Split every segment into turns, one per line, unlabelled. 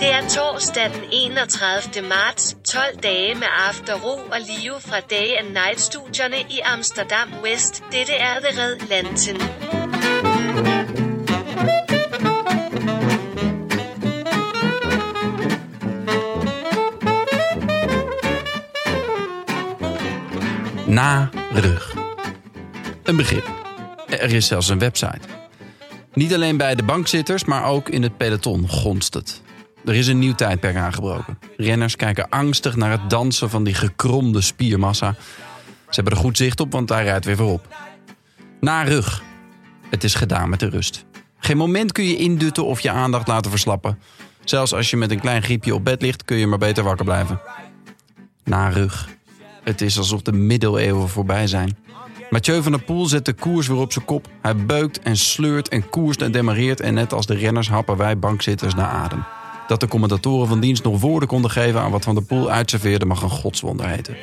Det er torsdag den 31. marts, 12 dage med Afterro og Live fra Day and Night studierne i Amsterdam West. Dette er The Red Lantern.
Na rug. Een begrip. Er is zelfs een website. Niet alleen bij de bankzitters, maar ook in het peloton gonst het. Er is een nieuw tijdperk aangebroken. Renners kijken angstig naar het dansen van die gekromde spiermassa. Ze hebben er goed zicht op, want hij rijdt weer voorop. Na rug. Het is gedaan met de rust. Geen moment kun je indutten of je aandacht laten verslappen. Zelfs als je met een klein griepje op bed ligt, kun je maar beter wakker blijven. Na rug. Het is alsof de middeleeuwen voorbij zijn. Mathieu van der Poel zet de koers weer op zijn kop. Hij beukt en sleurt en koerst en demareert. En net als de renners happen wij bankzitters naar adem. Dat de commentatoren van dienst nog woorden konden geven aan wat Van der Poel uitserveerde mag een godswonder heten.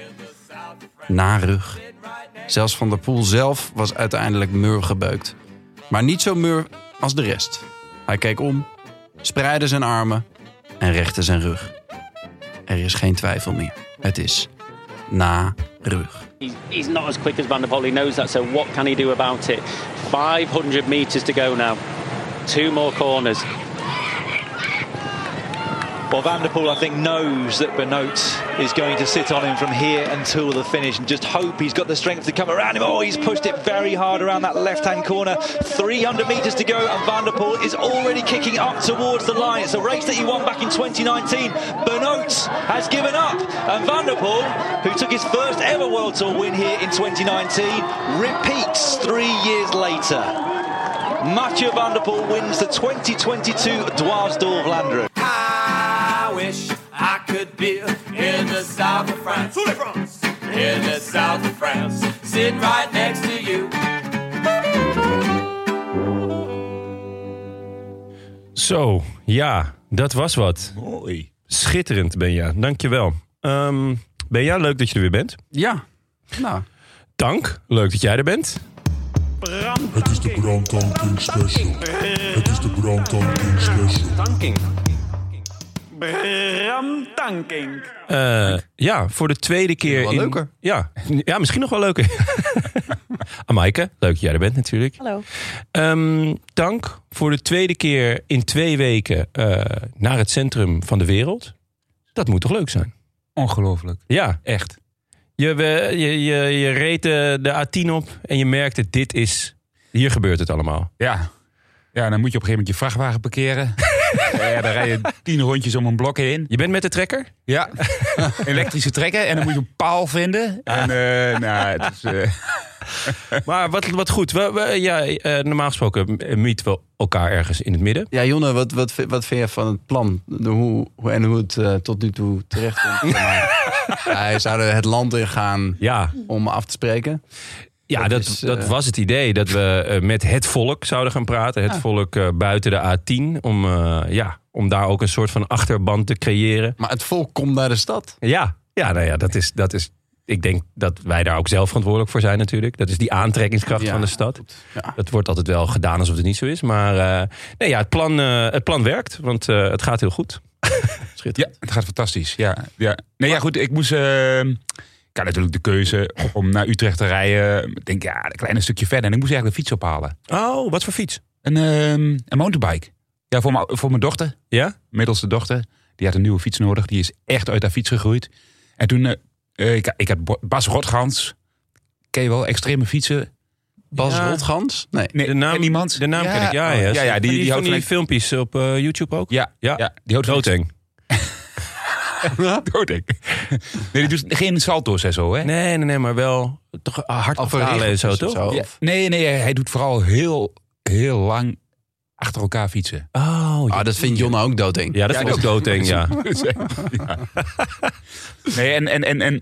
Na rug. Zelfs Van der Poel zelf was uiteindelijk mur gebeukt. Maar niet zo mur als de rest. Hij keek om, spreidde zijn armen en rechtte zijn rug. Er is geen twijfel meer. Het is na rug.
He's, he's not as quick as Van der Poel. He knows that. So what can he do about it? 500 meters to go now. Two more corners.
Well, Van der Poel, I think, knows that Benoot is going to sit on him from here until the finish and just hope he's got the strength to come around him. Oh, he's pushed it very hard around that left-hand corner. 300 metres to go and Van der Poel is already kicking up towards the line. It's a race that he won back in 2019. Benoot has given up and Van der Poel, who took his first ever World Tour win here in 2019, repeats three years later. Mathieu van der Poel wins the 2022 Dwars d'Or Vlaanderen.
I wish I could be in the south of France. In the south of France, sitting right next to you.
Zo, ja, dat was wat.
Mooi.
Schitterend, Benja. Dankjewel. Ehm Benja, leuk dat je er weer bent.
Ja, nou,
Dank, leuk dat jij er bent.
Het is de Brandtanking Special. Het is de Brandtanking Special.
Eh, ja, voor de tweede keer.
wel
in,
leuker.
Ja, ja, misschien nog wel leuker. Amaike, leuk dat jij er bent natuurlijk.
Hallo.
Ehm, dank voor de tweede keer in twee weken eh, naar het centrum van de wereld. Dat moet toch leuk zijn?
Ongelooflijk.
Ja,
Echt.
je, we- je, je, je reed eh, de A10 op en je merkte dit is... Hier gebeurt het allemaal.
Ja. Ja, dan moet je op een gegeven moment je vrachtwagen parkeren. ja, dan rij je tien rondjes om een blok heen.
Je bent met de trekker?
Ja. Elektrische trekken. En dan moet je een paal vinden. En eh, nou, het is... eh,
Maar wat, wat goed. We, we- ja, eh, normaal gesproken meeten we elkaar ergens in het midden.
Ja, Jonne, wat, wat, vind- wat vind je van het plan? De hoe, hoe- en hoe het eh, tot nu toe terecht komt? Hij zou er het land in gaan
Ja,
om af te spreken.
ja dat,
Dat
dat,
is, eh,
was het idee. Dat we eh, met het volk zouden gaan praten.
Ah.
Het volk eh, buiten de A10. Om, eh, ja, om daar ook een soort van achterband te creëren.
Maar het volk komt naar de stad.
Ja, ja, nou ja dat, is, dat is... Ik denk dat wij daar ook zelf verantwoordelijk voor zijn natuurlijk. Dat is die aantrekkingskracht
Ja,
van de stad.
Ja.
Dat wordt altijd wel gedaan alsof het niet zo is. Maar eh, nee, ja, het, plan, eh, het plan werkt, want eh, het gaat heel goed.
Ja, het gaat fantastisch. Ja, ja. Nee, ja, goed. Ik moest. eh, ik had natuurlijk de keuze om naar Utrecht te rijden. Ik denk, ja, een klein stukje verder. En ik moest eigenlijk een fiets ophalen.
Oh, wat voor fiets?
Een, ehm, een mountainbike. Ja, voor, mijn- voor mijn dochter.
Ja?
Middelste dochter.
Die had een nieuwe fiets nodig. Die is echt uit haar fiets gegroeid. En toen, eh, eh, ik, ik had Bo- Bas Rotgans. Ken je wel, extreme fietsen?
Bas
Ja.
Rotgans? Nee.
Nee,
De naam,
ken iemand?
de naam ken ik, ja.
oh,
Ja,
ja, ja, die, die,
die, van
houdt
die
van
filmpjes op eh, YouTube ook?
Ja,
Ja.
ja, die houdt van
Doodeng.
Doodeng. Nee, die doet geen salto's en zo, hè?
Nee, nee, nee, maar wel toch hard afhalen en zo, eh, toch?
Ja, nee, nee, hij doet vooral heel, heel lang achter elkaar fietsen.
Oh, ja.
Ah, dat vindt Jonna ook dood, denk ik.
Ja, dat vond ik doodeng, ja.
Ja. Nee, en, en, en, en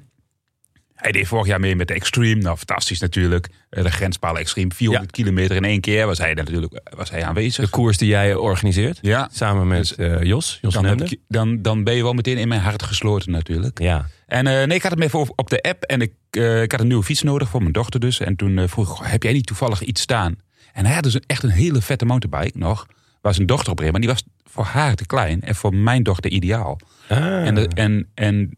hij deed vorig jaar mee met de Extreme. Nou, fantastisch natuurlijk. Eh, De grenspalen Extreme. 400 kilometer in één keer was hij natuurlijk eh, was hij
De
aanwezig.
koers die jij organiseert.
Ja, Dus
Samen met eh, Jos, Jos
dan, heb
Nemde.
ik- dan, dan ben je wel meteen in mijn hart gesloten natuurlijk.
Ja.
En eh, nee, ik had hem even over- op de app en ik, eh, ik had een nieuwe fiets nodig voor mijn dochter dus. En toen eh, vroeg ik, "Goh, heb jij niet toevallig iets staan? En hij had dus een- echt een hele vette mountainbike nog. Waar zijn dochter op reed, maar die was voor haar te klein en voor mijn dochter ideaal.
Ah.
En, de- en, en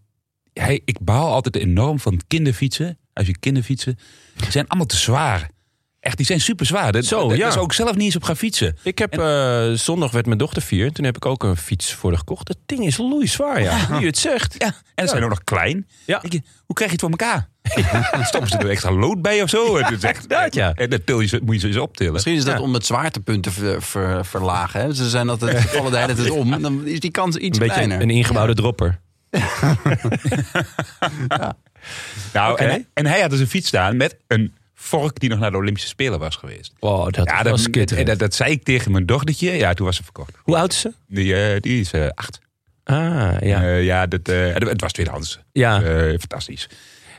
hij, ik baal altijd enorm van kinderfietsen. Als je kinderfietsen, die zijn allemaal te zwaar. Echt, die zijn super zwaar. Dat,
Zo,
dat
ja.
is ook zelf niet eens op gaan fietsen.
Ik heb eh, zondag werd mijn dochter vier. En toen heb ik ook een fiets voor haar gekocht. Dat ding is loeizwaar, ja. Nu je het zegt.
Ja, en ze zijn ook nog klein.
Ja.
Ik, hoe krijg je het voor elkaar? Stoppen ze er extra lood bij of zo? Het is echt,
inderdaad, ja.
En dat til je ze, moet je ze eens optillen.
Misschien is dat om het zwaartepunt te ver- ver- verlagen. Hè? Ze zijn altijd, ze vallen de hele tijd om. en Dan is die kans iets
Een beetje
kleiner.
een ingebouwde dropper.
nou,
Oké.
en, en hij had dus een fiets staan met een vork die nog naar de Olympische Spelen was geweest.
Wow, dat
ja,
was
dat,
kittig.
dat, dat, zei ik tegen mijn dochtertje. Ja, toen was ze verkocht.
Hoe oud is ze?
Die, eh, die is eh, acht.
Ah, ja.
Eh, ja dat, eh, het was tweedehands.
ja.
Eh, fantastisch.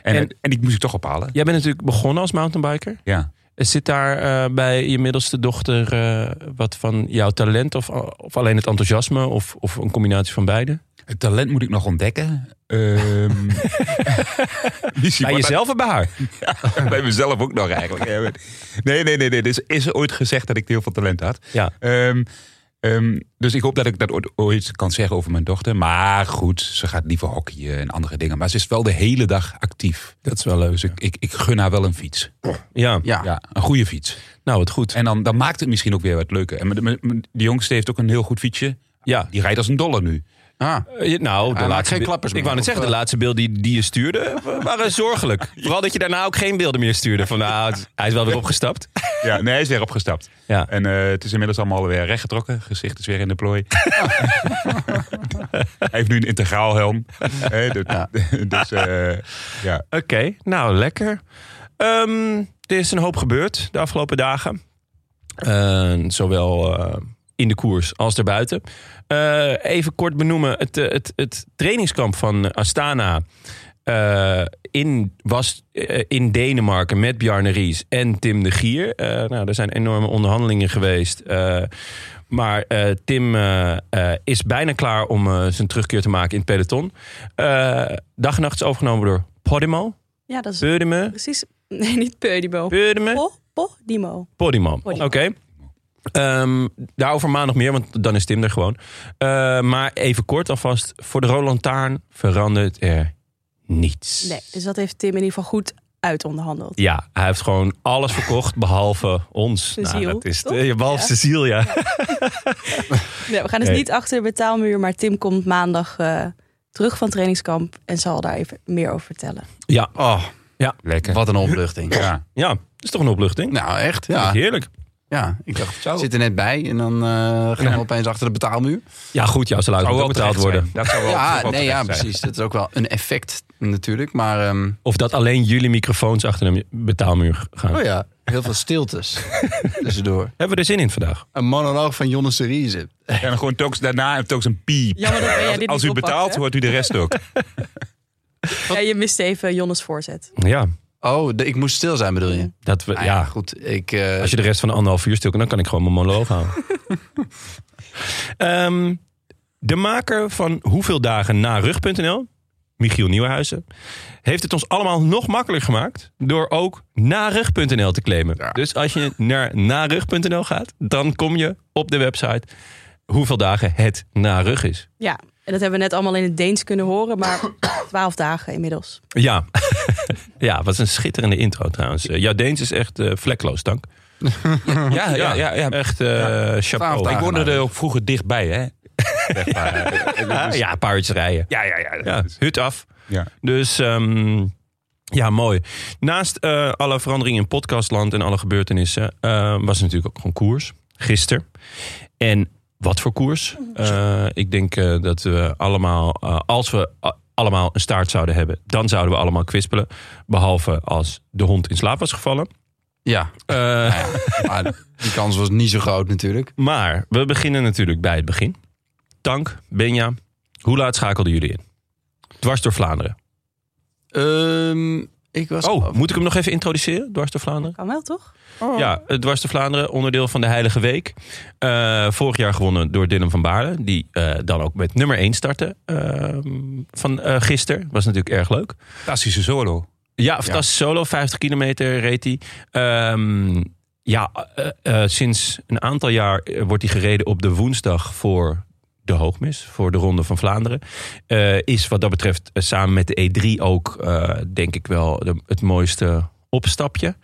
En,
En-
en, die moest ik toch ophalen.
Jij bent natuurlijk begonnen als mountainbiker.
Ja.
Zit daar eh, bij je middelste dochter eh, wat van jouw talent of, eh, of alleen het enthousiasme of, of een combinatie van beide?
Het talent moet ik nog ontdekken. Ehm Missie,
Bij
maar-
jezelf en bij haar?
Bij mezelf ook nog eigenlijk. Ja, maar- Nee, nee, nee. nee. Dus is er ooit gezegd dat ik heel veel talent had.
Ja.
Ehm, ehm, dus ik hoop dat ik dat ooit, ooit kan zeggen over mijn dochter. Maar goed, ze gaat liever hockeyen en andere dingen. Maar ze is wel de hele dag actief.
Dat is wel leuk.
Dus ik, ik, ik gun haar wel een fiets.
Ja.
Ja.
Ja, een goede fiets.
nou wat goed.
En dan, dan maakt het misschien ook weer wat leuker. En mijn- mijn- mijn- die jongste heeft ook een heel goed fietsje.
Ja.
Die rijdt als een dollar nu.
Ah.
Eh, je- Nou, de
maakt
laatste
geen
be-
klappers
Ik
meer.
wou net
Of,
zeggen, de
eh,
laatste beelden die, die je stuurde wa- waren zorgelijk. Vooral dat je daarna ook geen beelden meer stuurde. Van nou, het- hij is wel weer opgestapt.
Ja, nee, hij is weer opgestapt.
Ja.
En eh, het is inmiddels allemaal weer rechtgetrokken. Gezicht is weer in de plooi. hij heeft nu een integraal helm. Hè, dat- dus eh, ja.
Oké, nou lekker. Ehm, er is een hoop gebeurd de afgelopen dagen. Eh, zowel eh, in de koers als daarbuiten. Eh, even kort benoemen: het, eh, het, het trainingskamp van Astana eh, in, was eh, in Denemarken met Bjarne Ries en Tim de Gier. Eh, nou, er zijn enorme onderhandelingen geweest. Eh, maar eh, Tim eh, eh, is bijna klaar om eh, zijn terugkeer te maken in het peloton. Eh, dag en nacht is overgenomen door Podimo.
Ja, dat is
Podimo.
precies. Nee, niet Peudibo.
Podimo.
Po, po, Dimo.
Podimo. Oké.
Podimo.
Ehm, daarover maandag meer, want dan is Tim er gewoon. Eh, maar even kort alvast. Voor de Roland Taarn verandert er niets.
Nee, dus dat heeft Tim in ieder geval goed uitonderhandeld.
Ja, hij heeft gewoon alles verkocht behalve ons. Nou,
Zijn ziel,
dat is
toch?
je behalve
Ja.
zijn ziel, ja.
Nee, we gaan dus
Nee.
niet achter de betaalmuur, maar Tim komt maandag eh, terug van trainingskamp en zal daar even meer over vertellen.
Ja,
Oh,
Lekker.
wat een opluchting.
Ja.
ja dat is toch een opluchting?
Nou, echt.
Dat is
Ja.
Heerlijk.
ja. Ik dacht,
Oh.
we zitten net bij en dan eh, gaan we opeens achter de betaalmuur.
Ja, goed, jouw salaris
Zou
moet
wel
ook betaald worden.
terecht zijn. Dat zou wel,
Ja,
wel
nee, ja,
terecht zijn.
precies. Dat is ook wel een effect natuurlijk. Maar ehm,
Of dat alleen jullie microfoons achter de betaalmuur gaan.
oh ja, heel veel stiltes tussendoor.
Hebben we er zin in vandaag?
Een monoloog van Jonne Serize.
En dan gewoon telkens daarna en telkens een piep.
Jammer dat jij dit niet
Als u
oppakt,
betaalt,
hè?
hoort u de rest ook.
Ja, je mist even Jonnes voorzet.
Ja,
Oh, de- ik moest stil zijn bedoel je?
dat we,
Nou
ja,
goed. Ik, eh,
Als je de rest van de anderhalf uur stil kan, dan kan ik gewoon mijn monoloog houden. Ehm, de maker van Hoeveel Dagen Na Rug.nl, Michiel Nieuwenhuizen, heeft het ons allemaal nog makkelijker gemaakt door ook narug.nl te claimen. Dus als je naar narug.nl gaat, dan kom je op de website Hoeveel Dagen Het Na Rug is.
Ja, en dat hebben we net allemaal in het Deens kunnen horen, maar twaalf dagen inmiddels.
Ja, ja wat een schitterende intro trouwens. Eh, Jouw Deens is echt eh, vlekloos, dank.
Ja, ja, ja. ja.
Echt eh chapeau.
Ik woonde er ook vroeger dichtbij, hè.
weg.
Ah, ja, een paar uurtjes rijden.
Ja, ja, ja.
Ja, hut af.
Ja.
Dus ehm, ja, mooi. Naast eh, alle veranderingen in podcastland en alle gebeurtenissen... eh, was er natuurlijk ook gewoon koers. Gisteren. En wat voor koers? Eh, ik denk eh, dat we allemaal... eh, als we a- allemaal een staart zouden hebben... dan zouden we allemaal kwispelen. Behalve als de hond in slaap was gevallen.
Ja.
Eh,
Maar die kans was niet zo groot natuurlijk.
Maar we beginnen natuurlijk bij het begin. Tank, Benja, hoe laat schakelden jullie in? Dwars door Vlaanderen.
Ehm, ik was...
Oh, moet ik hem nog even introduceren? Dwars door Vlaanderen?
Kan wel, toch?
Ja, het Dwars door Vlaanderen, onderdeel van de Heilige Week. Eh, vorig jaar gewonnen door Dylan van Baarle. Die eh, dan ook met nummer 1 startte ehm, van eh gisteren. Was natuurlijk erg leuk.
Fantastische solo.
Ja, fantastisch solo. 50 kilometer reed hij. Ehm, ja, eh, eh, sinds een aantal jaar eh, wordt hij gereden op de woensdag voor de hoogmis. Voor de Ronde van Vlaanderen. Eh, is wat dat betreft eh, samen met de E3 ook, eh, denk ik wel, de- het mooiste opstapje.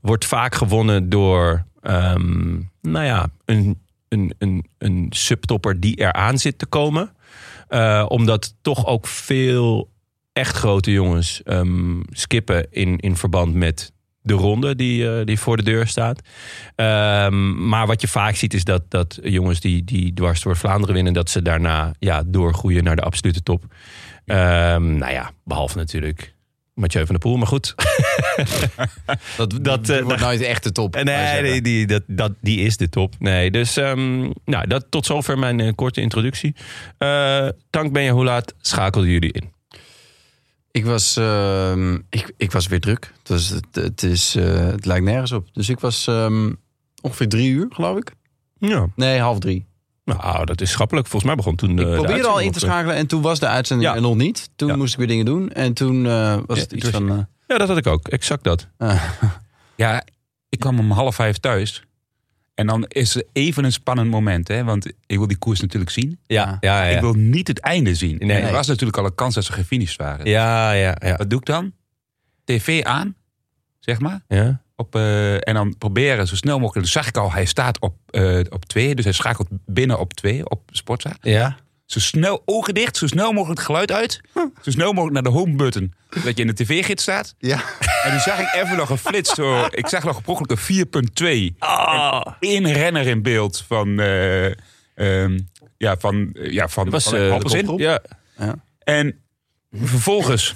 Wordt vaak gewonnen door, ehm, nou ja, een, een, een, een subtopper die eraan zit te komen. Eh, omdat toch ook veel echt grote jongens ehm, skippen in, in verband met de ronde die, eh, die voor de deur staat. Ehm, maar wat je vaak ziet is dat, dat jongens die, die dwars door Vlaanderen winnen... dat ze daarna ja, doorgroeien naar de absolute top. Ehm, nou ja, behalve natuurlijk Mathieu van der Poel, maar goed.
Dat, dat,
eh,
wordt
daar-
nooit echt de top. kan je
Nee,
zeggen.
nee, die, dat, dat, die is de top. Nee, dus ehm, nou, dat, tot zover mijn eh, korte introductie. Eh Tank Benja, hoe laat schakelden jullie in?
Ik was, ehm, ik, ik was weer druk. Dus het, het, is, eh, het lijkt nergens op. Dus ik was ehm, ongeveer drie uur, geloof ik.
Ja.
Nee, half drie.
Nou, dat is schappelijk. Volgens mij begon toen de.
Ik
de
probeerde al
uitzending
in te
op, eh,
schakelen en toen was de uitzending
Ja.
er nog niet. Toen
Ja.
moest ik weer dingen doen en toen eh, was
Ja,
het iets
toen was
van...
Ja, dat had ik ook. Exact dat.
eh, ah.
Ja, ik kwam om half vijf thuis. En dan is er even een spannend moment. Hè? Want ik wil die koers natuurlijk zien.
Ja, ja, ja.
Ik wil niet het einde zien.
Nee.
En er was natuurlijk al een kans dat ze gefinished waren.
Ja, ja, ja.
Wat doe ik dan? TV aan, zeg maar.
ja.
Op, eh, en dan proberen zo snel mogelijk. Dus zag ik al, hij staat op, eh, op twee. Dus hij schakelt binnen op twee op Sportza.
Ja.
Zo snel, ogen dicht, zo snel mogelijk het geluid uit. Zo snel mogelijk naar de home button. Dat je in de tv-gids staat.
Ja.
En toen zag ik even nog een flits. Zo, ik zag nog een 4.2.
Oh.
En één renner in beeld van... eh, ehm, ja, van, eh, ja, van,
Dat was
van
eh, de
Alpecin.
kopgroep. Ja.
En vervolgens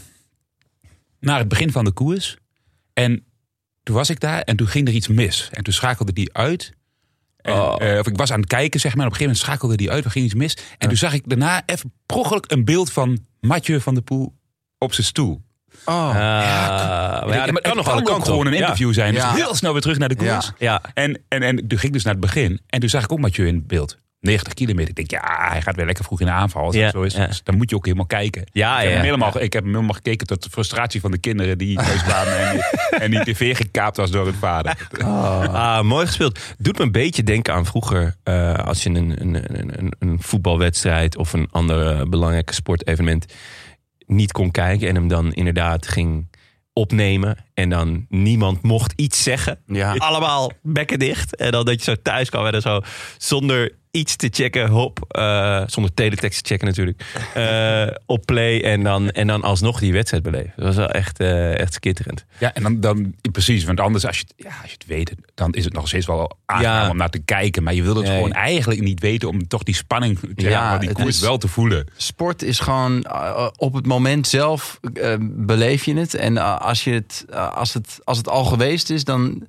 naar het begin van de koers. En toen was ik daar en toen ging er iets mis. En toen schakelde die uit. En,
Oh.
eh, of ik was aan het kijken, zeg maar. En op een gegeven moment schakelde die uit, er ging iets mis. En toen zag ik daarna even prochelijk een beeld van Mathieu van der Poel op zijn stoel.
Ah, maar ja,
En
dat
ik-
kan nog wel
ook
een kant
gewoon
op.
een interview zijn. Dus
Ja.
heel snel weer terug naar de koers.
Ja.
Ja.
En, en, en toen ging ik dus naar het begin. En toen zag ik ook Mathieu in beeld. 90 kilometer. Ik denk, ja, hij gaat weer lekker vroeg in de aanval. Als
Ja,
dat zo is,
ja.
Dus dan moet je ook helemaal kijken.
Ja,
ik, heb
ja.
hem helemaal, ik heb hem helemaal gekeken tot de frustratie van de kinderen die thuis kwamen. en, die- en die tv gekaapt was door hun vader.
Oh.
Ah, mooi gespeeld. Doet me een beetje denken aan vroeger. eh, als je een, een, een, een, een voetbalwedstrijd of een ander belangrijk sportevenement niet kon kijken. En hem dan inderdaad ging opnemen. En dan niemand mocht iets zeggen.
Ja.
Allemaal bekken dicht. En dan dat je zo thuis kwam en dan zo zonder iets te checken. Hop, eh, zonder teletext te checken natuurlijk. eh, op play en dan, en dan alsnog die wedstrijd beleven. Dat was wel echt, eh, echt skitterend.
Ja, en dan, dan precies. Want anders, als je, het- ja, als je het weet, dan is het nog steeds wel aangenaam
Ja.
om naar te kijken. Maar je wil het
Nee.
gewoon eigenlijk niet weten om toch die spanning,
Ja,
ja, maar die
het
koers
is-
wel te voelen.
Sport is gewoon eh, op het moment zelf eh, beleef je het. En eh, als, je het, eh, als, het, als het al geweest is, dan.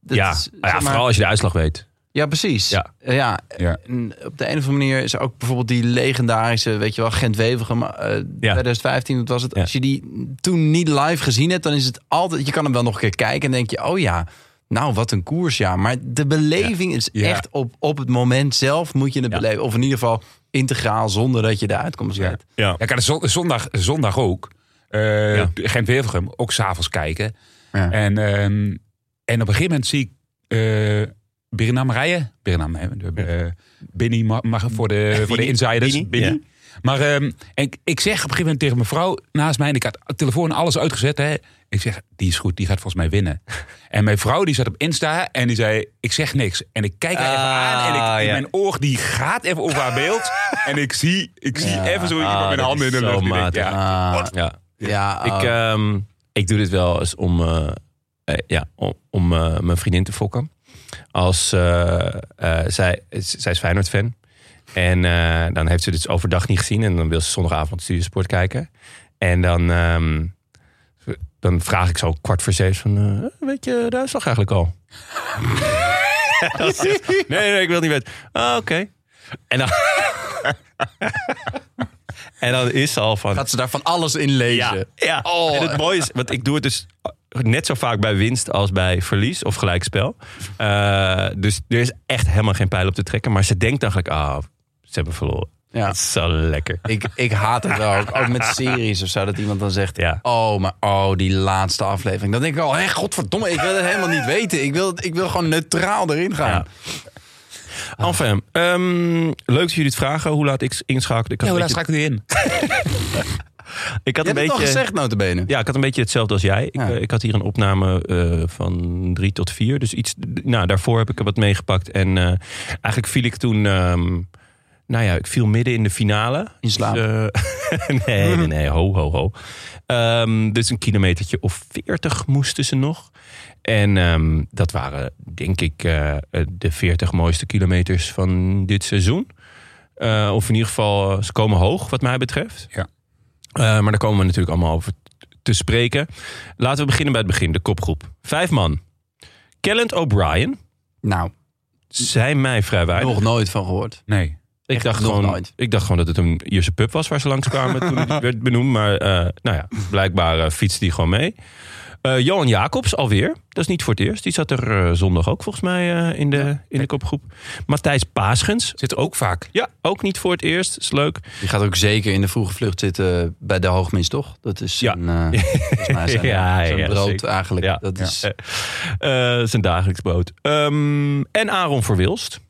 dat
ja,
Nou
is, zeg
ja
maar-
vooral als je de uitslag weet.
Ja, precies.
Ja.
Eh, ja.
Ja.
En op de een of andere manier is ook bijvoorbeeld die legendarische, weet je wel, Gent Wevergem eh, 2015, dat was het.
Ja.
Als je die toen niet live gezien hebt, dan is het altijd. Je kan hem wel nog een keer kijken en denk je, oh ja. Nou, wat een koers, ja. Maar de beleving is
Ja.
echt op, op het moment zelf moet je het
Ja.
beleven. Of in ieder geval integraal, zonder dat je de uitkomst
Ja.
weet.
Ja.
Ja, ik kan het zon- zondag, zondag ook. eh
Ja.
gent wevergem ook s'avonds kijken.
Ja.
En, ehm, en op een gegeven moment zie ik eh Birinam rijden. Birinam, hè, de, eh, Binny ma- mag voor de, voor de insiders.
Binny,
Binny.
ja.
Maar ehm, en ik- ik zeg op een gegeven moment tegen mijn vrouw naast mij... en ik had telefoon en alles uitgezet. Hè, ik zeg, die is goed, die gaat volgens mij winnen. En mijn vrouw die zat op Insta en die zei... ik zeg niks. En ik kijk haar even aan en ik,
Ah, ja.
mijn oog die gaat even over haar beeld. en ik zie, ik zie even zo iemand
ah,
met mijn
dat
handen in
is
de
zo
lucht. die denkt,
matig.
ja,
Ah,
wat?
ja.
Ja,
ik, ehm, ik doe dit wel eens om, eh, eh, ja, om, om, eh, mijn vriendin te fokken. Als eh, eh, zij, z- zij is Feyenoord-fan. En eh, dan heeft ze dit overdag niet gezien. En dan wil ze zondagavond Studiosport kijken. En dan, ehm, dan vraag ik zo kwart voor zeven van... eh, weet je de uitslag eigenlijk al? nee, nee, ik wil het niet weten. Ah, oké. En dan... En dan is ze al van... Gaat
ze daar van alles in lezen?
Ja, ja. en het mooie is, want ik doe het dus net zo vaak bij winst als bij verlies of gelijkspel. Eh, dus er is echt helemaal geen pijl op te trekken. Maar ze denkt eigenlijk, ah, ze hebben verloren. Ja. Dat is zo lekker.
Ik, ik haat het wel. Ook, ook met series of zo. Dat iemand dan zegt. Oh, maar oh, die laatste aflevering. Dan denk ik al. Hé, godverdomme. Ik wil het helemaal niet weten. Ik wil, het- ik wil gewoon neutraal erin gaan.
Enfin, ehm, leuk dat jullie het vragen. Hoe laat ik inschakelen? Ik
Ja,
had
hoe laat
een
schakel je in?
Ik
Je hebt
had een
het
beetje,
al gezegd, notabene.
Ja, ik had een beetje hetzelfde als jij. Ik, eh, ik had hier een opname eh, van drie tot vier. Dus iets, nou, daarvoor heb ik er wat meegepakt. En eh, eigenlijk viel ik toen... ehm, nou ja, ik viel midden in de finale. In slaap? nee, nee, nee. Ho, ho, ho. Ehm, dus een kilometertje of veertig moesten ze nog. En ehm, dat waren, denk ik, eh, de veertig mooiste kilometers van dit seizoen. Eh, of in ieder geval, eh, ze komen hoog, wat mij betreft.
Ja.
Eh, maar daar komen we natuurlijk allemaal over t- te spreken. Laten we beginnen bij het begin, de kopgroep. Vijf man. Kellent O'Brien.
Nou.
Zijn mij vrij weinig.
Nog nooit van gehoord.
Nee.
Ik
Echt
dacht,
nog
gewoon,
nooit.
ik dacht gewoon dat het een Ierse pub was waar ze langskwamen toen het werd benoemd. Maar eh, nou ja, blijkbaar eh, fietst die gewoon mee. Eh, Johan Jacobs alweer. Dat is niet voor het eerst. Die zat er eh, zondag ook volgens mij eh, in, de, in de kopgroep. Matthijs Paasgens.
Zit ook vaak.
Ja, ook niet voor het eerst. Is leuk.
Die gaat ook zeker in de vroege vlucht zitten bij de Hoogmins, toch? Dat is ja. een, eh,
Ja, ja,
brood
zeker.
eigenlijk. Dat
Ja.
is,
Eh, eh, zijn dagelijks brood. Ehm, en Aaron Verwilst.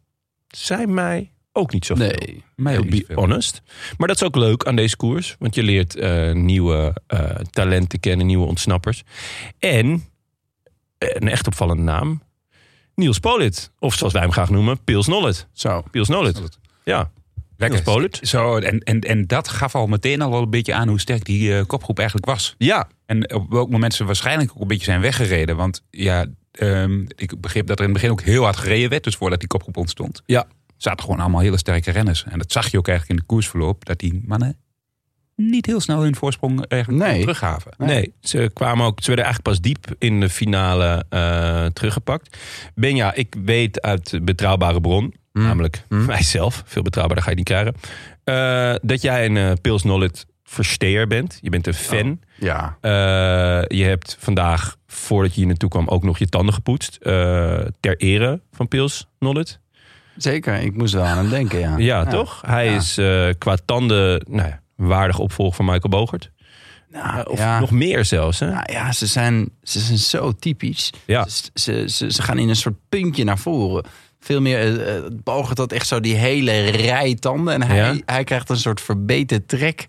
Zijn mij ook niet zo
Nee,
mij ook
to be
niet veel.
Eh, honest. Maar dat is ook leuk aan deze koers. Want je leert eh, nieuwe eh, talenten kennen, nieuwe ontsnappers. En eh, een echt opvallende naam. Niels Polit. Of zoals wij hem graag noemen, Pils Nollet.
Zo.
Pils Nollet. Ja. Niels Polit.
Zo, en, en, en dat gaf al meteen al wel een beetje aan hoe sterk die eh, kopgroep eigenlijk was.
Ja.
En op welk moment ze waarschijnlijk ook een beetje zijn weggereden. Want ja, ehm, ik begreep dat er in het begin ook heel hard gereden werd. Dus voordat die kopgroep ontstond.
Ja.
Zaten gewoon allemaal hele sterke renners. En dat zag je ook eigenlijk in de koersverloop. Dat die mannen niet heel snel hun voorsprong eigenlijk
Nee.
teruggaven.
Nee, ze kwamen ook. Ze werden eigenlijk pas diep in de finale eh, teruggepakt. Benja, ik weet uit betrouwbare bron,
Mm.
namelijk mijzelf, veel betrouwbaarder ga je niet krijgen, eh, dat jij een eh, Pils Nollet versteer bent. Je
Oh.
bent een fan.
ja.
Eh, je hebt vandaag, voordat je hier naartoe kwam, ook nog je tanden gepoetst. eh, ter ere van Pils Nollet.
Zeker, ik moest wel aan hem denken, Ah. ja.
Ja, toch? Hij
Ja.
is eh, qua tanden nou ja, waardig opvolger van Michael Bogert.
Nou,
Of
ja.
nog meer zelfs. Hè?
Nou ja, ze zijn, ze zijn zo typisch.
Ja.
Ze, ze, ze, ze gaan in een soort puntje naar voren. Veel meer eh, eh, Bogert had echt zo die hele rij tanden. En hij,
Ja.
hij krijgt een soort verbeten trek.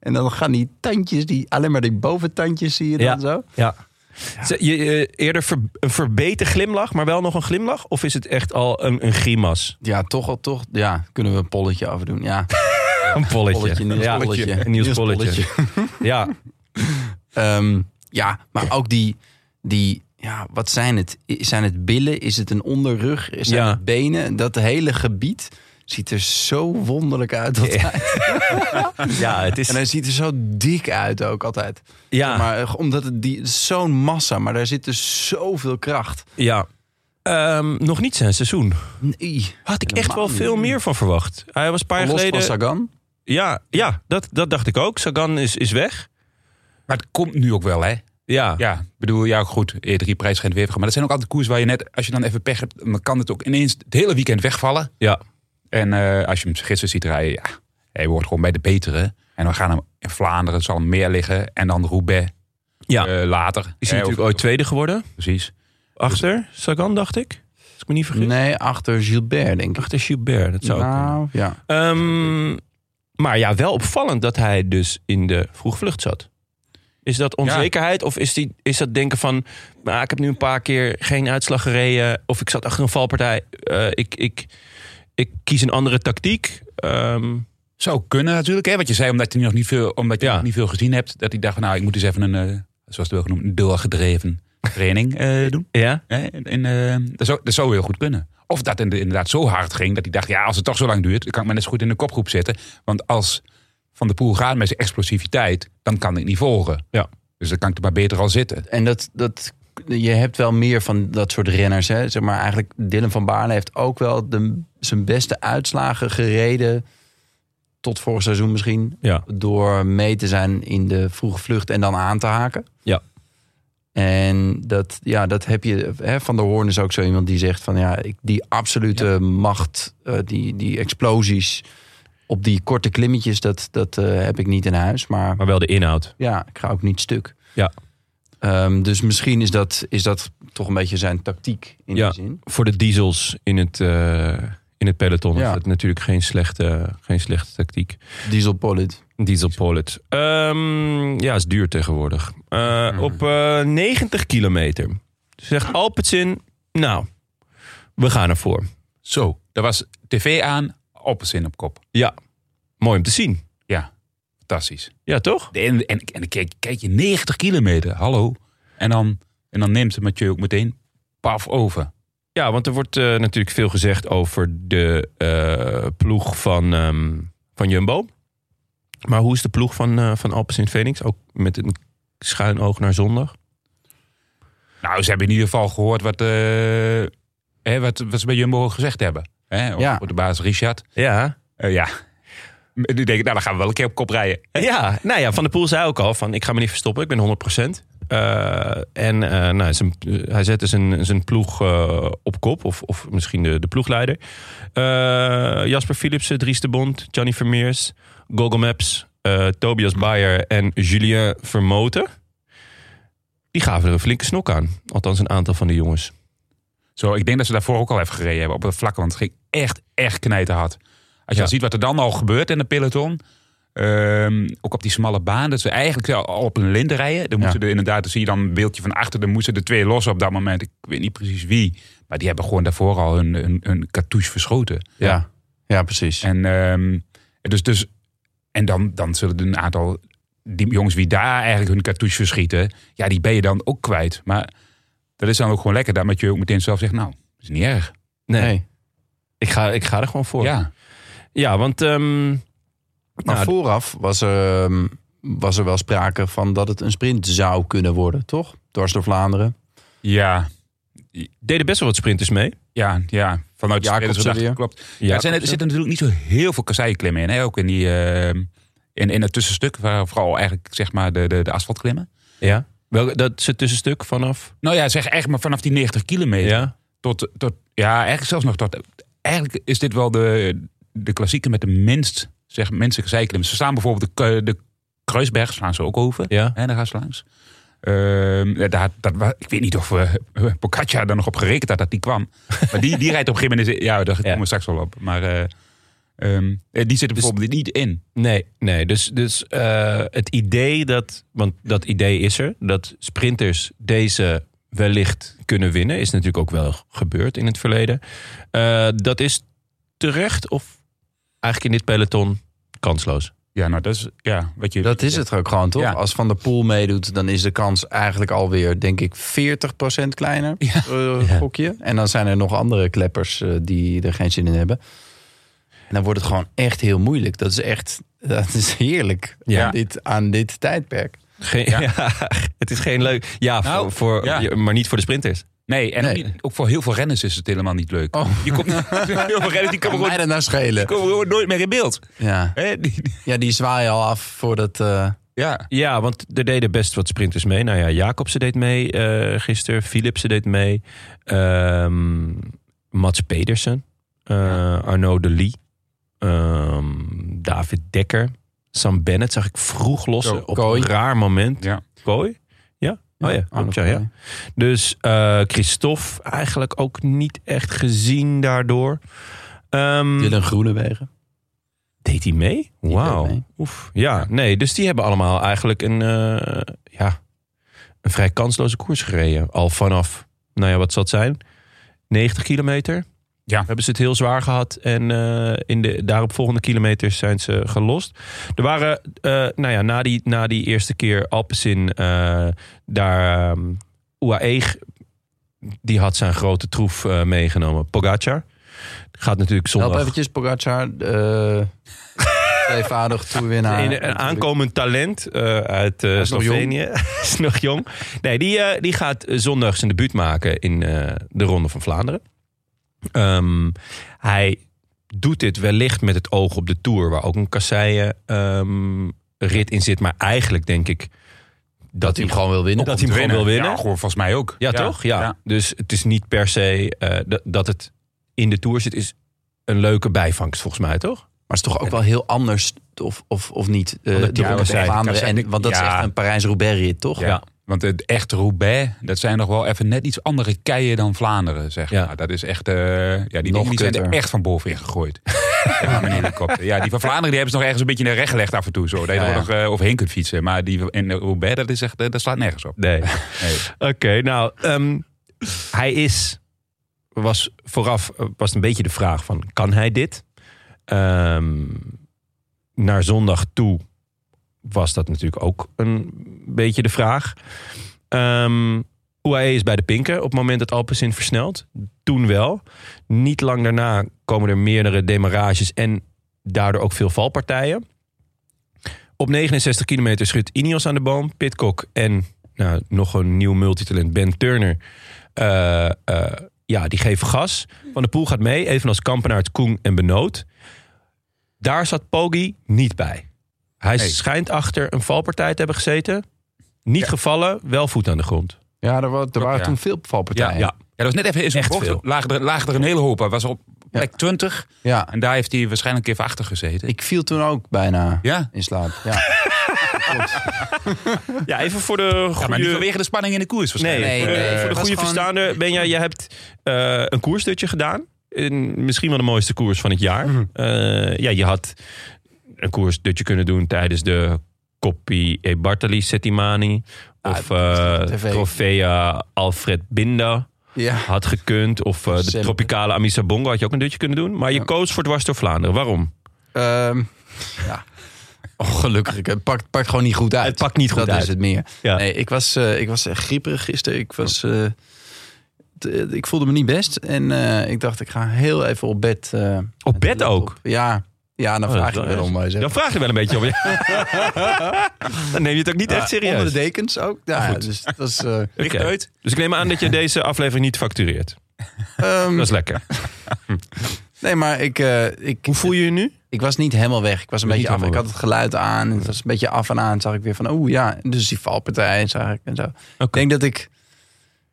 En dan gaan die tandjes, die, alleen maar die boventandjes zie je dan
Ja.
zo.
Ja. Z- Je, je- eerder ver- een verbeten glimlach, maar wel nog een glimlach? Of is het echt al een, een grimas?
Ja, toch al, toch. Ja, kunnen we een polletje afdoen. Ja,
Een polletje.
polletje, Niels
ja,
polletje.
Een nieuws
Niels
polletje. Ja,
Ehm, ja, maar ook die, die ja, wat zijn het? I- Zijn het billen? Is het een onderrug? Zijn
Ja.
het benen? Dat hele gebied ziet er zo wonderlijk uit altijd.
ja, het
En hij
is...
ziet er zo dik uit ook altijd.
Ja.
Maar eh, omdat het die het is zo'n massa, maar daar zit dus zoveel kracht.
ja. Ehm, nog niet zijn seizoen.
Nee.
Had ik echt wel veel meer van verwacht. Hij was een paar jaar
Los van
geleden...
Sagan.
Ja, ja dat, dat dacht ik ook. Sagan is, is weg.
Maar het komt nu ook wel, hè?
Ja.
Ja, ik bedoel, ja goed, E3 prijs schijnt weer te gaan. Maar dat zijn ook altijd koers waar je net, als je dan even pech hebt, dan kan het ook ineens het hele weekend wegvallen.
Ja.
En eh, als je hem gisteren ziet rijden, ja, hij wordt gewoon bij de betere. En we gaan hem in Vlaanderen, het zal hem meer liggen. En dan Roubaix
Ja.
eh, later.
Is
Hè,
hij natuurlijk
of-
ooit tweede geworden.
Precies.
Achter Sagan, dacht ik. Als ik me niet vergis.
Nee, achter Gilbert, denk ik.
Achter Gilbert, dat zou ik
nou, ja.
Ehm, Maar ja, wel opvallend dat hij dus in de vroegvlucht zat. Is dat onzekerheid of is, die, is dat denken van... Nou, ik heb nu een paar keer geen uitslag gereden... of ik zat achter een valpartij, eh, ik, ik, ik kies een andere tactiek. Eh, Ehm,
Zou kunnen natuurlijk. Hè? Wat je zei, omdat je nog niet veel, omdat je nog niet veel gezien hebt. Dat ik dacht, van, nou, ik moet eens even een, eh, zoals het wel genoemd, een doorgedreven training eh, doen.
Ja.
Hè? En, en, eh, dat, zou, dat zou heel goed kunnen. Of dat het inderdaad zo hard ging dat ik dacht, ja, als het toch zo lang duurt, dan kan ik me net zo goed in de kopgroep zetten. Want als Van de Poel gaat met zijn explosiviteit, dan kan ik niet volgen.
Ja.
Dus dan kan ik er maar beter al zitten.
En dat, dat, je hebt wel meer van dat soort renners. Hè? Zeg maar eigenlijk Dylan van Baarle heeft ook wel de, zijn beste uitslagen gereden. Tot vorig seizoen misschien.
Ja.
Door mee te zijn in de vroege vlucht en dan aan te haken.
Ja.
En dat, ja, dat heb je. Hè, van der Hoorn is ook zo iemand die zegt van ja, ik, die absolute macht, eh, die, die explosies op die korte klimmetjes, dat, dat eh, heb ik niet in huis. Maar,
maar wel de inhoud.
Ja, ik ga ook niet stuk.
Ja.
Ehm, dus misschien is dat, is dat toch een beetje zijn tactiek in
ja,
die zin.
voor de diesels in het, eh, in het peloton
Ja.
is dat natuurlijk geen slechte, geen slechte tactiek.
Dieselpolit.
Dieselpolit. Ehm ja, is duur tegenwoordig. Eh, Op eh, 90 kilometer zegt Alpecin, nou, we gaan ervoor.
Zo, daar was tv aan, Alpecin op kop.
Ja, mooi om te zien.
Ja, fantastisch.
Ja, toch?
En, en, en dan kijk, kijk je 90 kilometer, hallo. En dan, en dan neemt Mathieu ook meteen paf over.
Ja, want er wordt eh, natuurlijk veel gezegd over de eh, ploeg van, ehm, van Jumbo. Maar hoe is de ploeg van, eh van Alpecin Phoenix? Ook met een schuin oog naar zondag.
Nou, ze hebben in ieder geval gehoord wat, eh, hè, wat, wat ze bij Jumbo gezegd hebben. Hè, op,
Ja.
op de baas Richard.
Ja.
Eh, ja. Die denken, nou, dan gaan we wel een keer op kop rijden.
Ja, nou ja, Van der Poel zei ook al van ik ga me niet verstoppen, ik ben 100 Eh, en eh, nou, zijn, hij zette zijn, zijn ploeg eh, op kop, of, of misschien de, de ploegleider. Eh, Jasper Philipsen, Dries de Bond, Johnny Vermeers, Google Maps, eh, Tobias Bayer en Julien Vermoten. Die gaven er een flinke snok aan. Althans een aantal van de jongens.
Zo, ik denk dat ze daarvoor ook al even gereden hebben op het vlak. Want het ging echt, echt knijterhard. Als je
Ja.
al ziet wat er dan al gebeurt in de peloton. ehm, ook op die smalle baan. Dat ze eigenlijk al al op een lint rijden. Dan moeten er inderdaad, dan zie je dan een beeldje van achter. Dan moesten er twee lossen op dat moment. Ik weet niet precies wie. Maar die hebben gewoon daarvoor al hun, hun, hun cartouche verschoten.
Ja, ja precies.
En, ehm, dus, dus, en dan, dan zullen er een aantal die jongens wie daar eigenlijk hun cartouche verschieten, ja, die ben je dan ook kwijt. Maar dat is dan ook gewoon lekker. Daar met je ook meteen zelf zegt, nou, dat is niet erg.
Nee. Ik, ga, ik ga er gewoon voor.
Ja.
Ja, want... ehm,
Maar
nou,
vooraf was er, ehm, was er wel sprake van dat het een sprint zou kunnen worden, toch? Dwars door Vlaanderen.
Ja,
deden best wel wat sprinters mee.
ja, ja. Vanuit de
Jacobsen
spelersgedachte,
weer.
klopt. Ja, er, zijn, er zitten natuurlijk niet zo heel veel kasseiklimmen in. Hè? Ook in, die, ehm, in, in het tussenstuk, waar vooral eigenlijk zeg maar de, de, de asfaltklimmen.
Ja. Wel, dat is het tussenstuk vanaf.
Nou ja, zeg echt maar vanaf die 90 kilometer.
Ja.
Tot, tot, ja, eigenlijk zelfs nog tot. Eigenlijk is dit wel de, de klassieke met de minst, zeg, minste zijklims. Ze staan bijvoorbeeld de, Ku- de Kruisberg, slaan ze ook over.
Ja.
En daar gaan ze langs. Ehm, ja, daar, dat, wa- ik weet niet of eh Pocaccia daar nog op gerekend had dat die kwam. Maar die, die rijdt op een gegeven moment. in- Ja, daar komen we straks wel op. Maar eh, ehm, eh, die zit er bijvoorbeeld niet in.
Nee, nee. Dus, dus eh, het idee dat, want dat idee is er, dat sprinters deze wellicht kunnen winnen, is natuurlijk ook wel gebeurd in het verleden. Eh, dat is terecht of eigenlijk in dit peloton kansloos.
Ja, nou, dat is ja, wat je.
Dat is het ook gewoon, toch?
Ja.
Als Van der Poel meedoet, dan is de kans eigenlijk alweer, denk ik, 40% kleiner. eh, gokje. En dan zijn er nog andere kleppers eh, die er geen zin in hebben. En dan wordt het gewoon echt heel moeilijk. Dat is echt, dat is heerlijk
Ja.
aan, dit, aan dit tijdperk.
Geen, ja. het is geen leuk. Ja,
Nou,
voor, voor,
ja.
ja, maar niet voor de sprinters.
Nee, en
Nee. Oh.
Ook, niet- ook voor heel veel renners is het helemaal niet leuk. Je komt heel veel renners die
Kan
komen
mij dat
gewoon,
nou schelen?
komen gewoon nooit meer in beeld.
Ja.
Hè, die- die-
ja, die zwaaien al af voordat... eh
ja.
Ja, want er deden best wat sprinters mee. Nou ja, Jacobsen deed mee eh gisteren. Philipsen deed mee. Ehm, Mats Pedersen. eh, Arnaud de Lee. ehm, David Dekker. Sam Bennett zag ik vroeg
Ko-
lossen. Op
Kooi.
een raar moment.
Ja.
Kooi? Ja? Oh ja,
Arno
klopt, ja, ja.
Kooi.
Dus eh Christophe eigenlijk ook niet echt gezien daardoor. Ehm,
Dylan Groenewegen.
Deed hij mee? Wauw. Oef. Ja, nee. Dus die hebben allemaal eigenlijk een, eh, ja, een vrij kansloze koers gereden. Al vanaf, nou ja, wat zal het zijn? 90 kilometer.
Ja.
Hebben ze het heel zwaar gehad. En eh, in de daaropvolgende kilometers zijn ze gelost. Er waren, eh, nou ja, na die, na die eerste keer Alpecin, eh, daar ehm, UAE, die had zijn grote troef eh, meegenomen. Pogacar. Gaat natuurlijk
Help
zondag
eventjes Pogacar. eh tweevoudig toerwinnaar.
een, een aankomend talent eh, uit eh,
is nog
Slovenië. is nog jong. Nee, die, eh, die gaat eh, zondag zijn debuut maken in eh, de Ronde van Vlaanderen. Ehm, hij doet dit wellicht met het oog op de Tour, waar ook een kasseien ehm, rit in zit. Maar eigenlijk denk ik dat, hij
gewoon wil winnen.
Dat hij hem gewoon wil winnen.
Ja, gewoon volgens mij ook.
Ja, toch? Ja. Dus het is niet per se eh, dat- dat het in de Tour zit, is een leuke bijvangst volgens mij, toch?
Maar het is toch ook wel heel anders, of, of, of niet? eh,
Omdat
de
die
Ronde van
kasseien-
Vlaanderen.
kasseien-
En, want dat is
ja.
echt een Parijs-Roubaix-rit, toch?
Ja. Want het echt Roubaix, dat zijn nog wel even net iets andere keien dan Vlaanderen, zeg maar. Dat is echt, eh,
Nog
ja, die, dingen die zijn er
kutter.
echt van boven in gegooid. ja, met een helikopter. Ja, die van Vlaanderen die hebben ze nog ergens een beetje naar recht gelegd af en toe. Zo, dat je
Ja,
er
ja.
nog eh, overheen kunt fietsen. Maar die in Roubaix, dat, is echt, eh, dat slaat nergens op.
Nee. Oké, nou, ehm, hij is, was vooraf eh, was een beetje de vraag van, kan hij dit? Ehm, naar zondag toe was dat natuurlijk ook een beetje de vraag. Ehm UAE is bij de pinken op het moment dat Alpecin versnelt. Toen wel. Niet lang daarna komen er meerdere demarages en daardoor ook veel valpartijen. Op 69 kilometer schudt Ineos aan de boom. Pitcock en nou, nog een nieuw multitalent, Ben Turner. Eh, eh, ja, die geven gas. Van de Poel gaat mee, evenals Kampenaert, Koen en Benoot. Daar zat Poggi niet bij. Hij
Nee.
schijnt achter een valpartij te hebben gezeten. Niet gevallen, wel voet aan de grond.
Ja, er, wa- er waren
ja.
toen veel valpartijen.
Ja, ja.
Ja, dat was net even in zo'n
Echt
bocht.
veel.
Lagen er, lagen er een hele hoop. Hij was op plek 20.
Ja.
En daar heeft hij waarschijnlijk even achter gezeten.
Ik viel toen ook bijna
ja?
in slaap. Ja.
Ja, even voor de
Ja, maar niet
goede...
vanwege de spanning in de koers
Nee,
waarschijnlijk. Eh,
Nee,
voor,
nee, het
voor de
was
goede
gewoon-
verstaander. Benja, je hebt eh, een koersdutje gedaan. In misschien wel de mooiste koers van het jaar. Eh, ja, je had een koersdutje kunnen doen tijdens de Coppi e Bartali Settimani. Of eh
Ah, TV.
Trofea Alfred Binda
ja.
had gekund. Of eh, de
Zeker.
Tropicale Amisa Bongo had je ook een dutje kunnen doen. Maar je
Ja.
koos voor dwars door Vlaanderen. Waarom?
Ehm, ja. Oh, gelukkig. Het pakt, pakt gewoon niet goed uit.
Het pakt niet goed
dat
uit.
is het meer.
Ja.
Nee, ik was, eh, ik was echt grieperig gisteren. Ik, was, eh, t- eh, ik voelde me niet best. En eh, ik dacht, ik ga heel even op bed. eh,
Op bed ook?
Ja, ja dan
Oh,
vraag ik
dat is
wel
wel
om. maar zeg.
Dan vraag je wel een beetje om. Dan neem je het ook niet echt
Ja, Onder
serieus.
de dekens ook. Ja, dus dat is... eh,
Oké.
uit.
Dus ik neem aan dat je deze aflevering niet factureert.
ehm,
Dat is lekker.
nee, maar ik, eh, ik,
Hoe voel je je nu?
ik was niet helemaal weg. Ik was een
Je bent
beetje
niet
af. Ik
helemaal
had het geluid aan. en Het was een beetje af en aan. Toen zag ik weer van, oeh ja. Dus die valpartij zag ik en zo. Ik denk dat ik...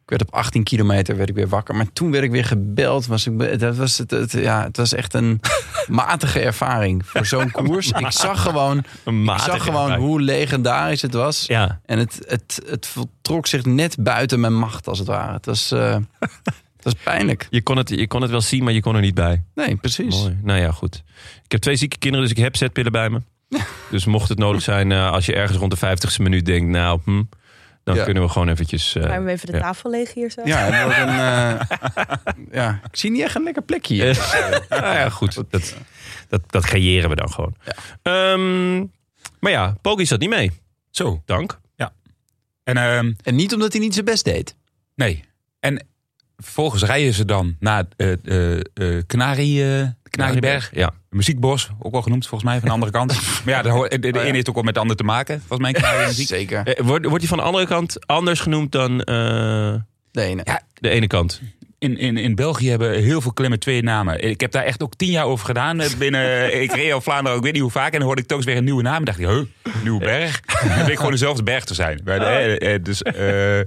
Ik werd op 18 kilometer werd ik weer wakker. Maar toen werd ik weer gebeld. Was ik, be- dat was het, het- ja, het was echt een matige ervaring voor zo'n koers. Ik zag gewoon,
Een
ik
matige
zag gewoon
ervaring.
hoe legendarisch het was.
Ja.
En het, het, het voltrok zich net buiten mijn macht, als het ware. Het was, eh, het was pijnlijk.
Je kon, het, je kon het wel zien, maar je kon er niet bij.
Nee, precies.
Mooi. Nou ja, goed. Ik heb twee zieke kinderen, dus ik heb zetpillen bij me. Dus mocht het nodig zijn, eh, als je ergens rond de 50ste minuut denkt... nou, hm, dan
Ja.
kunnen we gewoon eventjes... eh,
Ruim even de
ja.
tafel leeg hier zo.
Ja, het wordt een, eh, ja, ik zie niet echt een lekker plekje hier.
nou ja, goed. Dat, dat, dat creëren we dan gewoon. Ehm, maar ja, Pogi zat niet mee.
Zo.
Dank.
En ehm,
En niet omdat hij niet zijn best deed.
Nee. En vervolgens rijden ze dan naar eh eh eh Canari, eh, Canariberg.
Ja.
Muziekbos, ook wel genoemd volgens mij van de andere kant. maar ja, dat hoort- de,
Oh
de ene heeft ook wel met de ander te maken, volgens mij. Canarie muziek.
Zeker.
Eh, Wordt wordt hij van de andere kant anders genoemd dan eh,
De ene.
Ja,
de ene kant?
in, in, in België hebben heel veel klimmen twee namen. Ik heb daar echt ook tien jaar over gedaan. eh, Binnen, ik reed al Vlaanderen, ik weet niet hoe vaak. En dan hoorde ik telkens weer een nieuwe naam. En dacht ik, huh, nieuwe berg? Dan bleek gewoon dezelfde berg te zijn. Maar, eh, eh, dus... eh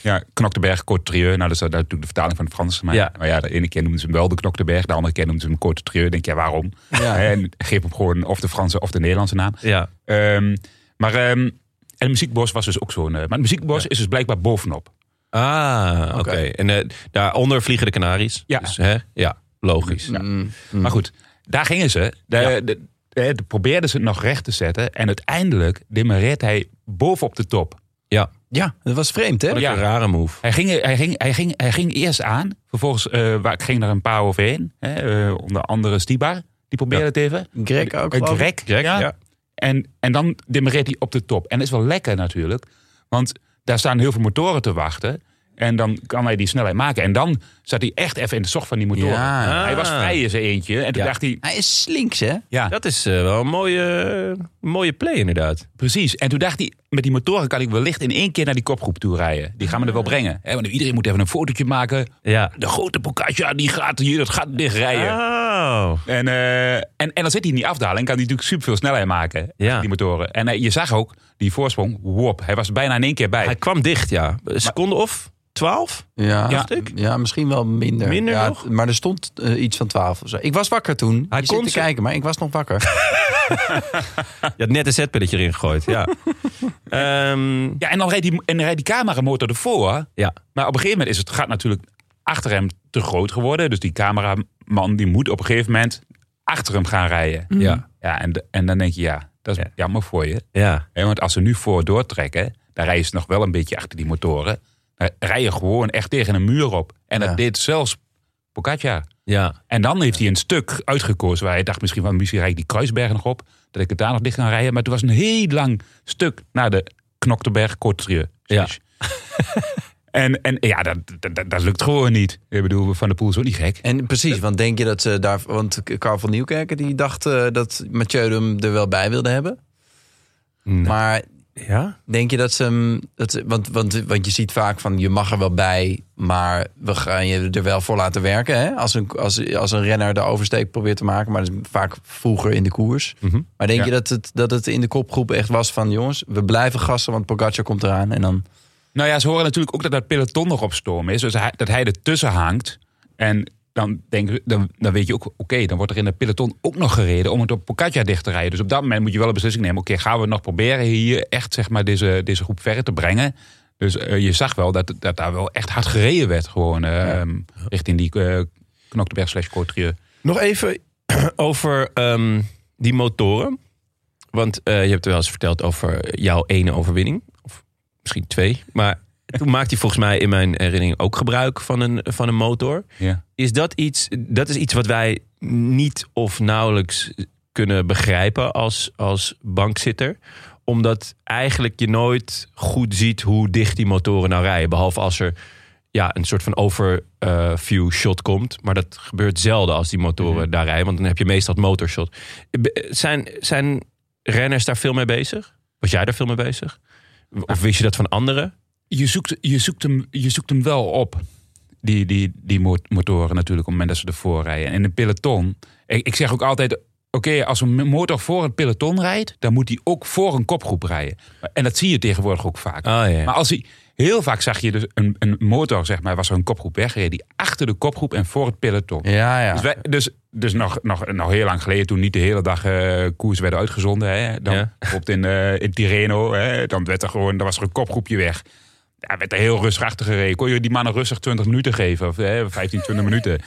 ja, Knokteberg, Côte-Trieux. Nou, dat is dat is natuurlijk de vertaling van het Frans. Maar
Ja.
ja. maar ja, de ene keer noemden ze hem wel de Knokteberg. De andere keer noemden ze hem Côte-Trieux. Denk je, ja, waarom? En geef hem gewoon of de Franse of de Nederlandse naam.
Ja.
Ehm, maar ehm, en het muziekbos was dus ook zo'n... eh, maar het muziekbos is dus blijkbaar bovenop.
Ah, oké. En eh, daaronder vliegen de Canaries.
Ja.
Dus, hè? ja logisch.
Mm, mm.
Maar goed, daar gingen ze. De, de- eh, probeerden ze het nog recht te zetten. En uiteindelijk demareert hij bovenop de top.
Ja.
Ja,
dat was vreemd, hè?
Ja.
een rare move.
Hij ging, hij, ging, hij, ging, hij ging eerst aan. Vervolgens eh, wa- ging er een paar overheen. Hè, eh, onder andere Stibar. Die probeerde
Ja.
het even.
Greg ook,
Eh,
geloof
Greg,
ik. Greg,
ja.
ja.
En, en dan demareert hij op de top. En dat is wel lekker natuurlijk. Want daar staan heel veel motoren te wachten. En dan kan hij die snelheid maken. En dan zat hij echt even in de zocht van die motoren.
Ja. Ah.
Hij was vrij in zijn eentje. En toen
Ja.
dacht hij...
Hij is slinks, hè?
Ja.
Dat is eh, wel een mooie, mooie play inderdaad.
Precies. En toen dacht hij, met die motoren kan ik wellicht in één keer naar die kopgroep toe rijden. Die gaan we er wel brengen. Hè, want iedereen moet even een fotootje maken.
Ja.
De grote Pocaccia, die gaat hier dat gat dichtrijden.
Oh.
En, eh, en, en dan zit hij in die afdaling. Kan hij natuurlijk super veel snelheid maken. achter Die motoren. En eh, je zag ook, die voorsprong, wop. Hij was er bijna in één keer bij.
Hij kwam dicht, ja. Een seconde of twaalf?
Ja,
Dacht
ja,
ik.
misschien wel minder.
Minder
ja,
nog?
t- Maar er stond eh, iets van 12 of zo. Ik was wakker toen. Hij
kon
kon te
ze-
kijken, maar ik was nog wakker.
Je had net een zetpilletje erin gegooid, ja. Ehm,
Ja, en dan rijdt die, en dan rijdt die cameramotor ervoor.
ja.
Maar op een gegeven moment is het gat natuurlijk achter hem te groot geworden. Dus die cameraman die moet op een gegeven moment achter hem gaan rijden.
Ja.
Ja, en, de- en dan denk je, ja, dat is jammer voor je.
Ja.
Hè, want als ze nu voor doortrekken, dan rijden ze nog wel een beetje achter die motoren. Dan rij je gewoon echt tegen een muur op. En dat
Ja.
deed zelfs Pocaccia.
Ja.
En dan heeft hij een stuk uitgekozen waar hij dacht misschien van misschien rijd ik die Kruisberg nog op. Dat ik het daar nog dicht kan rijden. Maar het was een heel lang stuk naar de Knokterberg Kortrieu.
Ja.
En, en ja, dat, dat, dat, dat lukt gewoon niet. Ik bedoel, Van der Poel is ook niet gek.
En precies, want denk je dat ze daar... Want Carl van Nieuwkerken die dacht eh, dat Mathieu hem er wel bij wilde hebben. Maar
Ja?
denk je dat ze hem... Dat, ze- want, want, want je ziet vaak van, je mag er wel bij... maar we gaan je er wel voor laten werken. Hè? Als, een, als, als een renner de oversteek probeert te maken... maar dat is vaak vroeger in de koers. Maar denk
Ja.
je dat het, dat het in de kopgroep echt was van... jongens, we blijven gassen, want Pogacar komt eraan. En dan...
Nou ja, ze horen natuurlijk ook dat dat peloton nog op storm is. Dus hij, dat hij ertussen hangt. En dan, denk, dan, dan weet je ook, oké, dan wordt er in dat peloton ook nog gereden om het op Pocaccia dicht te rijden. Dus op dat moment moet je wel een beslissing nemen. Oké, gaan we het nog proberen hier echt zeg maar, deze, deze groep verder te brengen? Dus eh, je zag wel dat, dat daar wel echt hard gereden werd. Gewoon eh, ehm, richting die eh Knokteberg slash Cotrieu.
Nog even over ehm, die motoren. Want eh, je hebt wel eens verteld over jouw ene overwinning. Of misschien twee. Maar toen maakte hij volgens mij in mijn herinnering ook gebruik van een, van een motor.
Ja.
Is dat iets, dat is iets wat wij niet of nauwelijks kunnen begrijpen als, als bankzitter? Omdat eigenlijk je nooit goed ziet hoe dicht die motoren nou rijden. Behalve als er ja, een soort van overview eh, shot komt. Maar dat gebeurt zelden als die motoren
Mhm.
daar rijden. Want dan heb je meestal het motorshot. Be- Zijn, zijn renners daar veel mee bezig? Was jij daar veel mee bezig? Of wist je dat van anderen?
Je zoekt, je zoekt, hem, je zoekt hem wel op. Die, die, die mo- motoren natuurlijk, op het moment dat ze ervoor rijden. En in een peloton. Ik, ik zeg ook altijd: oké, als een motor voor een peloton rijdt, dan moet hij ook voor een kopgroep rijden. En dat zie je tegenwoordig ook vaak.
Ah, ja.
Maar als hij. Heel vaak zag je dus een, een motor, zeg maar, was er een kopgroep weggereden. Die achter de kopgroep en voor het peloton.
Ja, ja.
Dus, wij- dus, dus nog, nog, nog heel lang geleden, toen niet de hele dag eh, koers werden uitgezonden. Hè, dan,
Ja.
Bijvoorbeeld in, eh, in Tireno, hè, dan, werd er gewoon, dan was er een kopgroepje weg. Ja, werd er heel rustig achter gereden. Kon je die mannen rustig 20 minuten geven, of hè, 15, 20 minuten.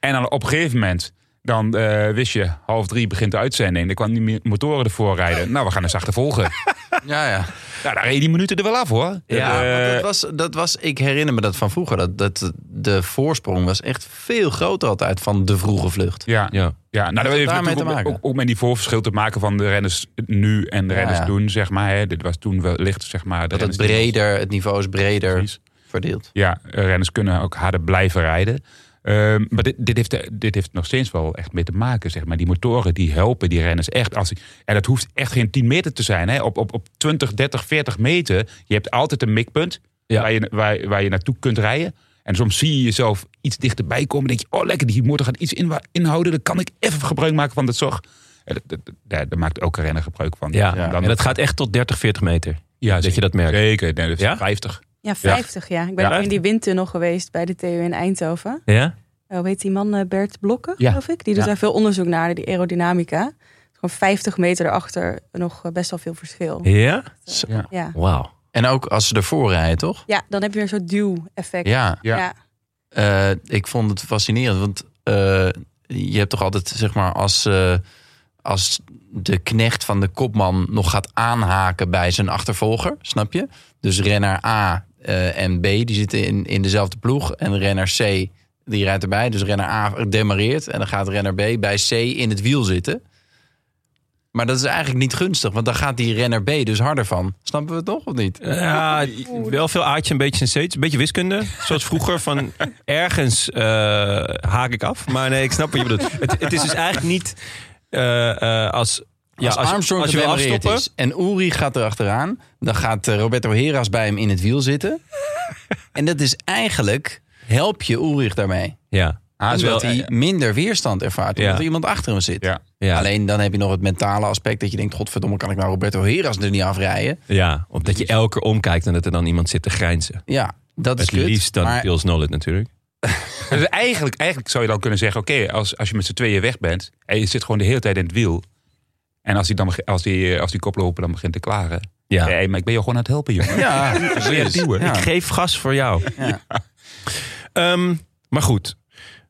En dan op een gegeven moment, dan eh, wist je, half drie begint de uitzending. Dan kwamen die mi- motoren ervoor rijden. Nou, we gaan eens achtervolgen.
Ja, ja.
nou, dan reed die minuten er wel af hoor.
Ja,
Dat, eh,
want dat was, dat was, ik herinner me dat van vroeger. Dat, dat de voorsprong was echt veel groter altijd van de vroege vlucht.
ja.
Ja.
Ja, nou, dat
Heeft
heeft
het daarmee
natuurlijk
te
ook,
maken?
ook, ook met die voorverschil te maken van de renners nu en de
Ja,
renners
ja.
toen, zeg maar. Hè. Dit was toen wellicht, zeg maar. de
Dat het
renners die-
breder, het niveau is breder
Precies.
verdeeld.
Ja, renners kunnen ook harder blijven rijden. Ehm, maar dit, dit, heeft, dit heeft nog steeds wel echt mee te maken, zeg maar. Die motoren die helpen die renners echt. Als, die- en dat hoeft echt geen 10 meter te zijn. Hè. Op, op, op 20, 30, 40 meter, je hebt altijd een mikpunt
Ja.
waar, je, waar, waar je naartoe kunt rijden. En soms zie je jezelf iets dichterbij komen. denk je, oh lekker, die motor gaat iets inwa- inhouden. Dan kan ik even gebruik maken van dat zorg. En dat- dat- dat- Daar daar maakt elke renner gebruik van.
Ja,
Dan-
en dat gaat echt tot 30, 40 meter.
ja,
dat je dat merkt.
Zeker, nee, dat is
Ja?
50.
Ja, 50 ja. Ik ben
Ja.
ook in die windtunnel geweest bij de TU in Eindhoven.
Ja?
Oh, weet die man eh, Bert Blokken,
Ja.
geloof ik? Die doet
Ja.
daar veel onderzoek naar, die aerodynamica. Gewoon 50 meter erachter nog eh, best wel veel verschil.
Ja?
Ja,
Wauw.
En ook als ze ervoor rijden, toch?
ja dan heb je weer zo'n duw-effect.
Ja,
Ja.
eh, ik vond het fascinerend. Want eh, je hebt toch altijd, zeg maar, als, eh, als de knecht van de kopman nog gaat aanhaken bij zijn achtervolger, snap je? Dus renner A eh, en B, die zitten in, in dezelfde ploeg. En renner C, die rijdt erbij. Dus renner A demareert en dan gaat renner B bij C in het wiel zitten. Maar dat is eigenlijk niet gunstig, want dan gaat die renner B dus harder van. Snappen we het nog of niet?
Ja, Ah, wel veel aatje, een beetje een Een beetje wiskunde. Zoals vroeger van ergens eh, haak ik af. Maar nee, ik snap wat je bedoelt. Het, het is dus eigenlijk niet eh, eh, als... Ja,
als, Armstrong
als je wil
gedemareerd
afstoppen...
is en Uri gaat erachteraan... dan gaat eh, Roberto Heras bij hem in het wiel zitten. en dat is eigenlijk... help je Ulrich daarmee.
Ja.
Omdat
Dat Ah, is wel-
hij minder weerstand ervaart. Omdat
Ja.
er iemand achter hem zit.
Ja.
Alleen dan heb je nog het mentale aspect... dat je denkt, godverdomme, kan ik nou Roberto Heras er niet afrijden?
Ja, of dat je elke keer omkijkt en dat er dan iemand zit te grijnzen.
Ja, dat is
het
kut,
liefst dan
maar-
Pils Nolet natuurlijk.
Dus eigenlijk, eigenlijk zou je dan kunnen zeggen: oké, als, als je met z'n tweeën weg bent en je zit gewoon de hele tijd in het wiel. En als die, dan, beg- als die, eh, als die koploper dan begint te klagen.
Ja.
Hé, maar ik ben jou gewoon aan het helpen, jongen.
Ja,
Wil je het duwen?
Ik geef gas voor jou.
Ja.
Ehm, maar goed,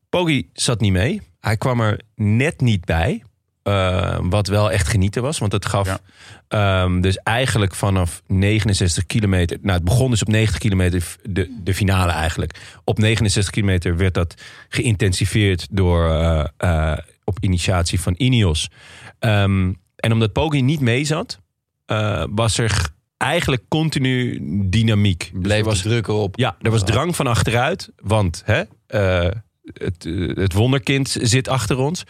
Poggi zat niet mee. Hij kwam er net niet bij. Eh, wat wel echt genieten was, want het gaf ehm, dus eigenlijk vanaf 69 kilometer. Nou, het begon dus op 90 kilometer, f- de, de finale eigenlijk. Op 69 kilometer werd dat geïntensiveerd door eh, eh, op initiatie van Ineos. Ehm, en omdat Poggi niet mee zat, eh, was er g- eigenlijk continu dynamiek.
Bleef was druk op.
Ja, er was drang van achteruit. Want hè, eh, het, eh, het wonderkind zit achter ons.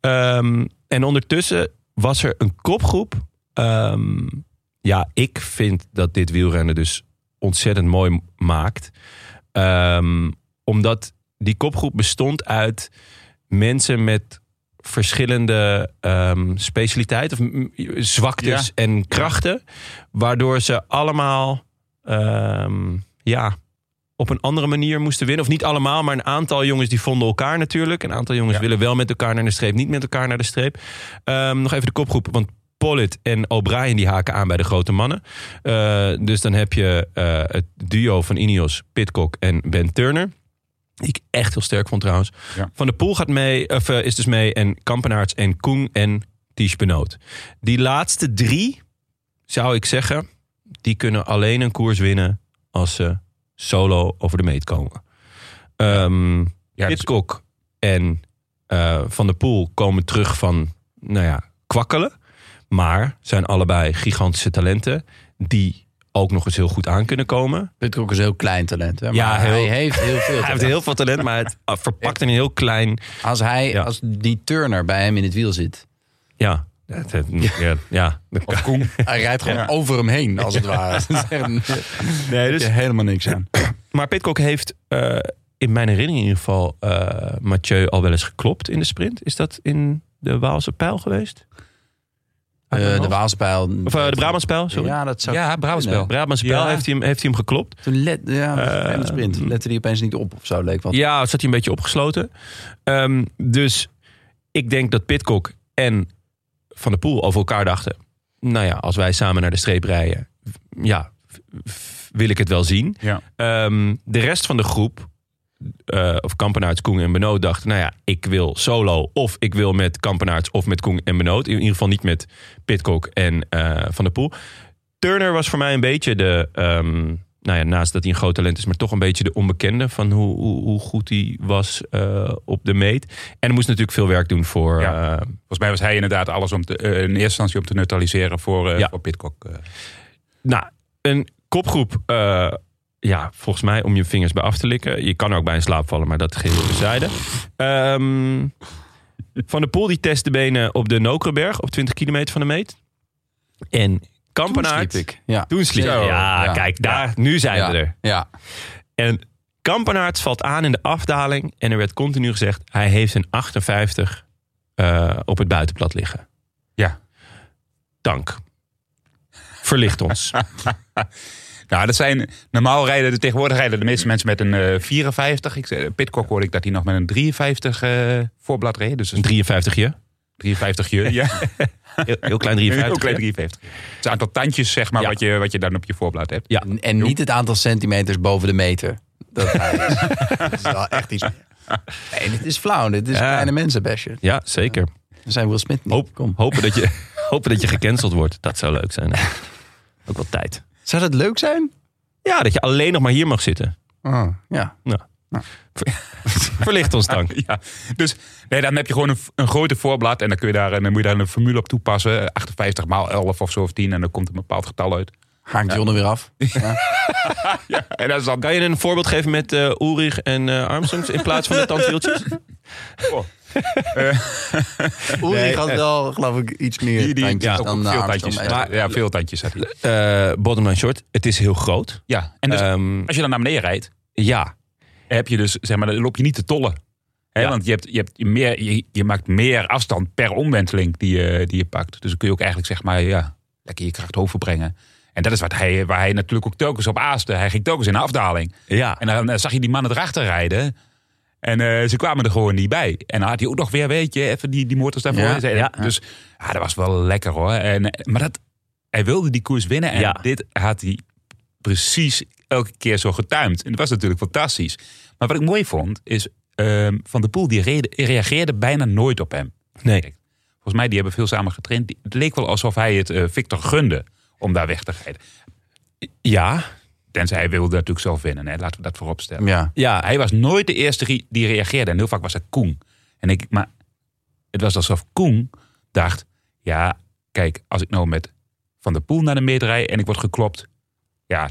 Ehm, en ondertussen was er een kopgroep. Ehm, ja, ik vind dat dit wielrennen dus ontzettend mooi maakt. Ehm, omdat die kopgroep bestond uit mensen met verschillende ehm, specialiteiten, of mm, zwaktes
Ja.
en krachten. Waardoor ze allemaal ehm, ja, op een andere manier moesten winnen. Of niet allemaal, maar een aantal jongens die vonden elkaar natuurlijk. Een aantal jongens willen wel met elkaar naar de streep, niet met elkaar naar de streep. Ehm, nog even de kopgroep, want Pollitt en O'Brien die haken aan bij de grote mannen. Eh, dus dan heb je eh, het duo van Ineos, Pitcock en Ben Turner. Die ik echt heel sterk vond trouwens.
Ja.
Van de Poel gaat mee, of, eh, is dus mee. En Kampenaerts en Koen en Ties Benoot. Die laatste drie, zou ik zeggen... die kunnen alleen een koers winnen... als ze solo over de meet komen. Ehm
dus-
Pitcock en eh, Van der Poel komen terug van... nou ja, kwakkelen. Maar zijn allebei gigantische talenten... die ook nog eens heel goed aan kunnen komen
Pitcock is een heel klein talent. Hè? Maar
Ja, heel-
hij heeft heel veel
hij heeft heel veel talent, maar het ah, verpakt in een heel klein.
Als, hij, als die Turner bij hem in het wiel zit...
Ja, het- het- eh, ja, ja.
Hij rijdt gewoon over hem heen, als het ware. Dat is echt-
Nee, dus-
heb je helemaal niks aan.
Maar Pitcock heeft, eh, in mijn herinnering in ieder geval, eh, Mathieu al wel eens geklopt in de sprint. Is dat in de Waalse pijl geweest?
Eh, de Waalspijl.
Ah, Of eh, de Brabantspijl, sorry.
Ja, dat zou
Ja, Brabantspel.
Brabantse pijl
Ja.
heeft, hij hem, heeft hij hem geklopt.
Toen let, ja, dat was een
Eh,
vreemde sprint. Lette die opeens niet op of zo, leek wat.
Ja, zat hij een beetje opgesloten. Ehm, dus ik denk dat Pitcock en Van der Poel over elkaar dachten... nou ja, als wij samen naar de streep rijden... ja, v- v- wil ik het wel zien.
Ja.
Ehm, de rest van de groep, eh, of Kampenaerts, Koen en Benoot, dacht... nou ja, ik wil solo of ik wil met Kampenaerts of met Koen en Benoot. In ieder geval niet met Pitcock en eh, Van der Poel. Turner was voor mij een beetje de... ehm, nou ja, naast dat hij een groot talent is, maar toch een beetje de onbekende van hoe, hoe, hoe goed hij was eh, op de meet. En er moest natuurlijk veel werk doen voor.
Ja.
eh,
Volgens mij was hij inderdaad alles om te, eh, in eerste instantie om te neutraliseren voor, eh
Ja.
voor Pitcock. eh.
nou, een kopgroep. eh, ja, volgens mij om je vingers bij af te likken. Je kan er ook bij in slaap vallen, maar dat geheel terzijde. Ehm van der Poel die test de benen op de Nokerenberg op 20 kilometer van de meet. En Kampenaard.
Toen sliep ik. Ja.
Toen sliep
Zo.
Ja,
Ja.
kijk, daar, nu zijn
ja.
we er.
Ja.
En Kampenaerts valt aan in de afdaling. En er werd continu gezegd, hij heeft een 58 eh, op het buitenplat liggen.
Ja.
Dank. Verlicht ons.
Nou, dat zijn, normaal rijden de tegenwoordig rijden de meeste mensen met een eh, 54. Ik, zei- Pitcock hoorde ik dat hij nog met een 53 eh, voorblad reed. Dus
Een
een
53-je.
53 je ja.
Heel, heel klein
Ook
53.
klein 53. Het is een aantal tandjes, zeg maar,
Ja.
wat, je, wat je dan op je voorblad hebt.
Ja.
En, en niet het aantal centimeters boven de meter. Dat, hij is. dat is wel echt iets. meer. Nee, dit is flauw. Dit is
Ja.
kleine mensen, Basje.
Ja, zeker.
zijn Will Smith niet. Kom.
Hopen dat, je, hopen dat je gecanceld wordt. Dat zou leuk zijn. Ook wel tijd.
Zou dat leuk zijn? Ah,
Ja, dat je alleen nog maar hier mag zitten.
ja.
Nou. Verlicht ons dank.
Ja, dus nee, dan heb je gewoon een, een grote voorblad en dan, kun je daar, en dan moet je daar een formule op toepassen. 58 maal 11 of zo of 10 en dan komt een bepaald getal uit.
Haakt Jonne weer af.
Ja, en dat is dan...
Kan je een voorbeeld geven met eh Ulrich en eh Armstrongs in plaats van de tandwieltjes?
Oeh,
Nee,
die gaat
eh,
wel, geloof ik, iets meer
Die, die,
tandjes
ja,
dan eh, de
veel
Armstrong.
tandjes. Maar, ja, veel tandjes. had hij.
Eh bottom line short, het is heel groot.
Ja, en dus,
Ehm,
als je dan naar beneden rijdt,
ja,
heb je dus, zeg maar, dan loop je niet te tollen. Hè,
Ja.
Want je, hebt, je, hebt meer, je, je maakt meer afstand per omwenteling die je, die je pakt. Dus dan kun je ook eigenlijk zeg maar, ja, lekker je kracht overbrengen. En dat is wat hij, waar hij natuurlijk ook telkens op aaste. Hij ging telkens in de afdaling.
ja.
En dan eh, zag je die mannen erachter rijden. En eh, ze kwamen er gewoon niet bij. En dan had hij ook nog weer, weet je, even die, die motors daarvoor.
Ja,
Zei-
ja.
Dus ja, dat was wel lekker hoor. En, eh, maar dat, hij wilde die koers winnen. En
Ja.
dit had hij precies elke keer zo getuimd. En dat was natuurlijk fantastisch. Maar wat ik mooi vond, is ehm, Van der Poel die rede- reageerde bijna nooit op hem.
Nee.
Volgens mij, die hebben veel samen getraind. Die- Het leek wel alsof hij het eh, Victor gunde om daar weg te rijden.
Ja,
Tenzij hij wilde natuurlijk zelf winnen. Hè. Laten we dat voorop stellen.
Ja.
Ja, hij was nooit de eerste die- die reageerde. En heel vaak was dat Koen. En ik, maar het was alsof Koen dacht: ja, kijk, als ik nou met Van der Poel naar de meet rijd en ik word geklopt, ja,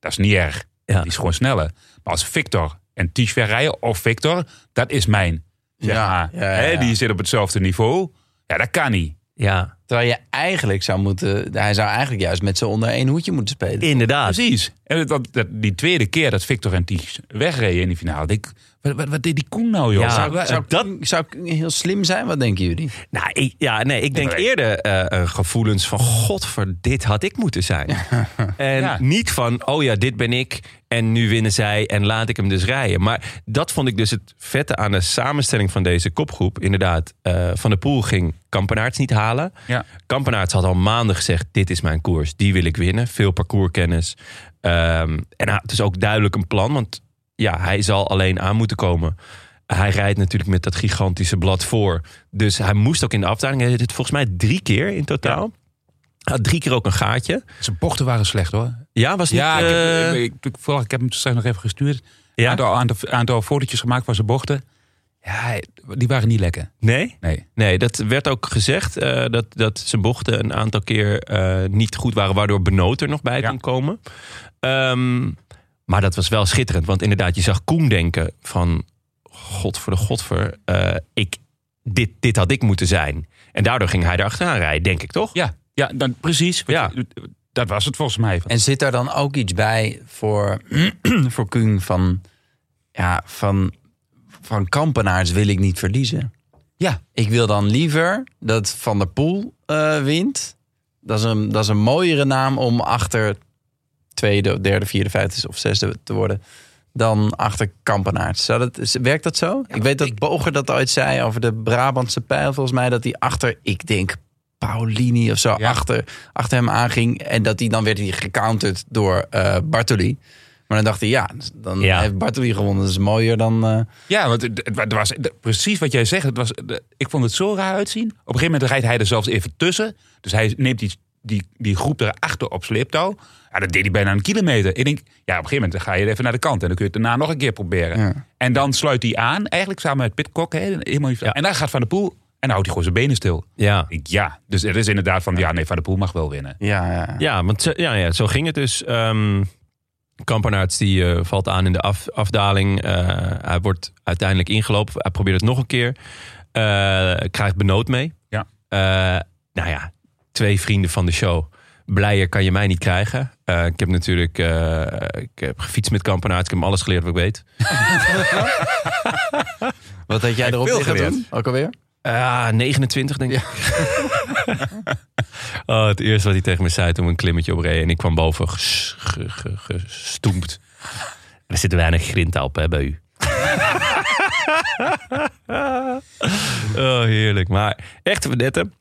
dat is niet erg.
Ja.
Die is gewoon sneller. Maar als Victor en Tisch weer rijden, of Victor, dat is mijn. Zeg
Ja,
maar.
ja, ja,
Hè,
ja.
die zit op hetzelfde niveau. Ja, dat kan niet.
ja.
Terwijl je eigenlijk zou moeten... Hij zou eigenlijk juist met z'n onder één hoedje moeten spelen.
Inderdaad.
Precies. En dat, dat, die tweede keer dat Victor en Ties wegreden in die finale. denk Ik, wat, wat, wat deed die Koen nou, joh?
Ja.
Zou-
Zou, zou,
dat-
zou ik heel slim zijn? Wat denken jullie?
Nou, ik, ja, nee, ik denk eerder eh, eh, gevoelens van... Godver, dit had ik moeten zijn. En
Ja.
niet van, oh ja, dit ben ik en nu winnen zij en laat ik hem dus rijden. Maar dat vond ik dus het vette aan de samenstelling van deze kopgroep. Inderdaad, eh, Van der Poel ging Kampenaerts niet halen.
Ja.
Kampenaerts had al maanden gezegd, dit is mijn koers, die wil ik winnen. Veel parcourskennis. Ehm, en hij- het is ook duidelijk een plan, want ja, hij zal alleen aan moeten komen. Hij rijdt natuurlijk met dat gigantische blad voor. Dus hij moest ook in de afdaling. Hij deed het volgens mij drie keer in totaal. Hij had drie keer ook een gaatje.
Zijn bochten waren slecht hoor.
Ja, was niet...
Ja, ik,
eh,
heb, ik, ik, ik- vooral, ik heb hem toen straks nog even gestuurd.
Ja?
Aantal, aantal, aantal fotootjes gemaakt van zijn bochten. Ja, die waren niet lekker.
Nee?
Nee.
Nee, dat werd ook gezegd. eh, dat, dat zijn bochten een aantal keer eh, niet goed waren. Waardoor Benoot er nog bij
Ja.
kon komen. Ehm, maar dat was wel schitterend. Want inderdaad, je zag Koen denken van... Godver de godver. eh, ik, dit, dit had ik moeten zijn. En daardoor ging hij erachteraan rijden, denk ik toch?
Ja, ja dan, precies. Wat
Ja.
je- dat was het volgens mij.
En zit daar dan ook iets bij voor, voor Kuhn van, ja, van, van kampenaars wil ik niet verliezen?
Ja.
Ik wil dan liever dat Van der Poel eh, wint. Dat is, een, dat is een mooiere naam om achter tweede, derde, vierde, vijfde of zesde te worden. Dan achter Kampenaerts. Zou dat, is- werkt dat zo? ik weet dat Boger dat ooit zei over de Brabantse pijl. Volgens mij dat hij achter, ik denk, Paulini of zo,
Ja.
achter, achter hem aanging. En dat hij dan werd hij gecounterd door eh, Bartoli. Maar dan dacht hij, ja, dan
Ja.
heeft Bartoli gewonnen. Dat is mooier dan... eh,
Ja, want het, het wa- het was het- precies wat jij zegt. Het was, de- ik vond het zo raar uitzien. Op een gegeven moment rijdt hij er zelfs even tussen. Dus hij neemt die, die, die groep erachter op sleeptouw. Ja, dat deed hij bijna een kilometer. Ik denk, ja, op een gegeven moment ga je even naar de kant. En dan kun je het daarna nog een keer proberen.
Ja.
En dan sluit hij aan, eigenlijk samen met Pitcock. Hè, helemaal niet-
Ja.
En dan gaat Van der Poel en dan houdt hij gewoon zijn benen stil.
Ja.
Ik, ja, dus er is inderdaad van, ja, nee, Van der Poel mag wel winnen.
ja, ja.
Ja, want zo, ja, ja, zo ging het dus. Ehm Kampenaerts die eh, valt aan in de af, afdaling. Eh, hij wordt uiteindelijk ingelopen. Hij probeert het nog een keer. Eh, krijgt benood mee.
Ja.
Eh, nou ja, twee vrienden van de show. Blijer kan je mij niet krijgen. Eh, ik heb natuurlijk eh, ik heb gefietst met Kampenaerts. Ik heb hem alles geleerd wat ik weet.
Wat had jij erop
veel
liggen
geleerd.
doen? Ook alweer?
Ah, 29 denk ik. oh, het eerste wat hij tegen me zei toen we een klimmetje opreden. En ik kwam boven ges- ge- ge- gestoemd. Er zit weinig grind op hè, bij u. oh, heerlijk. Maar echt verdetten.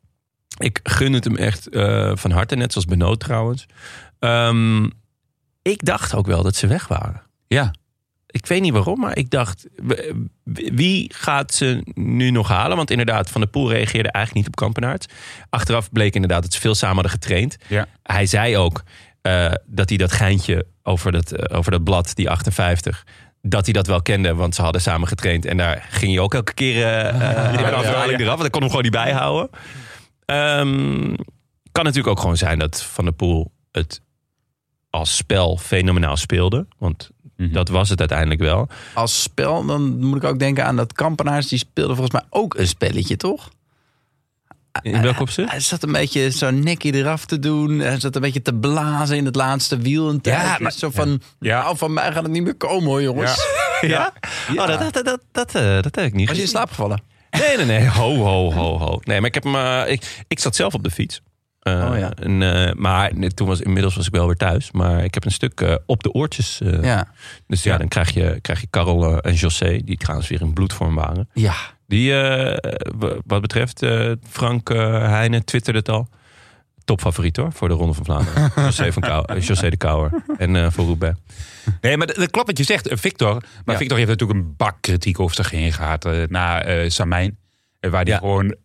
Ik gun het hem echt eh, van harte. Net zoals Benoot trouwens. Ehm, ik dacht ook wel dat ze weg waren.
Ja.
Ik weet niet waarom, maar ik dacht, w- wie gaat ze nu nog halen? Want inderdaad, Van der Poel reageerde eigenlijk niet op Kampenaerts. Achteraf bleek inderdaad dat ze veel samen hadden getraind.
Ja.
Hij zei ook eh, dat hij dat geintje over dat, eh, over dat blad, die 58... Dat hij dat wel kende, want ze hadden samen getraind. En daar ging hij ook elke keer eh, eh, in de afdaling eraf. Want ik kon hem gewoon niet bijhouden. Ehm, kan natuurlijk ook gewoon zijn dat Van der Poel het als spel fenomenaal speelde. Want dat was het uiteindelijk wel.
Als spel, dan moet ik ook denken aan dat Kampenaars. Die speelde volgens mij ook een spelletje, toch?
In welk opzicht?
Hij zat een beetje zo'n nekje eraf te doen. Hij zat een beetje te blazen in het laatste wiel. Een ja,
maar-
zo van, nou, van mij gaat het niet meer komen hoor, jongens.
Ja? Oh, dat, dat, dat, dat, dat, eh, dat heb ik niet
Was je in
gezien.
slaap gevallen?
Nee, nee, nee. Ho, ho, ho, ho. Nee, maar ik heb hem... eh, ik, ik zat zelf op de fiets. Eh,
Oh, ja.
en, eh, maar nee, toen was, inmiddels was ik wel weer thuis. Maar ik heb een stuk eh, op de oortjes. eh,
Ja.
Dus ja, dan krijg je, krijg je Karel eh, en José. Die trouwens weer in bloedvorm waren.
Ja.
Die, eh, w- wat betreft eh, Frank eh Heijnen, twitterde het al. Topfavoriet hoor, voor de Ronde van Vlaanderen. José, van Kou- eh, José de Kouwer en eh voor Roubaix.
Nee, maar dat dat klopt wat je zegt, eh, Victor. Maar
Ja.
Victor heeft natuurlijk een bak kritiek over zich heen gehad eh, na eh Samijn. Eh, waar die gewoon...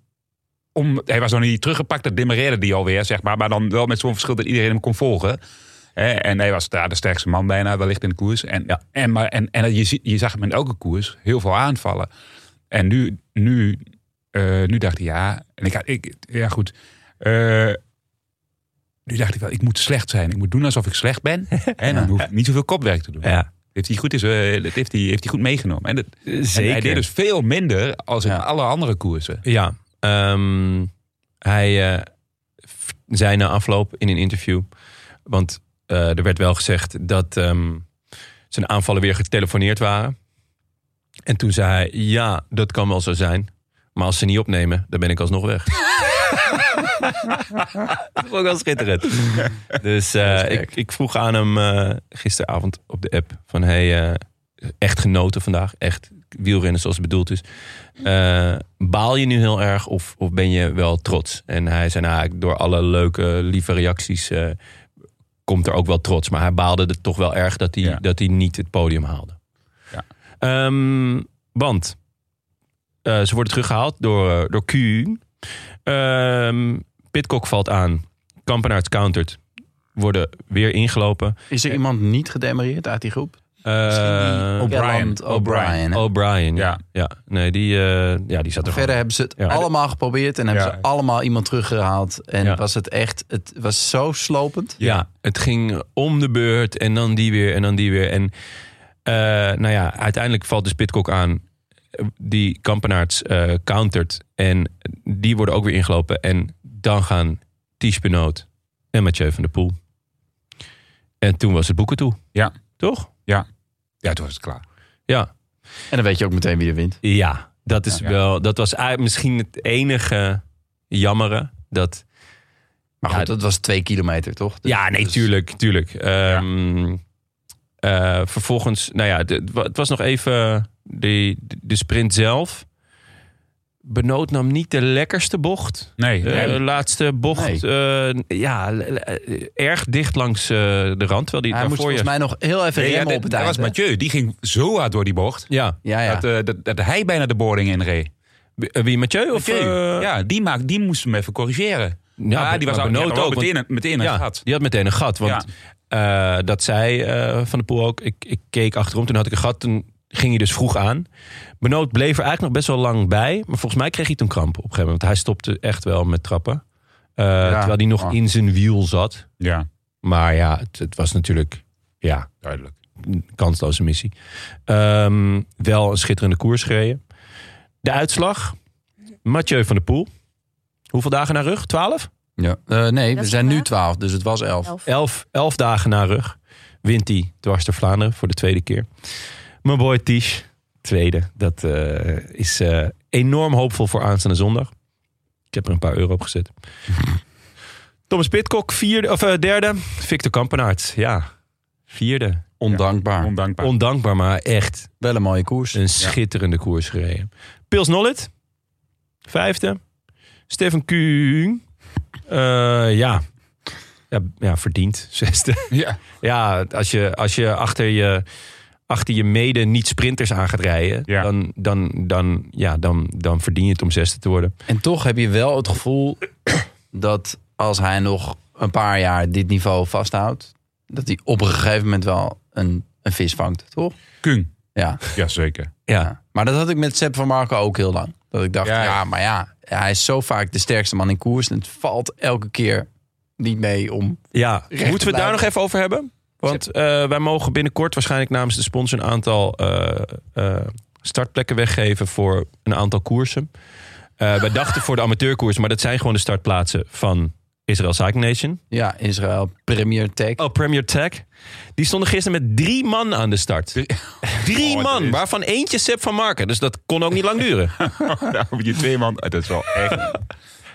Om, hij was nog niet teruggepakt, dat demereerde die alweer, zeg maar. Maar dan wel met zo'n verschil dat iedereen hem kon volgen. Eh, en hij was daar de sterkste man bijna wellicht in de koers. En, en, maar, en, en je, zie- je zag hem in elke koers heel veel aanvallen. En nu, nu, eh, nu dacht hij, ja... En ik, ik, ja, goed. Eh, nu dacht ik wel, ik moet slecht zijn. Ik moet doen alsof ik slecht ben. En dan hoef ik niet zoveel kopwerk te doen.
Ja.
Heeft hij goed, is, eh, dat heeft hij, heeft hij goed meegenomen. En, dat, en hij
zeker.
deed dus veel minder als in alle andere koersen.
Ja, ehm, hij eh, v- zei na afloop in een interview. Want eh, er werd wel gezegd dat ehm, zijn aanvallen weer getelefoneerd waren. En toen zei hij: Ja, dat kan wel zo zijn. Maar als ze niet opnemen, dan ben ik alsnog weg. Dat vond ik wel schitterend. Dus eh, ik, ik vroeg aan hem eh, gisteravond op de app: van hey, eh, echt genoten vandaag. Echt wielrennen zoals het bedoeld is. Eh, baal je nu heel erg of, of ben je wel trots? En hij zei: nou, ik- door alle leuke, lieve reacties eh, komt er ook wel trots. Maar hij baalde er toch wel erg dat hij,
Ja.
dat hij niet het podium haalde.
Ja.
Ehm, want eh, ze worden teruggehaald door, eh, door Q. Ehm Pitcock valt aan. Kampenaerts countert. Worden weer ingelopen.
Is er iemand niet gedemareerd uit die groep?
Eh,
O'Brien. O'Brien, hè?
O'Brien, ja.
Ja.
ja. Nee, die, eh, ja, die zat
Verder
er gewoon.
hebben ze het
Ja.
allemaal geprobeerd en hebben
Ja.
ze allemaal iemand teruggehaald. En
Ja.
was het echt, het was zo slopend.
Ja, het ging om de beurt en dan die weer en dan die weer. En eh, nou ja, uiteindelijk valt dus Pitcock aan. Die Kampenaerts eh countert. En die worden ook weer ingelopen. En dan gaan Ties Benoot en Mathieu van der Poel. En toen was het boeken toe.
Ja.
Toch?
Ja, toen was het klaar.
Ja.
En dan weet je ook meteen wie er wint.
Ja, dat is
Ja.
wel. Dat was eigenlijk misschien het enige jammere. Dat,
Maar goed,
Ja,
dat was twee kilometer, toch? Dus-
ja, nee,
dus-
tuurlijk, tuurlijk. Ehm, eh, vervolgens, nou ja, de- het wa- het was nog even de, de sprint zelf. Benoot nam niet de lekkerste bocht.
Nee,
Eh,
nee.
laatste bocht, eh, ja, l- l- eh, erg dicht langs eh, de rand. Terwijl die
Hij moest
daarvoor
volgens mij nog heel even
Nee, ja,
remmen
dat,
op het
dat
eind.
was
hè?
Mathieu. Die ging zo hard door die bocht.
Ja,
Ja, ja.
Dat, eh, dat, dat hij bijna de boring in reed.
Wie- eh, wie Mathieu? Of,
Mathieu.
eh,
ja, die, maakt, die moest hem even corrigeren.
Ja,
Ja,
maar-
die was
maar
al, die
Benoot
had wel
ook,
meteen, meteen
ja,
een gat.
Die had meteen een gat. Want eh, dat zei eh, Van de Poel ook. Ik, ik keek achterom, toen had ik een gat. Toen ging hij dus vroeg aan. Benoot bleef er eigenlijk nog best wel lang bij. Maar volgens mij kreeg hij toen kramp op een gegeven moment. Hij stopte echt wel met trappen. Eh, Terwijl hij nog
Ah.
in zijn wiel zat.
Ja,
Maar ja, het, het was natuurlijk ja,
duidelijk.
een kansloze missie. Ehm, wel een schitterende koers gereden. De uitslag. Mathieu van der Poel. Hoeveel dagen naar rug? Twaalf?
Ja. Eh, nee, we
is
zijn nu
vandaag.
12, dus het was 11.
Elf.
Elf, elf dagen na rug wint hij dwars door Vlaanderen voor de tweede keer. Mijn boy Tisch, tweede. Dat eh, is eh, enorm hoopvol voor aanstaande zondag. Ik heb er een paar euro op gezet. Thomas Pitcock, vierde, of, eh, derde. Victor Kampenaerts, ja. Vierde.
Ondankbaar.
Ondankbaar.
Ondankbaar, maar echt
Wel een mooie koers.
een schitterende koers gereden. Pils Nollet, vijfde. Stefan Kuhn, eh, ja. Ja, ja, verdiend. Zesde.
ja.
Ja, als je, als je achter je
achter je mede niet-sprinters aan gaat rijden... Dan, dan, dan, ja, dan, dan verdien je het om zesde te worden.
En toch heb je wel het gevoel dat als hij nog een paar jaar dit niveau vasthoudt, dat hij op een gegeven moment wel een, een vis vangt, toch?
Kung.
Ja.
Ja, zeker.
ja. Maar dat had ik met Sepp van Marco ook heel lang. Dat ik dacht, ja, maar ja, hij is zo vaak de sterkste man in koers en het valt elke keer niet mee om.
Ja,
Recht te
moeten we het daar
blijven.
nog even over hebben? Want eh, wij mogen binnenkort waarschijnlijk namens de sponsor een aantal eh, eh, startplekken weggeven voor een aantal koersen. Eh, wij dachten voor de amateurkoersen, maar dat zijn gewoon de startplaatsen van Israël Cycling Nation.
Ja, Israël Premier Tech.
Oh, Premier Tech. Die stonden gisteren met drie man aan de start. Drie Oh, man, waarvan eentje Sepp van Marken. Dus dat kon ook niet lang duren.
nou, die twee man, dat is wel echt...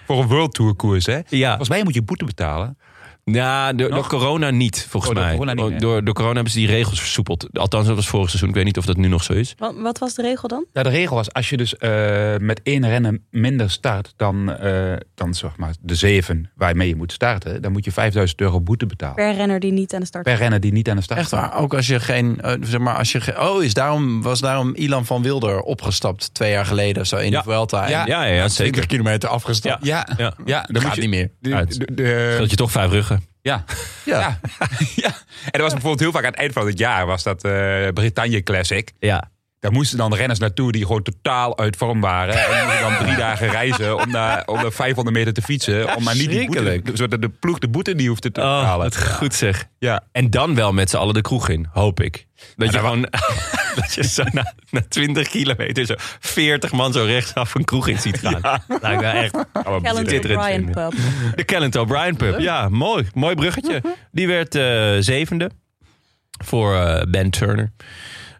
Voor een World Tour koers, hè?
Ja.
Volgens mij moet je boete betalen.
Ja, door,
Nog?
door corona niet, volgens
Oh, door
mij.
corona niet,
Oh,
hè?
door, door corona hebben ze die regels versoepeld. Althans, dat was vorig seizoen. Ik weet niet of dat nu nog zo is.
Wat, wat was de regel dan?
Ja, de regel was, als je dus eh, met één rennen minder start dan, eh, dan zeg maar de zeven waarmee je moet starten, dan moet je 5000 euro boete betalen.
Per renner die niet aan de start
Per renner die niet aan de start
Echt
staat.
waar. Oh, Ook als je geen, eh, zeg maar, als je ge- oh, is daarom, was daarom Ilan van Wilder opgestapt twee jaar geleden of zo in de Vuelta. En
Ja,
Ja, ja, ja
20
zeker.
kilometer afgestapt.
Ja, ja,
Ja.
dan
Gaat
moet je,
niet meer.
Uit.
De, de- de-
Dat je toch vijf ruggen.
ja.
Ja.
Ja. ja. En dat was bijvoorbeeld heel vaak aan het eind van het jaar, was dat eh Bretagne Classic.
Ja.
Daar moesten dan renners naartoe die gewoon totaal uit vorm waren. En die moesten dan drie dagen reizen om naar, om naar 500 meter te fietsen. Om maar niet die boete,
Schrikkelijk.
zodat de ploeg de boete niet hoefde te
Oh,
betalen.
wat goed zeg.
Ja.
En dan wel met z'n allen de kroeg in, hoop ik. Dat je
daar wa-
gewoon dat je zo na, na 20 kilometer zo 40 man zo rechtsaf een kroeg in ziet gaan. Lijkt me echt
Calendar
schitterend
Brian
vinden.
Pub.
De Calent O'Brien Pub. Ja, mooi. Mooi bruggetje. Die werd eh, zevende voor eh, Ben Turner.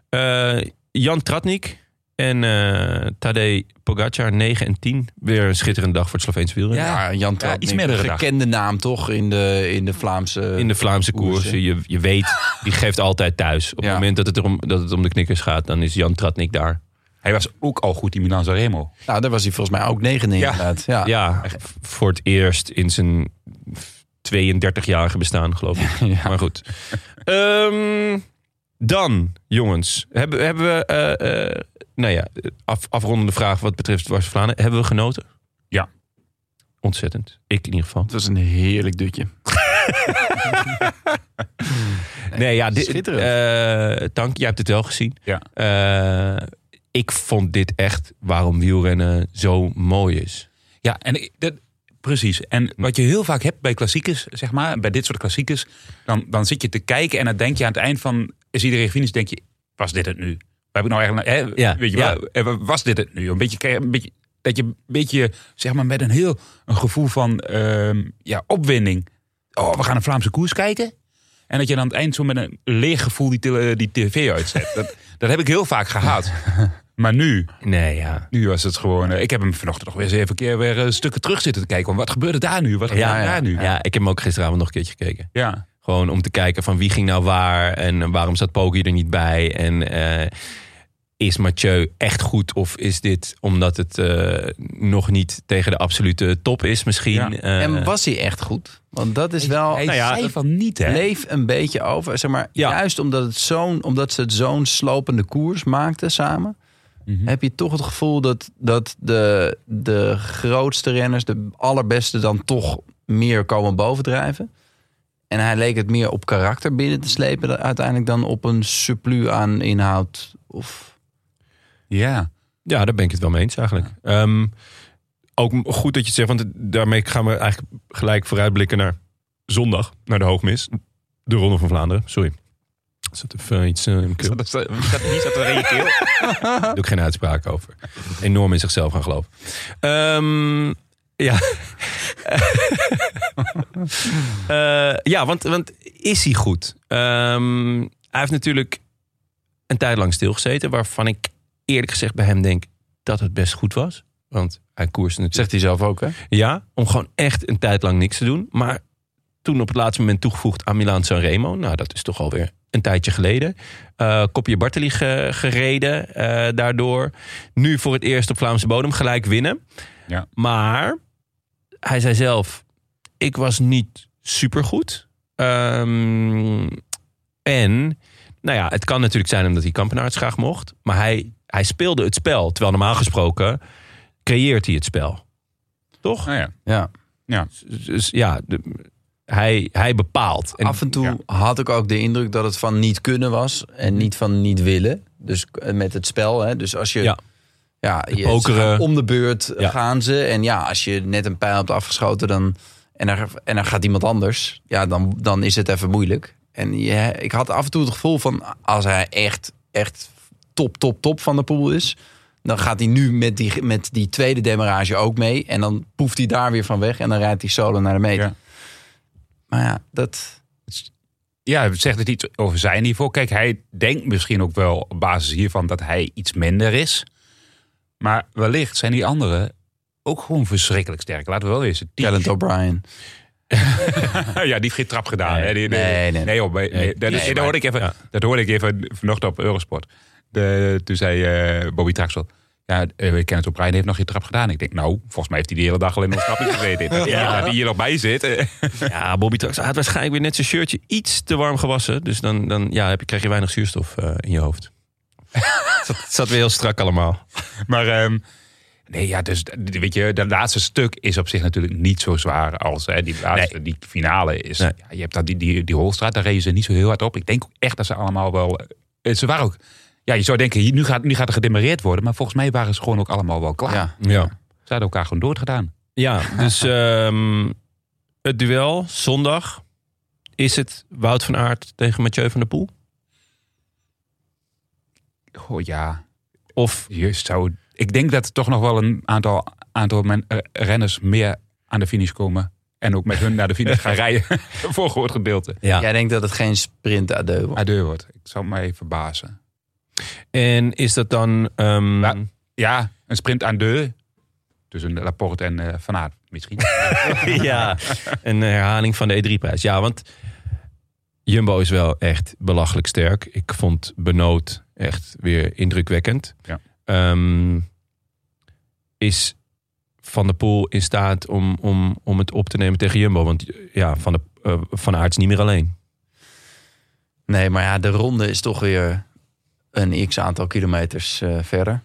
Eh, Jan Tratnik en eh, Tadej Pogacar 9 en 10. Weer een schitterende dag voor het Sloveense wielrennen.
Ja, Jan Tratnik.
iets meer de dag.
Gekende naam toch in de, in de Vlaamse...
In de Vlaamse koers.
koersen.
Je, je weet, die geeft altijd thuis. Op
Ja.
het moment dat het, erom, dat het om de knikkers gaat, dan is Jan Tratnik daar.
Hij was ook al goed in Milan Remo.
Nou, daar was hij volgens mij ook negen in,
Ja.
inderdaad. Ja.
Ja, voor het eerst in zijn 32-jarige bestaan, geloof ik.
Ja.
Maar goed. Ehm, dan, jongens. Hebben, hebben we, eh, eh, nou ja, af, afrondende vraag wat betreft Dwars Vlaanderen. Hebben we genoten?
Ja.
Ontzettend. Ik in ieder geval.
Het was een heerlijk dutje.
Nee, ja, dit,
schitterend.
eh, Tank, jij hebt het wel gezien.
Ja.
Eh, ik vond dit echt waarom wielrennen zo mooi is.
Ja, en ik- dat, precies. En wat je heel vaak hebt bij klassiekers, zeg maar, bij dit soort klassiekers, dan, dan zit je te kijken en dan denk je aan het eind van, is iedereen gefinished, denk je, was dit het nu? We hebben nou eigenlijk, hè,
Ja,
weet je
ja.
wel, eh, was dit het nu? Een beetje, krijg- een beetje, dat je een beetje, zeg maar, met een heel een gevoel van ehm, ja, opwinding. Oh, we gaan een Vlaamse koers kijken. En dat je dan aan het eind zo met een leeg gevoel die, tele- die tv uitzet. Dat, dat heb ik heel vaak gehad. Maar nu,
Nee, ja.
nu was het gewoon. eh, ik heb hem vanochtend nog weer eens even een keer weer eh, stukken terug zitten te kijken. Want wat gebeurde daar nu? Wat gebeurde
Ja, ja,
daar nu?
ja, ik heb hem ook gisteravond nog een keertje gekeken.
Ja.
Gewoon om te kijken van wie ging nou waar en waarom zat Poggi er niet bij. En eh, is Mathieu echt goed of is dit omdat het eh, nog niet tegen de absolute top is misschien?
Ja.
Eh,
En was hij echt goed? Want dat is wel...
Hij
Nou ja,
zei
dat-
van niet, hè?
Leef een beetje over. Zeg maar,
Ja.
Juist omdat, het zo'n, omdat ze het zo'n slopende koers maakten samen.
Mhm.
Heb je toch het gevoel dat, dat de, de grootste renners, de allerbeste, dan toch meer komen bovendrijven? En hij leek het meer op karakter binnen te slepen dan- uiteindelijk dan op een surplus aan inhoud. Of,
Ja.
Ja, daar ben ik het wel mee eens eigenlijk. Ehm, ook m- goed dat je het zegt, want het- daarmee gaan we eigenlijk gelijk vooruitblikken naar zondag, naar de hoogmis. De Ronde van Vlaanderen, sorry. Er zat even eh, iets eh, in mijn keel.
Dat is, eh, wie staat- wie staat er in je keel?
Daar doe ik geen uitspraak over. Enorm in zichzelf gaan geloven. Ehm, ja. Eh, ja, want, want is hij goed? Ehm, hij heeft natuurlijk een tijd lang stilgezeten, waarvan ik eerlijk gezegd bij hem denk dat het best goed was. Want hij koerste natuurlijk.
zegt hij zelf ook, hè?
Ja, om gewoon echt een tijd lang niks te doen. Maar toen op het laatste moment toegevoegd aan Milaan Sanremo. Nou, dat is toch alweer een tijdje geleden. Eh kopje Bartoli ge- gereden eh, daardoor. Nu voor het eerst op Vlaamse bodem gelijk winnen.
Ja.
Maar hij zei zelf, ik was niet supergoed. Ehm en Nou ja, het kan natuurlijk zijn omdat hij Kampenaerts graag mocht. Maar hij, hij speelde het spel. Terwijl normaal gesproken creëert hij het spel. Toch?
ja.
Ja.
Ja.
Dus, dus ja, de- hij, hij bepaalt. En
Af en toe had ik ook de indruk dat het van niet kunnen was en niet van niet willen. Dus eh, met het spel. Hè. Dus als je.
Ja.
Ja. Ja, je- ze
pokeren.
gaan om de beurt eh,
Ja.
gaan ze. En ja, als je net een pijl hebt afgeschoten dan, en, er, en er gaat iemand anders, ja, dan, dan is het even moeilijk. En je, ik had af en toe het gevoel van als hij echt, echt top, top, top van de pool is, dan gaat hij nu met die, met die tweede demarage ook mee. En dan poeft hij daar weer van weg en dan rijdt hij solo naar de meter.
Ja.
Maar ja, dat.
Ja, het zegt het iets over zijn niveau? Kijk, hij denkt misschien ook wel op basis hiervan dat hij iets minder is. Maar wellicht zijn die anderen ook gewoon verschrikkelijk sterk. Laten we wel eens.
Talent O'Brien.
ja, die heeft geen trap gedaan. hè? Die- die-
Nee, nee.
joh, maar- nee, dat,
die
nee,
is-
dat hoorde ik even, dat hoorde ik even vanochtend op Eurosport. De, toen zei eh, Bobby Traxel. Ja, eh, Kenneth O'Brien heeft nog geen trap gedaan. Ik denk, nou, volgens mij heeft hij de hele dag alleen nog trapjes gezeten. Dat die-
Ja.
Dat die hier nog bij zit. eh.
Ja, Bobby Trax had waarschijnlijk weer net zijn shirtje iets te warm gewassen. Dus dan, dan ja, heb je, krijg je weinig zuurstof eh, in je hoofd. Het zat, het zat weer heel strak allemaal.
Maar ehm, nee, ja, dus d- weet je, dat laatste stuk is op zich natuurlijk niet zo zwaar als hè, die, laatste, die finale is.
Nee.
Ja, je hebt dat, die, die, die Holstraat, daar reden ze niet zo heel hard op. Ik denk ook echt dat ze allemaal wel. eh, Ze waren ook. Ja, je zou denken, hier- nu gaat, nu gaat er gedemareerd worden. Maar volgens mij waren ze gewoon ook allemaal wel klaar.
Ja.
Ja.
Ze hadden elkaar gewoon doorgedaan.
Ja, dus ehm, het duel zondag is het Wout van Aert tegen Mathieu van der Poel?
Oh ja.
Of
Je zou, ik denk dat er toch nog wel een aantal, aantal men- eh, renners meer aan de finish komen. En ook met hun naar de finish gaan rijden. Voor groot gedeelte.
ja.
Jij denkt dat het geen sprint adeu wordt.
Adieu wordt. Ik zou mij verbazen.
En is dat dan... ehm,
Ja. Ja, een Mm. sprint aan de. Tussen Laporte en eh, Van Aert misschien.
ja, een herhaling van de E3-prijs. Ja, want Jumbo is wel echt belachelijk sterk. Ik vond Benoot echt weer indrukwekkend.
Ja.
Ehm, is Van der Poel in staat om, om, om het op te nemen tegen Jumbo? Want ja, Van, de, eh, van Aert is niet meer alleen.
Nee, maar ja, de ronde is toch weer een x aantal kilometers eh, verder.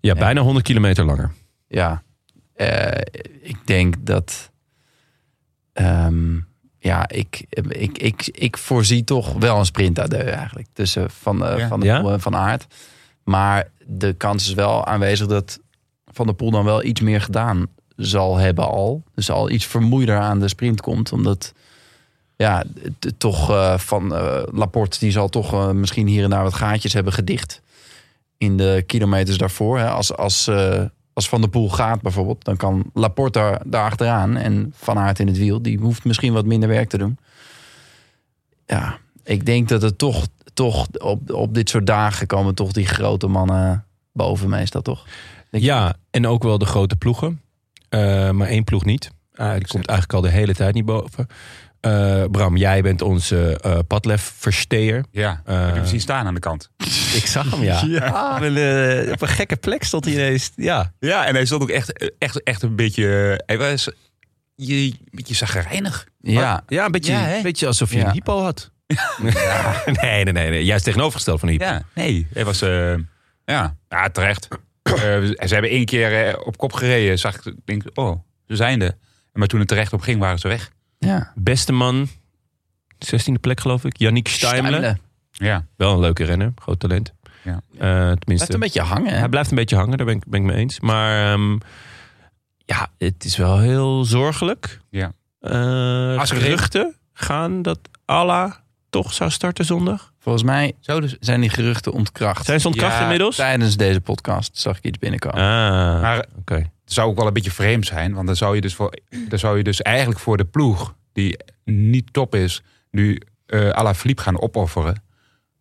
Ja, bijna 100 kilometer langer.
Ja, eh, ik denk dat. ehm, ja, ik, ik, ik, ik voorzie toch wel een sprint uit eigenlijk. Tussen van, eh,
Ja.
van de
Ja?
Poel en van Aert. Maar de kans is wel aanwezig dat Van der Poel dan wel iets meer gedaan zal hebben al. Dus al iets vermoeider aan de sprint komt. Omdat ja, t- toch eh, van eh, Laporte, die zal toch eh, misschien hier en daar wat gaatjes hebben gedicht. In de kilometers daarvoor. Hè. Als, als, eh, als Van der Poel gaat bijvoorbeeld, dan kan Laporte daar, daar achteraan. En Van Aert in het wiel, die hoeft misschien wat minder werk te doen. Ja, ik denk dat het toch, toch op, op dit soort dagen komen toch die grote mannen boven meestal, toch? Denk-
Ja, en ook wel de grote ploegen. Eh, maar één ploeg niet. Ah, die komt eigenlijk al de hele tijd niet boven. Eh, Bram, jij bent onze eh padlef-versteer.
ja,
Eh,
heb je hem zien staan aan de kant.
Ik zag hem, ja. Op, een, eh, op een gekke plek stond hij ineens. Ja.
Ja, en hij stond ook echt, echt, echt een beetje... eh, Hij was je, een beetje zagrijnig.
ja.
Ah, Ja, een beetje,
Ja, hè?
een beetje alsof je
Ja.
een hypo had. nee, nee, nee, nee. Juist tegenovergesteld van een hypo.
Ja, nee. Hij was... eh, ja. ja, terecht. Eh, ze hebben één keer eh, op kop gereden. Zag ik, denk ik, oh, ze zijn er. Maar toen het terecht op ging, waren ze weg.
ja.
Beste man, 16e plek geloof ik. Yannick Steimle.
Stuimelen.
Ja.
Wel een leuke renner, groot talent.
Ja.
Eh, tenminste,
Blijft een beetje hangen, hè?
hij blijft een beetje hangen, daar ben ik, ben ik mee eens. Maar ehm, ja, het is wel heel zorgelijk.
Ja.
Eh,
Als er-
geruchten gaan dat Allah toch zou starten zondag.
Volgens mij zijn die geruchten ontkracht.
Zijn ze ontkracht
Ja,
inmiddels?
Tijdens deze podcast zag ik iets binnenkomen.
Ah,
Maar
oké.
Het zou ook wel een beetje vreemd zijn. Want dan zou je dus, voor, dan zou je dus eigenlijk voor de ploeg, die niet top is, nu eh à la Philippe gaan opofferen.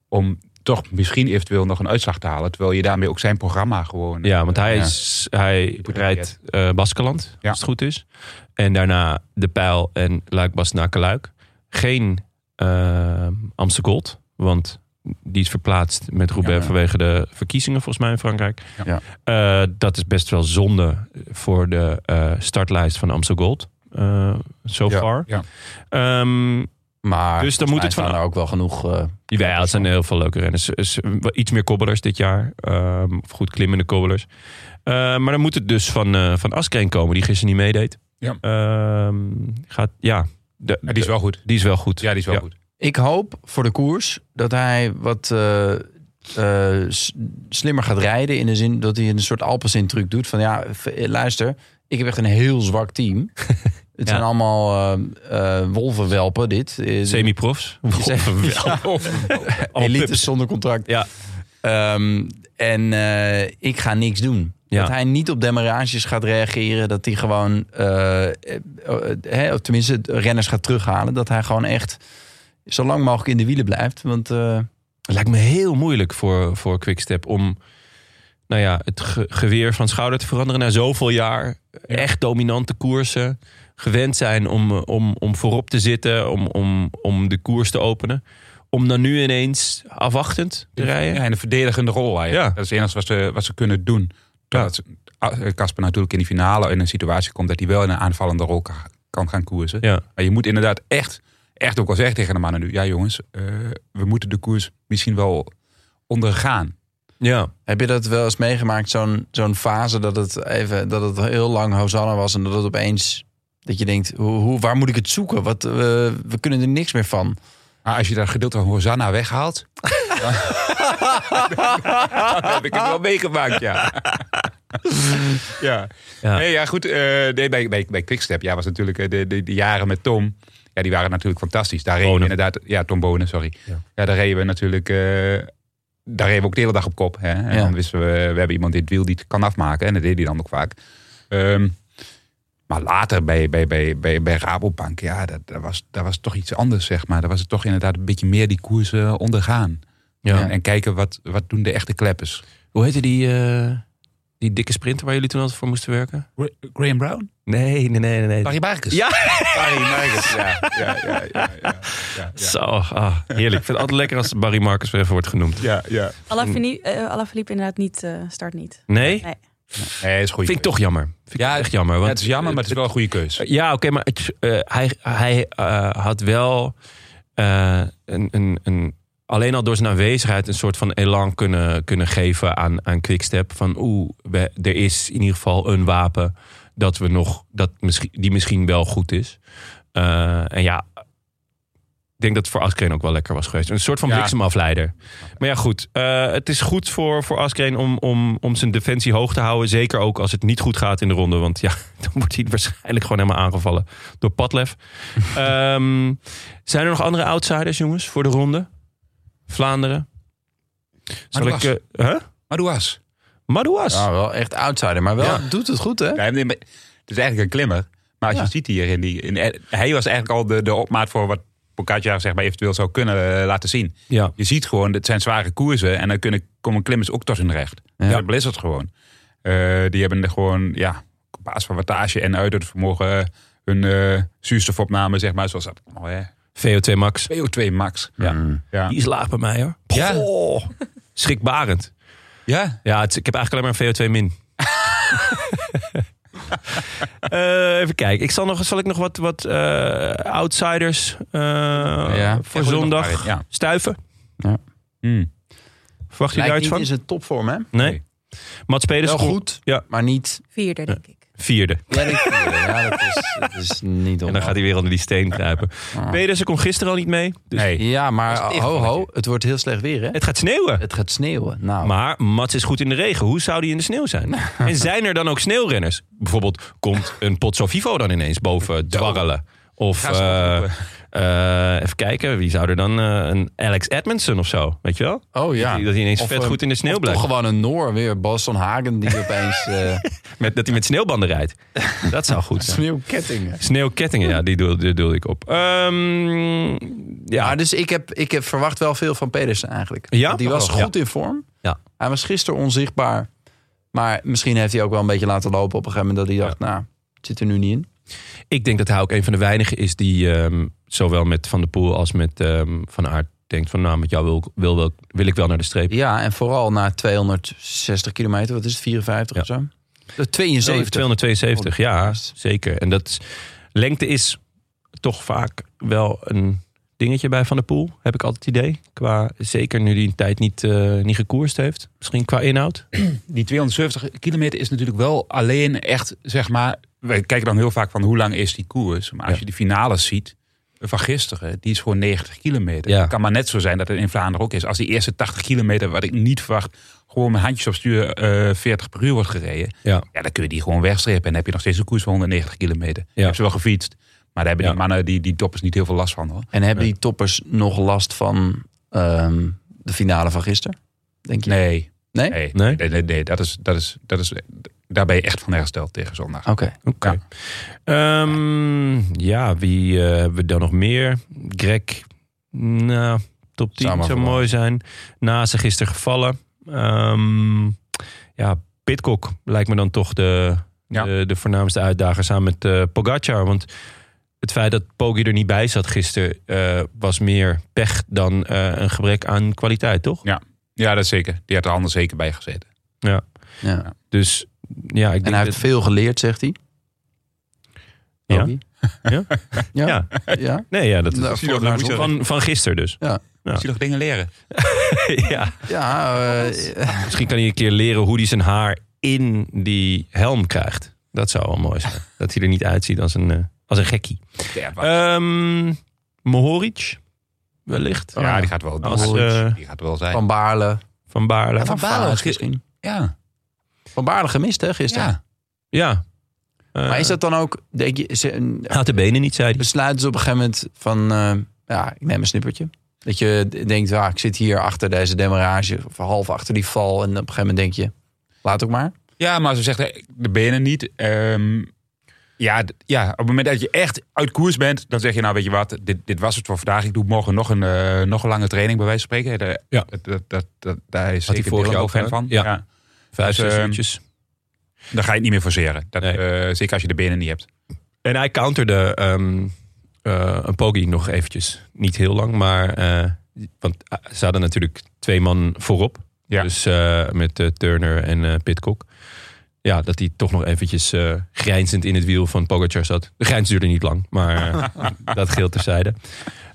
Om toch misschien eventueel nog een uitslag te halen. Terwijl je daarmee ook zijn programma gewoon... eh,
Ja, want hij,
Ja.
is, hij
moet
rijdt eh Baskeland,
Ja.
als het goed is. En daarna De Pijl en Luik Bas Luik. Geen eh Amsterdam Gold, want die is verplaatst met Roubaix
Ja, ja.
vanwege de verkiezingen volgens mij in Frankrijk.
Ja.
Eh, dat is best wel zonde voor de eh, startlijst van Amsterdam Gold. eh so
Ja,
far.
ja.
Ehm, Maar
Dus dan
volgens
moet
mij
het van-
staan er ook wel genoeg. eh,
Ja, het zijn heel veel leuke renners. Is- is Iets meer kobbelers dit jaar. Ehm, of goed klimmende kobbelers. Eh, maar dan moet het dus van, eh van Askreen komen, die gisteren niet meedeed.
Ja.
Ehm, gaat, ja. De,
Ja, die is wel goed.
Die is wel goed.
Ja, die is wel goed.
Ik hoop voor de koers dat hij wat eh, eh, s- slimmer gaat rijden. In de zin dat hij een soort Alpecin-truc doet. Van ja, v- eh, luister, ik heb echt een heel zwak team. Het zijn allemaal eh, eh, wolvenwelpen, dit. Eh,
Semi-profs.
Ja. Elite zonder contract.
Ja.
Ehm, en eh, ik ga niks doen.
Ja.
Dat hij niet op demarages gaat reageren. Dat hij gewoon, eh, eh, hè, of tenminste, renners gaat terughalen. Dat hij gewoon echt zo lang mogelijk in de wielen blijft. Want eh,
Het lijkt me heel moeilijk voor, voor Quickstep om nou ja, het ge- geweer van schouder te veranderen na zoveel jaar. Echt dominante koersen. Gewend zijn om, eh, om, om voorop te zitten, om, om, om de koers te openen. Om dan nu ineens afwachtend te rijden.
Ja, en een verdedigende rol eigenlijk.
Ja.
Dat is het enige wat ze, wat ze kunnen doen. Totdat ze- ah, Kasper natuurlijk in die finale in een situatie komt dat hij wel in een aanvallende rol ka- kan gaan koersen.
Ja.
Maar je moet inderdaad echt, echt ook wel zeggen tegen de mannen nu. Ja jongens, eh, we moeten de koers misschien wel ondergaan.
Ja.
heb je dat wel eens meegemaakt? Zo'n zo'n fase dat het, even, dat het heel lang Hosanna was. En dat het opeens, dat je denkt, hoe, hoe- waar moet ik het zoeken? Wat, eh, we kunnen er niks meer van.
Maar als je dat gedeelte van Hosanna weghaalt, dan, dan heb ik het wel meegemaakt, ja. ja.
Ja.
Nee, ja, goed. eh, nee, bij, bij, bij Quickstep ja, was natuurlijk eh, de, de, de jaren met Tom. Ja, die waren natuurlijk fantastisch. Daar reden we
Bonen.
inderdaad... Ja, Tom Bonen, sorry. Ja, daar reden we natuurlijk... eh, daar reden we ook de hele dag op kop. Hè? En
Ja.
dan wisten we... We hebben iemand dit wiel die het kan afmaken. En dat deed hij dan ook vaak. Ehm, maar later bij, bij, bij, bij, bij Rabobank... Ja, dat, dat, was, dat was toch iets anders, zeg maar. Daar was het toch inderdaad een beetje meer die koersen eh, ondergaan.
Ja.
En, en kijken wat, wat doen de echte kleppers.
Hoe heette die, eh, die dikke sprinter waar jullie toen altijd voor moesten werken?
Graham Brown?
Nee, nee, nee, nee.
Barry Barkers.
Ja.
Barry Barkers, ja. ja, ja, ja, ja, ja, ja.
Zo, ah, heerlijk. Ik vind het altijd lekker als Barry Marcus weer even wordt genoemd.
Ja, ja.
Alaphilippe eh, Alaphilippe inderdaad niet, eh, start niet.
Nee?
Nee.
Nee, is goed.
Vind ik toch jammer. Vind ik
Ja,
echt jammer. Want
het is jammer, maar het is wel een goede keus.
Ja, oké, maar het, eh, hij, hij eh, had wel eh, een, een, een, alleen al door zijn aanwezigheid een soort van elan kunnen, kunnen geven aan, aan Quickstep. Van oeh, we- er is in ieder geval een wapen dat we nog, dat misschien, die misschien wel goed is. Eh, en ja, ik denk dat het voor Askreen ook wel lekker was geweest. Een soort van
Ja.
bliksemafleider. Maar ja, goed. eh, het is goed voor, voor Askreen om, om, om zijn defensie hoog te houden. Zeker ook als het niet goed gaat in de ronde. Want ja, dan wordt hij waarschijnlijk gewoon helemaal aangevallen door Padlef. Ehm, zijn er nog andere outsiders, jongens, voor de ronde? Vlaanderen? Zal ik...
Madouas.
eh, hè?
Madouas.
Madouas.
Ja, wel echt outsider, maar wel
Ja.
doet het goed, hè?
Ja, nee, maar het is eigenlijk een klimmer. Maar als
Ja.
je ziet hier, in die, in, eh, hij was eigenlijk al de, de opmaat voor wat Pogacar zeg maar, eventueel zou kunnen eh, laten zien.
Ja.
Je ziet gewoon, het zijn zware koersen en dan kunnen, komen klimmers ook tot hun recht.
Ja.
Ja. Dat Blizzard gewoon. Eh, die hebben er gewoon, ja, op basis van wattage en uithoudingsvermogen eh, hun eh, zuurstofopname, zeg maar, zoals dat, oh, hè,
VO2 Max.
VO2 max.
Ja.
Hmm.
Ja.
Die is laag bij mij, hoor.
Ja.
Goh, schrikbarend.
ja.
Ja, het is- ik heb eigenlijk alleen maar een VO2 min. Eh, even kijken. Ik zal, nog, zal ik nog wat, wat eh, outsiders eh, voor
gooi er nog
zondag
maar in, ja.
stuiven?
Hm.
Verwacht
Hmm.
jullie
Lijkt
daar
niet
iets van?
in zijn topvorm, hè?
Nee. Mats Peders
Wel
scoort
goed,
Ja.
maar niet...
Vierde, denk ik.
vierde.
Ja, dat, ja, dat, is, dat is niet
En dan gaat hij weer onder die steen kruipen.
Ah.
Pedersen kon gisteren al niet mee. Dus
Nee.
Ja, maar
Dat is het
ho ho,
tegenvalletje.
het wordt heel slecht weer, hè?
Het gaat sneeuwen.
Het gaat sneeuwen. Nou,
Maar Mats is goed in de regen. Hoe zou die in de sneeuw zijn? En zijn er dan ook sneeuwrenners? Bijvoorbeeld komt een Potso Vivo dan ineens boven dwarrelen? Of
Ga ze
eh,
oproepen.
eh, even kijken, wie zou er dan eh, een Alex Edmondson of zo? Weet je wel?
oh ja.
Dat hij- dat hij ineens
Of,
vet
eh,
goed in de sneeuw
of
blijft.
Toch gewoon een Noor weer, Baston Hagen, die opeens eh
Met, dat hij met sneeuwbanden rijdt. Dat zou goed zijn.
sneeuwkettingen.
Sneeuwkettingen, ja, die doe- die doe ik op. Ehm,
Ja,
ja,
dus ik, heb, ik heb verwacht wel veel van Pedersen eigenlijk.
Ja?
Want Die was
Oh, ja.
goed in vorm.
Ja.
Hij was gisteren onzichtbaar. Maar misschien heeft hij ook wel een beetje laten lopen op een gegeven moment dat hij dacht, nou, het zit er nu niet in.
ik denk dat hij ook een van de weinigen is die ehm, zowel met Van der Poel als met ehm, Van Aert denkt van nou, met jou wil, ik- wil, wil, wil ik wel naar de streep.
Ja, en vooral na 260 kilometer, wat is het, 54 of zo? Eh,
Oh,
72.
272, ja,
Juist.
zeker. En dat is- lengte is toch vaak wel een dingetje bij Van der Poel. Heb ik altijd het idee. Qua, zeker nu die een tijd niet, eh, niet gekoerst heeft. Misschien qua inhoud.
die 270 kilometer is natuurlijk wel alleen echt, zeg maar. Wij kijken dan heel vaak van hoe lang is die koers. Maar als je de finales ziet van gisteren, die is gewoon 90 kilometer.
Ja.
Het kan maar net zo zijn dat het in Vlaanderen ook is. Als die eerste 80 kilometer, wat ik niet verwacht, gewoon mijn handjes op stuur eh 40 per uur wordt gereden.
Ja.
Ja, dan kun je die gewoon wegstrepen. En dan heb je nog steeds een koers van 190 kilometer. Ik Heb ze wel gefietst. Maar daar hebben die mannen, die, die toppers, niet heel veel last van. Hoor.
En hebben die toppers nog last van ehm, de finale van gisteren? Denk je?
Nee.
Nee?
Nee,
Nee?
nee, nee, nee, dat is, dat is, dat is, daar ben je echt van hersteld tegen zondag.
Oké.
Oké. Ehm, ja, wie eh, hebben we dan nog meer? Greg, nou, top 10
Samen
zou
verloren.
mooi zijn. Na ze gisteren gevallen. Ehm, ja, Pitcock lijkt me dan toch de,
Ja.
de, de voornaamste uitdager samen met eh Pogacar. Want het feit dat Poggi er niet bij zat gisteren eh, was meer pech dan eh, een gebrek aan kwaliteit, toch?
Ja, dat zeker. Die had er anders zeker bij gezeten.
Ja.
Ja.
Dus ja, ik denk
En hij heeft
dat-
veel geleerd, zegt hij.
Ja.
Bobby.
Ja?
Ja.
Ja.
ja.
Nee, ja, dat is
Nou, voor-
van, van, van gisteren dus.
Ja.
Ja.
Zie je nog dingen leren?
ja.
Ja, eh,
Misschien kan hij een keer leren hoe hij zijn haar in die helm krijgt. Dat zou wel mooi zijn. Dat hij er niet uitziet als een, eh, als een gekkie.
Ja, wat-
Ehm Mohoric, wellicht.
Oh, ja, die gaat wel. Die,
Als,
gaat,
eh,
die gaat wel zijn.
van Baarle.
Van Baarle.
Van
Baarle
Baarle
was
misschien.
ja,
Van Baarle gemist, hè, gisteren.
ja.
Ja. Eh,
Maar is dat dan ook, denk je, ze-
Had de benen niet, zei hij.
Dus-
besluiten ze op een gegeven moment van, eh, ja, ik neem een snippertje. Dat je d- denkt, ah, ik zit hier achter deze demarrage, of half achter die val. En op een gegeven moment denk je, laat ook maar.
ja, maar ze zegt eh, de benen niet. ehm, ja, d- ja, op het moment dat je echt uit koers bent, dan zeg je nou weet je wat, dit, dit was het voor vandaag. Ik doe morgen nog een, eh, nog een lange training bij wijze van spreken. Eh, de-
Ja.
dat, dat, dat, dat- daar is
Had hij
zeker
vorig
Dylan
jaar
ook
ook
fan van.
gedaan. Ja. Vijf,
Dus,
zes
ehm,
uurtjes.
Dan ga je het niet meer forceren. Dat,
Nee.
eh, zeker als je de benen niet hebt.
En hij counterde ehm eh, een pogie nog eventjes. Niet heel lang, maar... eh, want eh, ze hadden natuurlijk twee man voorop.
Ja.
Dus eh, met eh, Turner en eh Pitcock. Ja, dat hij toch nog eventjes eh, grijnzend in het wiel van Pogacar zat. De grijns duurde niet lang, maar eh, dat geheel terzijde.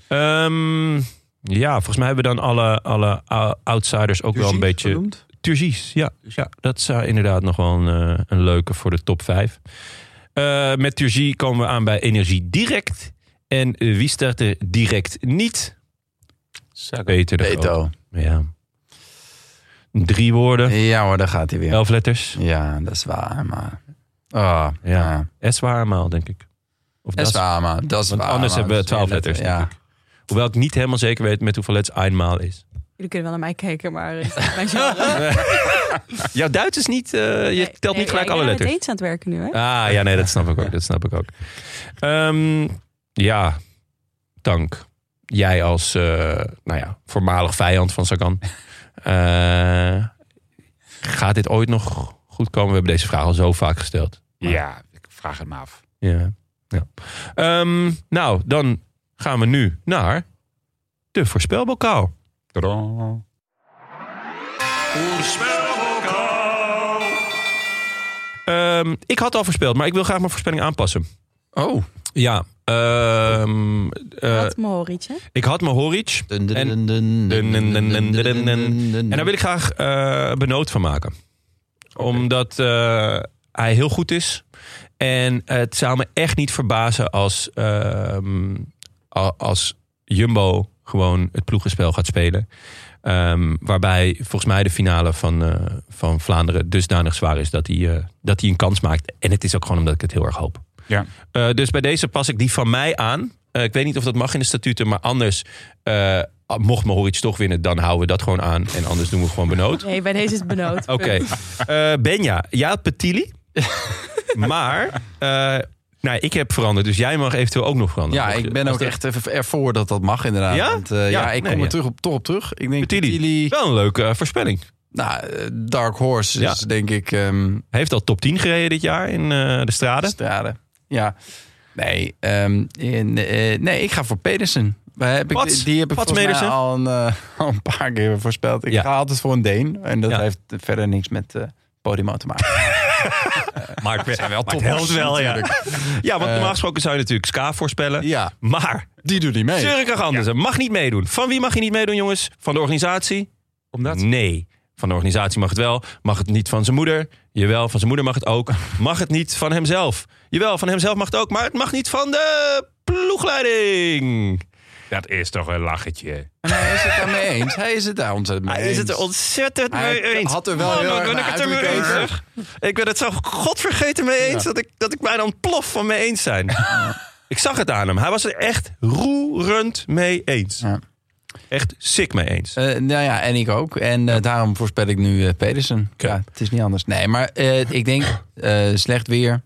Ehm, ja, volgens mij hebben we dan alle, alle ou- outsiders ook wel een beetje... Turgis, ja. ja. Dat zou inderdaad nog wel een, eh, een leuke voor de top 5. Eh, met Turgie komen we aan bij Energie Direct. En eh, wie start er direct niet? Peter de Groot.
Beto.
Ja. Drie woorden,
Ja hoor, daar gaat hij weer.
elf letters.
Ja, dat is waar, maar... Ah,
Ja.
ja.
Eswaarmaal, denk ik. Of
Dat is waar, maar dat is
Want
waar,
anders
maar.
hebben we
Dat is
12 letters,
Ja.
denk Hoewel ik niet helemaal zeker weet met hoeveel letters eenmaal is.
Jullie kunnen wel naar mij kijken, maar eh, dat is mijn genre.
Jouw Duits is niet... eh, je
Nee,
telt niet
nee,
gelijk
ja, ik
alle
ben aan
letters.
dates aan het werken nu, hè?
Ah, ja, nee, dat snap ik ook. Dat snap ik ook. Ehm, ja, Tank. Jij als, eh, nou ja, voormalig vijand van Sagan. Eh, gaat dit ooit nog goed komen? We hebben deze vraag al zo vaak gesteld. Maar-
Ja, ik vraag het me af.
Ja. ja. Ehm, nou, dan gaan we nu naar de voorspelbokaal.
Tadaa.
Ehm, ik had al voorspeld, maar ik wil graag mijn voorspelling aanpassen.
Oh.
Ja, ehm, eh,
Wat Mohoric, hè?
ik had mijn Horic.
Dun, dun,
En-
dun, dun,
dun, dun, dun, dun, dun, dun, dun.
dun.
En daar wil ik graag eh benoot van maken. Omdat eh, hij heel goed is. En het zou me echt niet verbazen als, ehm, a- als Jumbo gewoon het ploegenspel gaat spelen. Ehm, waarbij volgens mij de finale van, eh, van Vlaanderen dusdanig zwaar is dat hij, eh, dat hij een kans maakt. En het is ook gewoon omdat ik het heel erg hoop.
Ja.
Eh, dus bij deze pas ik die van mij aan. Eh, ik weet niet of dat mag in de statuten, maar anders, eh, mocht Mohoric toch winnen, dan houden we dat gewoon aan. En anders doen we gewoon benood.
Nee, bij deze is het benood.
Oké. Eh, Benja, jij had Petili. maar eh, nou, ik heb veranderd, dus jij mag eventueel ook nog veranderen.
Ja,
Mocht
ik
je-
ben
als
ook
de-
echt even ervoor dat dat mag, inderdaad.
Ja?
Want, eh,
Ja,
ja, ik
nee,
kom er
ja.
terug op, toch op terug. Ik denk
Petili.
Petili,
Wel een leuke eh, voorspelling.
nou, eh, Dark Horse
Ja.
is denk ik ehm,
Hij heeft al top 10 gereden dit jaar in eh, de straten.
Straden. Ja. Nee, ehm, in, eh, nee, ik ga voor Pedersen. Waar heb ik,
Pats.
die heb ik
Pats
volgens mij
Pedersen.
al een, eh, al een paar keer voorspeld. Ik
Ja.
ga altijd voor een Deen. En dat
Ja.
heeft verder niks met eh podium te maken.
maar het zijn wel
toppers natuurlijk.
ja, want normaal gesproken zou je natuurlijk Ska voorspellen.
Eh. Ja.
Maar
Die doet niet mee.
Zurikag Andersen mag niet meedoen. Van wie mag je niet meedoen, jongens? Van de organisatie?
Omdat?
Nee. Van de organisatie mag het wel. Mag het niet van zijn moeder? Jawel, van zijn moeder mag het ook. Mag het niet van hemzelf? Jawel, van hemzelf mag het ook. Maar het mag niet van de ploegleiding.
Dat is toch een lachetje.
En hij is het daarmee eens. Hij is het daar ontzettend mee
Hij
eens.
is het er ontzettend
Hij
mee eens.
had er wel heel
dan
erg
ben ik
naar
het er mee
uitgekeken.
eens. zeg. Ik ben het zo godvergeten mee eens dat, ik, dat ik bijna ontplof van mee eens zijn. ik zag het aan hem. Hij was er echt roerend mee eens.
Ja.
Echt sick mee eens.
Eh, nou ja, en ik ook. En eh, daarom voorspel ik nu eh, Pedersen. Ja, het is niet anders. Nee, maar eh, ik denk eh, slecht weer.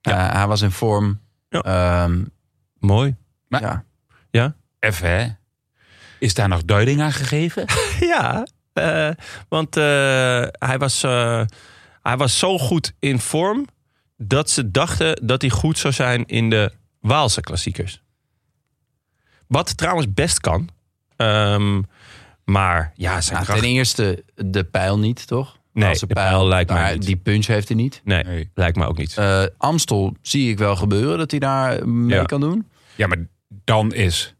Eh, hij was in vorm.
Ja.
Ehm,
Mooi.
Maar-
ja.
Ja?
Even, hè? Is daar nog duiding aan gegeven?
Ja, eh, want eh, hij, was, eh, hij was zo goed in vorm dat ze dachten dat hij goed zou zijn in de Waalse klassiekers. Wat trouwens best kan. Ehm, maar ja, zijn
Nou,
kracht...
ten eerste de pijl niet, toch?
Nee,
Als
de pijl lijkt mij
daar-
niet.
Die punch heeft hij niet.
Nee,
Nee.
lijkt me ook niet.
Eh, Amstel zie ik wel gebeuren dat hij daar eh, mee
Ja.
kan doen.
Ja, maar dan is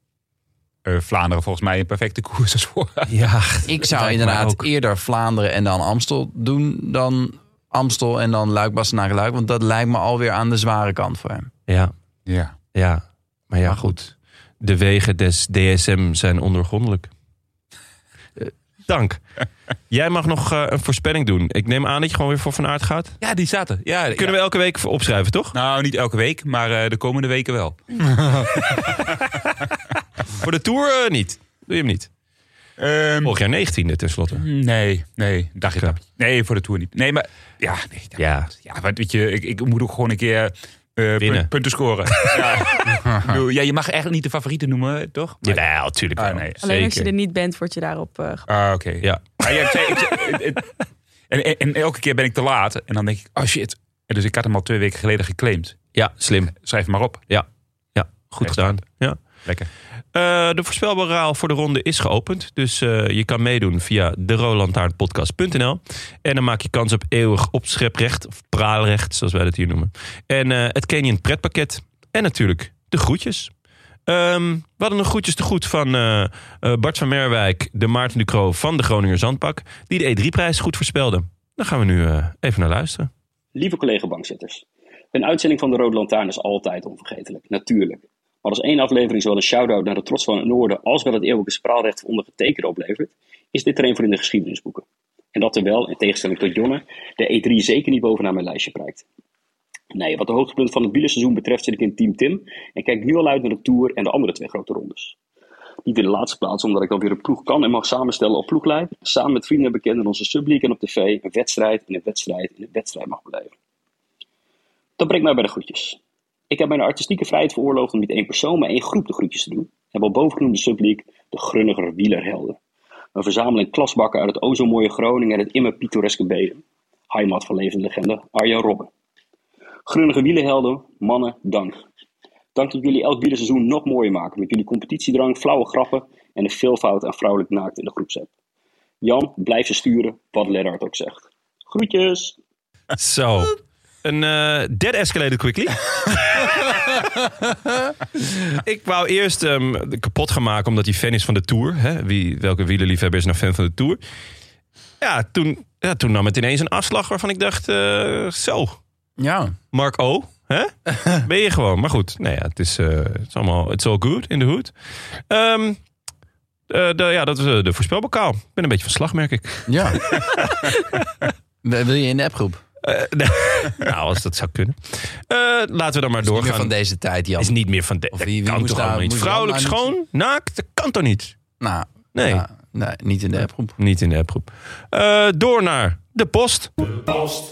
eh, Vlaanderen volgens mij een perfecte koers als voor.
Ik
ja,
zou
lijkt mij
inderdaad
ook.
eerder Vlaanderen en dan Amstel doen dan Amstel en dan Luik, Bastenaken, Luik. Want dat lijkt me alweer aan de zware kant voor hem.
ja,
Ja.
ja. Maar ja, goed. De wegen des DSM zijn ondergrondelijk. Eh, Dank. Jij mag nog eh, een voorspelling doen. Ik neem aan dat je gewoon weer voor Van Aert gaat.
ja, die zaten. Ja,
Kunnen we elke week voor opschrijven, toch?
Nou, niet elke week, maar eh, de komende weken wel.
Voor de Tour eh, niet. Doe je hem niet.
Och,
Vorig jaar 19e tenslotte.
nee, nee, dacht ik
Oké.
dat. Nee, voor de Tour niet. Nee, maar ja, nee, ja.
Ja.
ja want weet je, ik, ik moet ook gewoon een keer eh, pun-
Winnen.
punten scoren. ja. Ik bedoel, ja, je mag echt niet de favorieten noemen, toch? Maar-
Jawel, natuurlijk wel.
Ah, nee.
Alleen als je
Zeker.
er niet bent, word je daarop eh, gepakt.
Ah, oké.
Ja.
Maar ja, ik zei- ik zei- het- het- en, en, en elke keer ben ik te laat. En dan denk ik, oh shit. En dus ik had hem al twee weken geleden geclaimd.
ja, slim.
Schrijf hem maar op.
Ja, ja goed
Echt
gedaan. Ja.
Lekker.
Eh, de voorspelbare raal voor de ronde is geopend. Dus eh, je kan meedoen via derolantaarnpodcast.nl. En dan maak je kans op eeuwig opscheprecht. Of praalrecht, zoals wij dat hier noemen. En eh, het Canyon pretpakket. En natuurlijk de groetjes. Ehm, we hadden nog groetjes te goed van eh, eh, Bart van Merwijk, de Maarten Ducro van de Groninger Zandpak. Die de E3-prijs goed voorspelde. Daar gaan we nu eh, even naar luisteren.
Lieve collega-bankzitters, een uitzending van de Rode Lantaarn is altijd onvergetelijk, natuurlijk. Maar als één aflevering zowel een shout-out naar de trots van het Noorden als wel het eeuwige spraalrecht van ondergetekende oplevert, is dit er een voor in de geschiedenisboeken. En dat terwijl, in tegenstelling tot Jonne, de E3 zeker niet bovenaan mijn lijstje prijkt. Nee, wat de hoogtepunt van het wielerseizoen betreft zit ik in Team Tim en kijk nu al uit naar de Tour en de andere twee grote rondes. Niet in de laatste plaats, omdat ik alweer een ploeg kan en mag samenstellen op ploeglijf. Samen met vrienden en bekenden onze subliek en op tv een wedstrijd in een wedstrijd in een wedstrijd mag beleven. Dat brengt mij bij de groetjes. Ik heb mijn artistieke vrijheid veroorloofd om niet één persoon, maar één groep de groetjes te doen. En wel bovengenoemde subleague, de Grunniger Wielerhelden. Een verzameling klasbakken uit het o zo mooie Groningen en het immer pittoreske Bedum. Heimat van levende legende Arjan Robben. Grunnige Wielerhelden, mannen, dank. Dank dat jullie elk wielerseizoen nog mooier maken met jullie competitiedrang, flauwe grappen en de veelvoud aan vrouwelijk naakt in de groepsapp. Jan, blijf ze sturen, wat Lennart ook zegt. Groetjes!
Zo. Een eh dead escalated quickly. ik wou eerst ehm, kapot gaan maken omdat hij fan is van de Tour. Hè? Wie, welke wielerliefhebber is nou fan van de Tour? Ja, toen, ja, toen nam het ineens een afslag waarvan ik dacht... eh, zo,
Ja.
Mark O. Hè? Ben je gewoon. Maar goed, nou ja, het is, eh, het is allemaal... It's all good in the hood. Ehm, eh, de, ja, dat is eh, de voorspelbokaal. Ik ben een beetje van slag, merk ik.
Ja. Wil wil je in de appgroep?
Eh, nou, nou, als dat zou kunnen. Eh, laten we dan maar
Niet meer
doorgaan.
van deze tijd, Jan.
Is niet meer van de,
Of
dat
wie- wie
kan
moest
toch
daar-
allemaal niet.
moest Jan
Vrouwelijk
nou
schoon, naakt, dat kan toch niet?
Nou,
Nee.
ja, nee, niet in de appgroep.
Niet in de appgroep. Eh, door naar de post.
Post,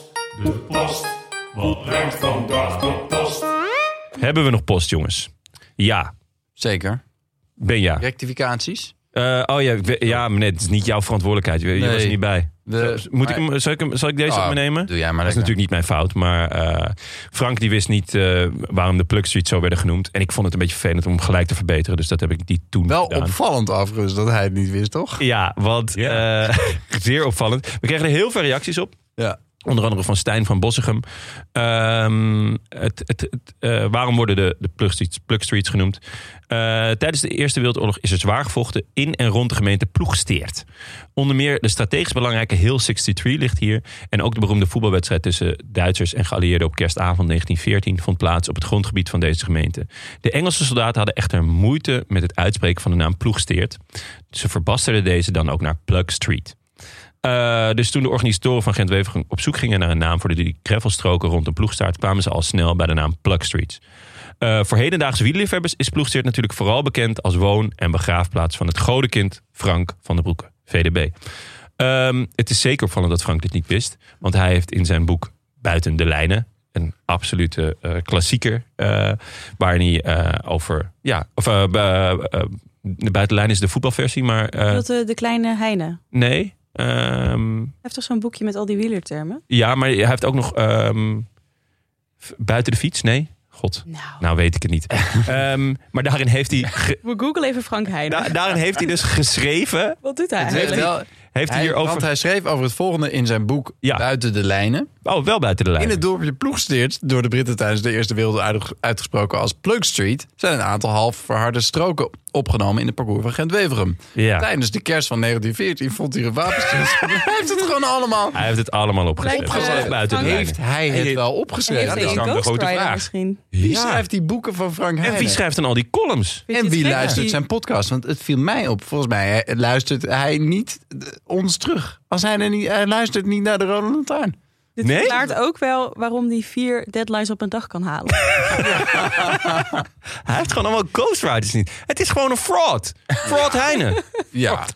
de post. Wat brengt vandaag de post?
Hebben we nog post, jongens? Ja,
Zeker.
ben ja.
Rectificaties?
Eh, oh ja, ik we- ja, meneer, het is niet jouw verantwoordelijkheid. Je, je
Nee.
was er niet bij.
We-
Moet ik
maar-
hem, zal, ik hem, zal ik deze
Oh,
op me nemen?
Doe jij maar
Dat is
lekker.
natuurlijk niet mijn fout, maar eh, Frank die wist niet eh, waarom de Plug Street zo werden genoemd. En ik vond het een beetje vervelend om hem gelijk te verbeteren, dus dat heb ik niet toen
Wel
gedaan.
opvallend overigens dat hij het niet wist, toch?
Ja, want
Ja.
eh, zeer opvallend. We kregen er heel veel reacties op.
Ja.
Onder andere van Stijn van Bossegem. Ehm, het, het, het, eh, waarom worden de, de plugstreets, plugstreets genoemd? Eh, tijdens de Eerste Wereldoorlog is er zwaar gevochten in en rond de gemeente Ploegsteert. Onder meer de strategisch belangrijke Hill 63 ligt hier. En ook de beroemde voetbalwedstrijd tussen Duitsers en geallieerden op kerstavond 1914 vond plaats op het grondgebied van deze gemeente. De Engelse soldaten hadden echter moeite met het uitspreken van de naam Ploegsteert. Ze verbasterden deze dan ook naar Plugstreet. Eh, dus toen de organisatoren van Gent Wevergem op zoek gingen naar een naam voor de drie greffelstroken rond de ploegstaart, kwamen ze al snel bij de naam Plugstreets. Eh voor hedendaagse wielerliefhebbers is Ploegsteert natuurlijk vooral bekend als woon- en begraafplaats van het godenkind Frank van den Broeke, VDB. Ehm, het is zeker opvallend dat Frank dit niet wist, want hij heeft in zijn boek Buiten de Lijnen, een absolute eh, klassieker, eh waarin hij eh, over, ja, of eh, bu- eh, de buitenlijn is de voetbalversie, maar eh,
Dat de, de kleine Heine.
nee. ehm,
Hij heeft toch zo'n boekje met al die wielertermen?
Ja, maar hij heeft ook nog ehm, v- buiten de fiets. Nee, god. Nou, weet ik het niet. Ehm, maar daarin heeft hij, ge-
We googlen even Frank Heine.
da- daarin heeft hij dus geschreven.
Wat doet hij?
Nou, Het
eigenlijk?
heeft wel-
Heeft hij
Hij-
hierover-
Want hij schreef over het volgende in zijn boek Buiten de Lijnen.
Oh, wel buiten de lijnen.
In het dorpje Ploegsteert, door de Britten tijdens de Eerste Wereldoorlog uitgesproken als Plug Street, zijn een aantal half verharde stroken opgenomen in het parcours van Gent-Weverum.
Ja.
Tijdens de kerst van 1914 vond hij een wapenstilstand. hij heeft het gewoon allemaal
Hij heeft het allemaal opgeschreven.
Lijkt, eh,
Geschreven buiten de
heeft
lijnen.
hij het wel opgeschreven?
En heeft hij
dan
een
de grote
ghostwriter
vraag.
misschien?
Wie
Ja.
schrijft die boeken van Frank Heijnen?
En wie schrijft dan al die columns?
Vind je
En
het
wie
gek
luistert
dat
zijn podcast? Want het viel mij op. Volgens mij hè, luistert hij niet eh, ons terug. Als hij, er niet, hij luistert niet naar de Rode Lantaarn.
Dit
Nee?
verklaart ook wel waarom hij vier deadlines op een dag kan halen.
Hij heeft gewoon allemaal ghostwriters niet. Het is gewoon een fraud. Fraud Heine.
Ja.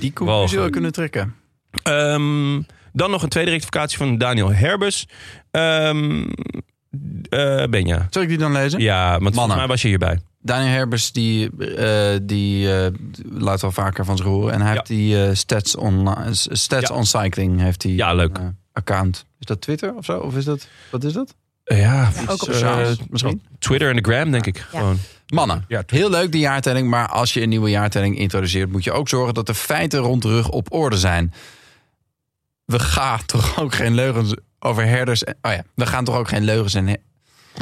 Die conclusie
Walgelijk.
wel kunnen trekken.
Ehm, dan nog een tweede rectificatie van Daniel Herbus. Ehm eh, Benja.
Zal ik die dan lezen?
Ja, want volgens
Mannen.
mij was je hierbij.
Daniel Herbers die, eh, die eh, laat wel vaker van zich horen. En hij heeft die eh, Stats, on, eh, stats on Cycling heeft die,
Ja, leuk.
eh, account. Is dat Twitter of zo? Of is dat, wat is dat?
Eh, ja,
ook op socials, misschien?
Twitter en de gram, denk ik. Gewoon.
Mannen, heel leuk die jaartelling, maar als je een nieuwe jaartelling introduceert, moet je ook zorgen dat de feiten rond de rug op orde zijn. We gaan toch ook geen leugens over herders. En, oh ja, we gaan toch ook geen leugens en. he-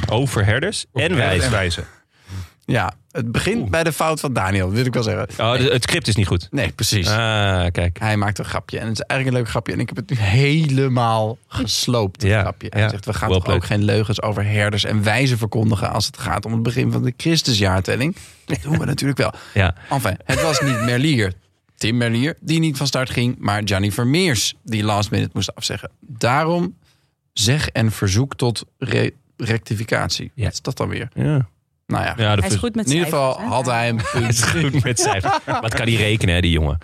Over herders en wijzen.
Ja, het begint bij de fout van Daniel, wil ik wel zeggen.
Oh, de- het script is niet goed.
Nee, precies.
Ah, kijk.
Hij maakt een grapje. En het is eigenlijk een leuk grapje. En ik heb het nu helemaal gesloopt, het grapje. Hij
ja.
zegt, we gaan
Well
toch ook geen leugens over herders en wijzen verkondigen... als het gaat om het begin van de Christusjaartelling. Dat doen we natuurlijk wel.
Ja.
Enfin, het was niet Merlier, Tim Merlier, die niet van start ging... maar Gianni Vermeers, die last minute moest afzeggen. Daarom zeg en verzoek tot re- rectificatie. Wat is dat dan weer?
Ja.
Nou ja,
Ja, dat Hij is is-
goed met
In ieder geval
cijfers, hè?
had hij een
Het is
punt.
goed met cijfers. Wat kan die rekenen, hè, die jongen?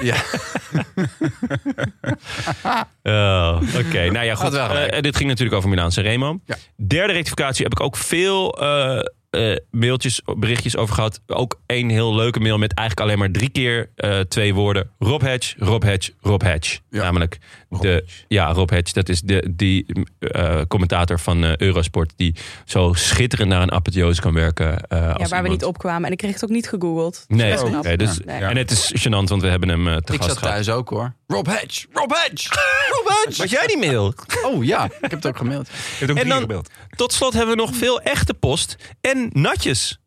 Ja.
Oh, Oké, nou ja, goed.
Had wel gelijk.
Eh, dit ging natuurlijk over Milaan Sanremo.
Ja.
Derde rectificatie heb ik ook veel eh, eh, mailtjes, berichtjes over gehad. Ook één heel leuke mail met eigenlijk alleen maar drie keer eh, twee woorden. Rob Hedge, Rob Hedge, Rob Hedge. Namelijk de... Ja, Rob Hedge. Dat is de, die eh, commentator van eh, Eurosport die zo schitterend naar een apotheose kan werken. eh, als
ja, waar we
iemand-
niet opkwamen. En ik kreeg het ook niet gegoogeld.
Nee,
Best
oké,
knap.
dus,
Nee.
en het is gênant, want we hebben hem eh te
Ik
gast
zat
gehad.
thuis ook hoor. Rob Hedge, Rob Hedge, Rob Hedge.
Was jij die mail?
Oh ja, ik heb het ook gemaild.
En dan, tot slot hebben we nog veel echte post en natjes.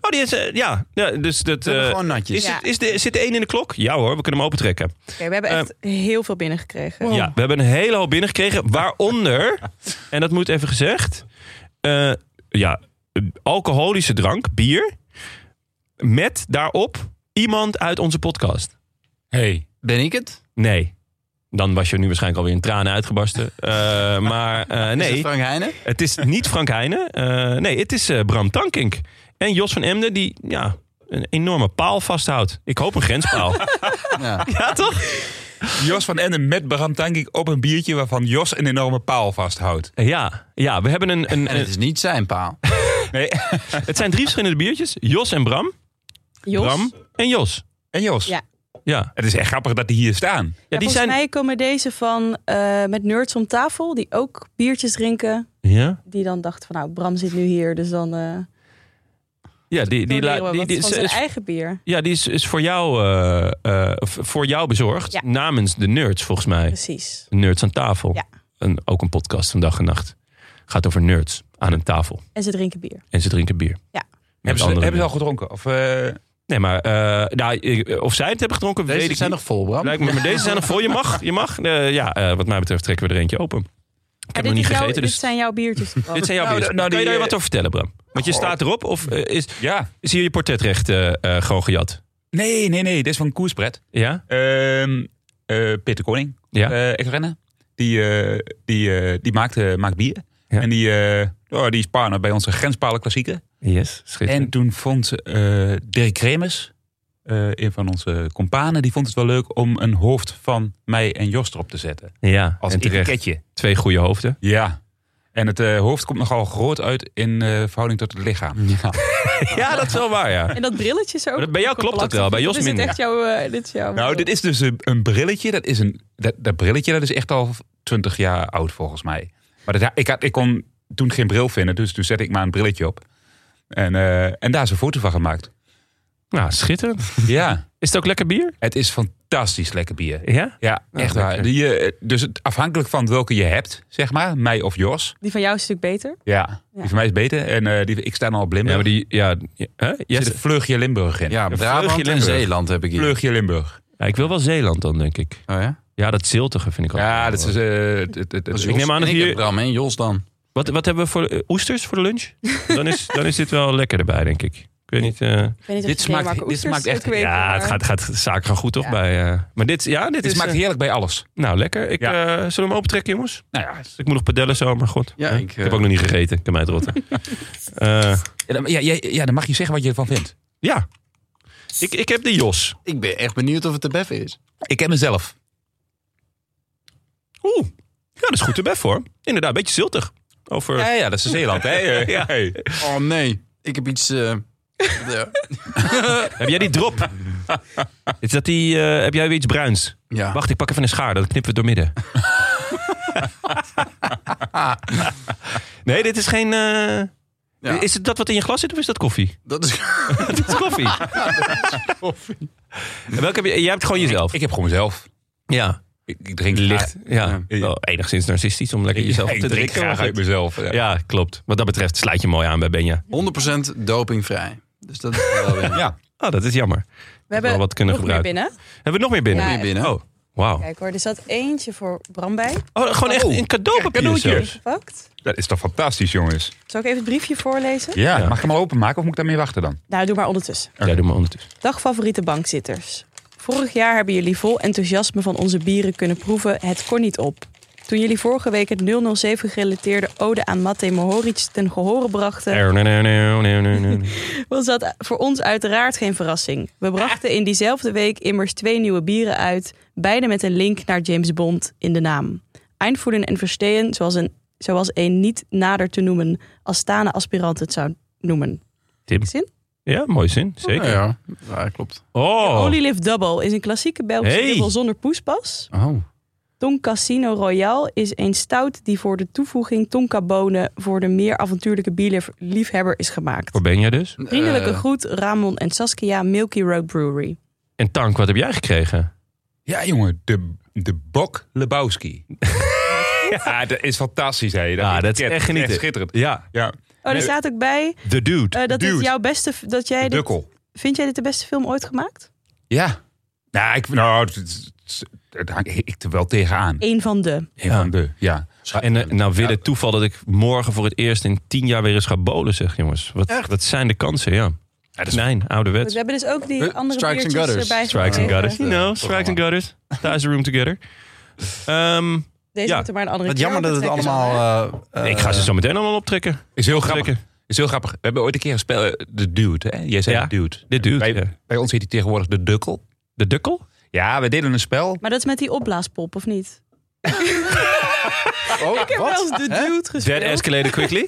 Oh, die is, eh, ja. ja, dus dat,
hebben
eh,
gewoon natjes.
Is, het-
Ja.
is de, zit de één in de klok? Ja hoor, we kunnen hem opentrekken.
Oké, we hebben echt heel veel binnengekregen.
Ehm. Ja, we hebben een hele hoop binnengekregen. Waaronder, en dat moet even gezegd... eh, ja, alcoholische drank, bier... met daarop iemand uit onze podcast.
Hey.
Ben ik het?
Nee. Dan was je nu waarschijnlijk alweer in tranen uitgebarsten. Eh, maar eh,
Is
nee.
het Frank Heijnen?
Het is niet Frank Heijnen. Eh, nee, het is eh, Bram Tankink. En Jos van Emden, die ja, een enorme paal vasthoudt. Ik hoop een grenspaal.
Ja.
ja, toch?
Jos van Enden met Bram Tankink op een biertje waarvan Jos een enorme paal vasthoudt.
Eh, Ja, ja we hebben een... een,
En het is niet zijn paal.
Nee.
het zijn drie verschillende biertjes. Jos en Bram.
Jos?
Bram en Jos.
En Jos.
Ja.
Ja,
Het is echt grappig dat die hier staan.
ja die
Volgens
zijn...
mij komen deze van eh, met nerds om tafel, die ook biertjes drinken.
Ja?
Die dan dachten van, nou, Bram zit nu hier, dus dan... eh,
Ja, die, die, la-
Doneren we
die,
wat
die
van
is,
zijn
is-
eigen bier.
ja, die is, is voor, jou, eh, eh, v- voor jou bezorgd.
Ja.
Namens de nerds, volgens mij.
Precies.
Nerds aan tafel.
Ja.
Een, ook een podcast van dag en nacht. Gaat over nerds aan een tafel.
En ze drinken bier.
En ze drinken bier.
Ja.
Met
Hebben ze,
andere
hebben ze
nerds.
al gedronken? Of, eh,
Nee, maar eh, nou, ik- of zij het hebben gedronken,
Deze
weet ik
zijn
niet.
nog vol, Bram.
Lijkt me, maar deze zijn nog vol. Je mag, je mag. Eh, ja, eh, wat mij betreft trekken we er eentje open. Ik heb
dit,
nog niet
is jouw-
gegeten, dus
dit zijn jouw biertjes. Bram.
dit zijn jouw biertjes.
nou,
Kun je
die,
daar
eh, Oh.
wat over vertellen, Bram? Want je
Goh.
staat erop of eh, is,
ja.
is hier je portretrecht eh, eh, gewoon gejat?
Nee, nee, nee. Dit is van Koerspret.
Ja?
Ehm, eh, Peter Koning,
Ja.
eh, ex-renner. Die, eh, die, eh, die maakt, eh, maakt bier.
Ja.
En die, eh, oh, die is partner bij onze Grenspalen Klassieker.
Yes, schitterend.
En toen vond eh Dirk Kremers, eh, een van onze companen, die vond het wel leuk om een hoofd van mij en Jos erop te zetten.
ja,
Als
en terecht.
etiketje.
Twee goede hoofden.
Ja. En het eh, hoofd komt nogal groot uit in eh, verhouding tot het lichaam. Ja.
Ja, dat is wel waar, ja.
En dat brilletje is ook.
Maar bij jou klopt dat wel, bij Jos
Of is dit
minder.
echt jouw, eh, dit is jouw
Nou, dit is dus een, een brilletje. Dat, is een, dat, dat brilletje dat is echt al 20 jaar oud volgens mij. Maar dat, ik, had, ik kon toen geen bril vinden, dus toen zette ik maar een brilletje op. En, eh, en daar is een foto van gemaakt.
Nou, schitterend.
Ja,
Is het ook lekker bier?
het is fantastisch lekker bier.
Ja?
Ja, echt waar. Die, eh, dus het- afhankelijk van welke je hebt, zeg maar, mij of Jos.
Die van jou is een stuk beter.
Ja, die van mij is beter. En eh, die, ik sta dan op
Ja,
Limburg.
maar die... Ja, hè?
Er
Yes.
zit een vleugje Limburg in.
Ja,
Een
Brabant en
Limburg.
Zeeland heb ik hier.
Vleugje Limburg.
Ja, ik wil wel Zeeland dan, denk ik.
Oh ja?
Ja, dat ziltige vind ik ook.
Ja,
wel.
dat is... eh, het- het- het-
Dat is
Dus Ik
Jos.
neem aan
En
dat
ik
hier-
heb Bram en Jos dan.
Wat, wat hebben we voor eh, oesters voor de lunch? Dan is, dan is dit wel lekker erbij, denk ik. Ik weet niet. eh,
Ik weet niet of
Dit
je
smaakt-
Denemarken
dit
oesters
smaakt echt-
ook weet,
ja, het
maar-
gaat, gaat de zaak gaan goed op
Ja.
bij. eh, maar dit, ja, dit
het
is.
smaakt
eh,
heerlijk bij alles.
nou, lekker. Ik,
Ja.
eh, zullen we hem opentrekken, jongens?
Nou ja,
Ik moet nog padellen zo, maar god.
Ja,
Hè?
ik, eh,
heb ook nog niet gegeten. Ik kan mij het rotten. Eh,
Ja, dan, ja, ja, ja, dan mag je zeggen wat je ervan vindt.
ja. Ik, ik heb de Jos.
Ik ben echt benieuwd of het de beffen is.
Ik heb mezelf.
Oeh. Ja, dat is goed erbij voor. Inderdaad, een beetje ziltig. Over.
Ja, ja, dat is de Zeeland. Hè?
Ja.
Hey.
Oh nee, ik heb iets... eh, ja.
Heb jij die drop? is dat die, eh, heb jij weer iets bruins?
Ja.
Wacht, ik pak even een schaar. Dat knippen we doormidden. nee, dit is geen... eh,
Ja.
Is het dat wat in je glas zit of is dat koffie?
Dat is...
dat is koffie. En welke heb je, jij hebt gewoon jezelf.
Ik heb gewoon mezelf.
ja,
Ik, ik drink
licht.
graag-
Ja.
Ja.
Wel enigszins narcistisch om lekker jezelf
Ja,
op
ik
te
drink
drinken.
graag
maar
uit
goed.
mezelf. Ja.
ja, klopt. Wat dat betreft sluit je mooi aan bij Benja.
100% dopingvrij. Dus dat is wel weer.
Ja.
Oh, dat is jammer.
We hebben
wel wat kunnen
nog meer
gebruiken.
binnen.
Hebben we nog meer binnen?
Ja.
Hier binnen.
Oh, wauw.
Kijk hoor, er zat eentje voor Bram bij.
Oh, gewoon echt een cadeaupapier
cadeautje.
zelfs.
Gepakt.
Dat is toch fantastisch, jongens?
Zal ik even het briefje voorlezen?
Ja, mag ik hem al openmaken of moet ik daarmee wachten dan?
Nou, doe maar ondertussen.
Ja, doe maar ondertussen.
Dag favoriete bankzitters. Vorig jaar hebben jullie vol enthousiasme van onze bieren kunnen proeven. Het kon niet op. Toen jullie vorige week het 007 gerelateerde ode aan Matej Mohoric ten gehore brachten,
Nee, nee, nee, nee, nee, nee, nee.
was dat voor ons uiteraard geen verrassing. We brachten in diezelfde week immers twee nieuwe bieren uit, beide met een link naar James Bond in de naam. Einvoelen en Verstehen, zoals een, zoals een niet nader te noemen Astana aspirant het zou noemen.
Tim.
Zin?
Ja, mooi zin. Zeker.
Ja, ja, klopt.
Oh,
Holy Lift Double is een klassieke Belgische
Hey.
dubbel zonder poespas.
Oh.
Ton Casino Royal is een stout die voor de toevoeging tonkabonen voor de meer avontuurlijke bierliefhebber is gemaakt.
waar ben jij dus?
Vriendelijke
Eh,
groet Ramon en Saskia Milky Road Brewery.
En Tank, wat heb jij gekregen?
Ja, jongen, de, de Bok Lebowski. ja, dat is fantastisch, hè.
Ja, Ah, dat is
ket-
echt genieten.
schitterend.
Ja,
Ja,
Oh, er
Nee.
staat ook bij
The Dude.
eh, dat dit
Dude.
jouw beste f- dat jij
de
dit,
Dukkel.
vind jij dit de beste film ooit gemaakt?
Ja. Nou, ik, nou het, het, het hang ik er wel tegenaan.
Eén van de.
Een van de, ja.
En eh, nou weer het toeval dat ik morgen voor het eerst in tien jaar weer eens ga bowlen, zeg jongens. Wat, dat zijn de kansen, ja. Mijn
We
ouderwets.
hebben dus ook die
Eh,
andere
Strikes and
biertjes
Gutters.
erbij
Strikes and
gekregen.
gutters. You know, strikes and gutters. Ties the room together. Ehm,
Deze
Ja.
moeten maar een andere
Wat
keer
jammer dat het
opentrekken.
allemaal... eh, eh,
ik ga ze zo meteen allemaal optrekken.
Is heel grappig.
Trekken.
Is heel grappig. We hebben ooit een keer een spel, eh, de dude, hè? Jij zei
Ja,
de dude.
de dude,
Bij,
ja.
bij ons heet hij tegenwoordig de dukkel.
De dukkel?
Ja, we deden een spel.
Maar dat is met die opblaaspop of niet?
oh,
Ik heb wel eens de dude
That
gespeeld.
escalated quickly.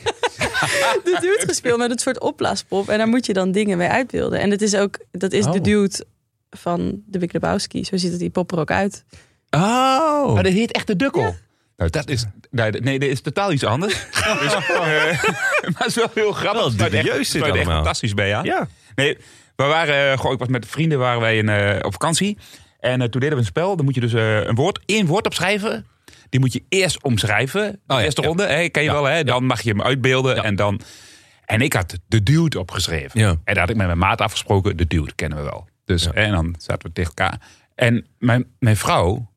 de dude gespeeld met het soort opblaaspop. En daar moet je dan dingen mee uitbeelden. En dat is ook, dat is
Oh.
de dude van de Big Lebowski. Zo ziet het die pop er ook uit.
Oh.
Maar dat heet echt de dukkel. Nou, dat is, nee, dat- nee, dat is totaal iets anders. Dus, eh, maar het is wel heel grappig. Het sluit echt-
dubieus
het
dit
sluit echt
allemaal.
fantastisch bij, ja.
Ja.
Nee, we waren, eh, gewoon, ik was met vrienden waren wij in, eh, op vakantie. En eh, toen deden we een spel. Dan moet je dus eh, een woord, één woord opschrijven. Die moet je eerst omschrijven. De eerste ronde, hè, ken je wel. Hè? Dan mag je hem uitbeelden. En, dan, en ik had de dude opgeschreven. En daar had ik met mijn maat afgesproken. De dude kennen we wel. Dus, En dan zaten we tegen elkaar. En mijn, mijn vrouw,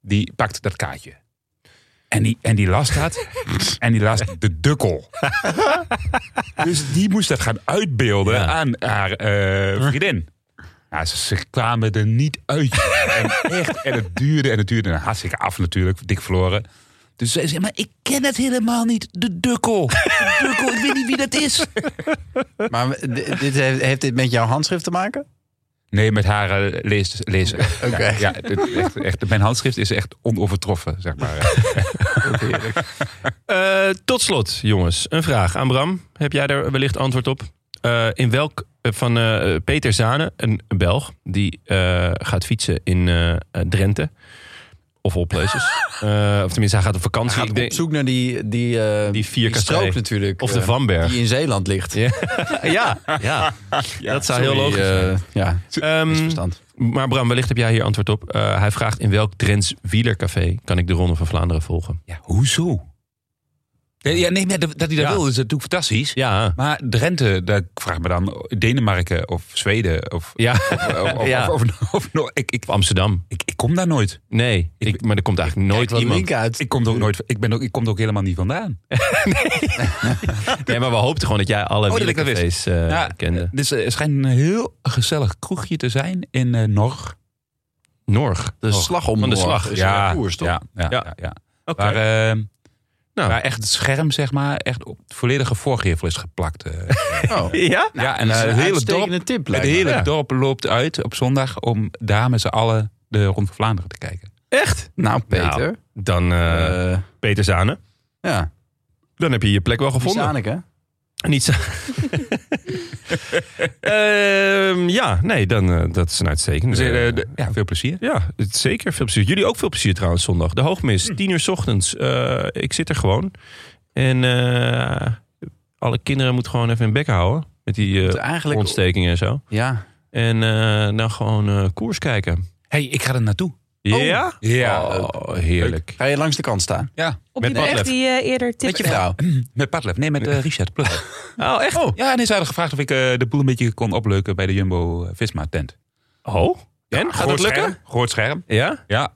die pakte dat kaartje. En die, en die las dat. en die las de dukkel. dus die moest dat gaan uitbeelden aan haar eh, vriendin. Ja, ze, ze kwamen er niet uit. en, echt, en het duurde en het duurde. En hartstikke af natuurlijk, dik verloren. Dus zij zei, maar ik ken het helemaal niet. De dukkel. De dukkel, ik weet niet wie dat is.
Maar d- dit heeft, heeft dit met jouw handschrift te maken?
Nee, met haar eh, lees, lezen.
Oké.
Ja, ja, dit- echt, echt, mijn handschrift is echt onovertroffen, zeg maar.
Eh, tot slot, jongens, een vraag aan Bram. Heb jij daar wellicht antwoord op? Eh, in welk eh, van eh, Peter Zane, een Belg, die eh, gaat fietsen in eh, eh, Drenthe. Of all places. Eh, of tenminste, hij gaat op vakantie.
Hij gaat
Ik denk-
op zoek naar die, die, eh,
die vier
die strook natuurlijk.
Of de
eh,
Vanberg.
Die in Zeeland ligt.
Ja, ja, dat zou heel
sorry,
logisch zijn.
eh, ja,
Ehm,
misverstand.
maar Bram, wellicht heb jij hier antwoord op. Eh, hij vraagt in welk Drents wielercafé kan ik de Ronde van Vlaanderen volgen?
Ja, hoezo? Nee, ja, nee, maar dat dat hij dat
Ja.
wil is natuurlijk fantastisch.
Ja.
Maar Drenthe, daar ik vraag me dan Denemarken of Zweden of,
Ja.
of, of,
Ja.
of, of- of- of- ik, ik,
Amsterdam.
ik, ik kom daar nooit.
Nee, ik, maar er komt eigenlijk nooit
wat
iemand.
link uit.
Ik kom er ook nooit. Ik, ben ook, ik kom er ook helemaal niet vandaan.
Nee, maar we hoopten gewoon dat jij alle
Oh, dat ik dat
wielercafés eh,
Ja,
kende.
Dus eh, het schijnt een heel gezellig kroegje te zijn in eh Norg.
Norg.
De slag om
Oh, Van de
Noord
slag.
is
Ja,
een koers, toch?
Ja, ja,
Ja.
ja. ja.
Oké.
Waar, eh,
Nou.
waar echt het scherm, zeg maar, echt op het volledige voorgevel is geplakt. eh.
Oh.
Ja?
ja, en
dat is
eh,
een
het hele dorp,
uitstekende tip,
het
lijkt me.
hele
Ja.
dorp loopt uit op zondag om daar met z'n allen de Rond van Vlaanderen te kijken.
Echt?
Nou, Peter.
Nou, dan eh,
Eh,
Peter Zane.
ja,
Dan heb je je plek wel gevonden.
Zaneke.
Niet zo. Ehm, ja, nee, dan, eh, dat is een uitstekende.
Dus, eh, de- ja, veel plezier.
ja, het- zeker. Veel plezier. Jullie ook veel plezier trouwens zondag. De hoogmis,
Hmm.
10 uur 's ochtends. Eh, ik zit er gewoon. En eh, alle kinderen moeten gewoon even hun bek houden. Met die eh,
Want eigenlijk-
ontstekingen en zo.
Ja.
En eh, dan gewoon eh, koers kijken.
hey, ik ga er naartoe.
Ja?
Ja.
Oh, heerlijk.
Ga je langs de kant staan?
Ja,
Op
Met
die plek
Padlef.
die je eerder tipte.
Met je vrouw?
met Padlef. Nee, met eh, Richard Plug.
Oh, echt? Oh.
Ja, en ze hadden gevraagd of ik eh, de boel een beetje kon opleuken bij de Jumbo-Visma-tent.
En?
Ja,
Gaat
groot
dat lukken?
Scherm, groot scherm.
Ja?
Ja.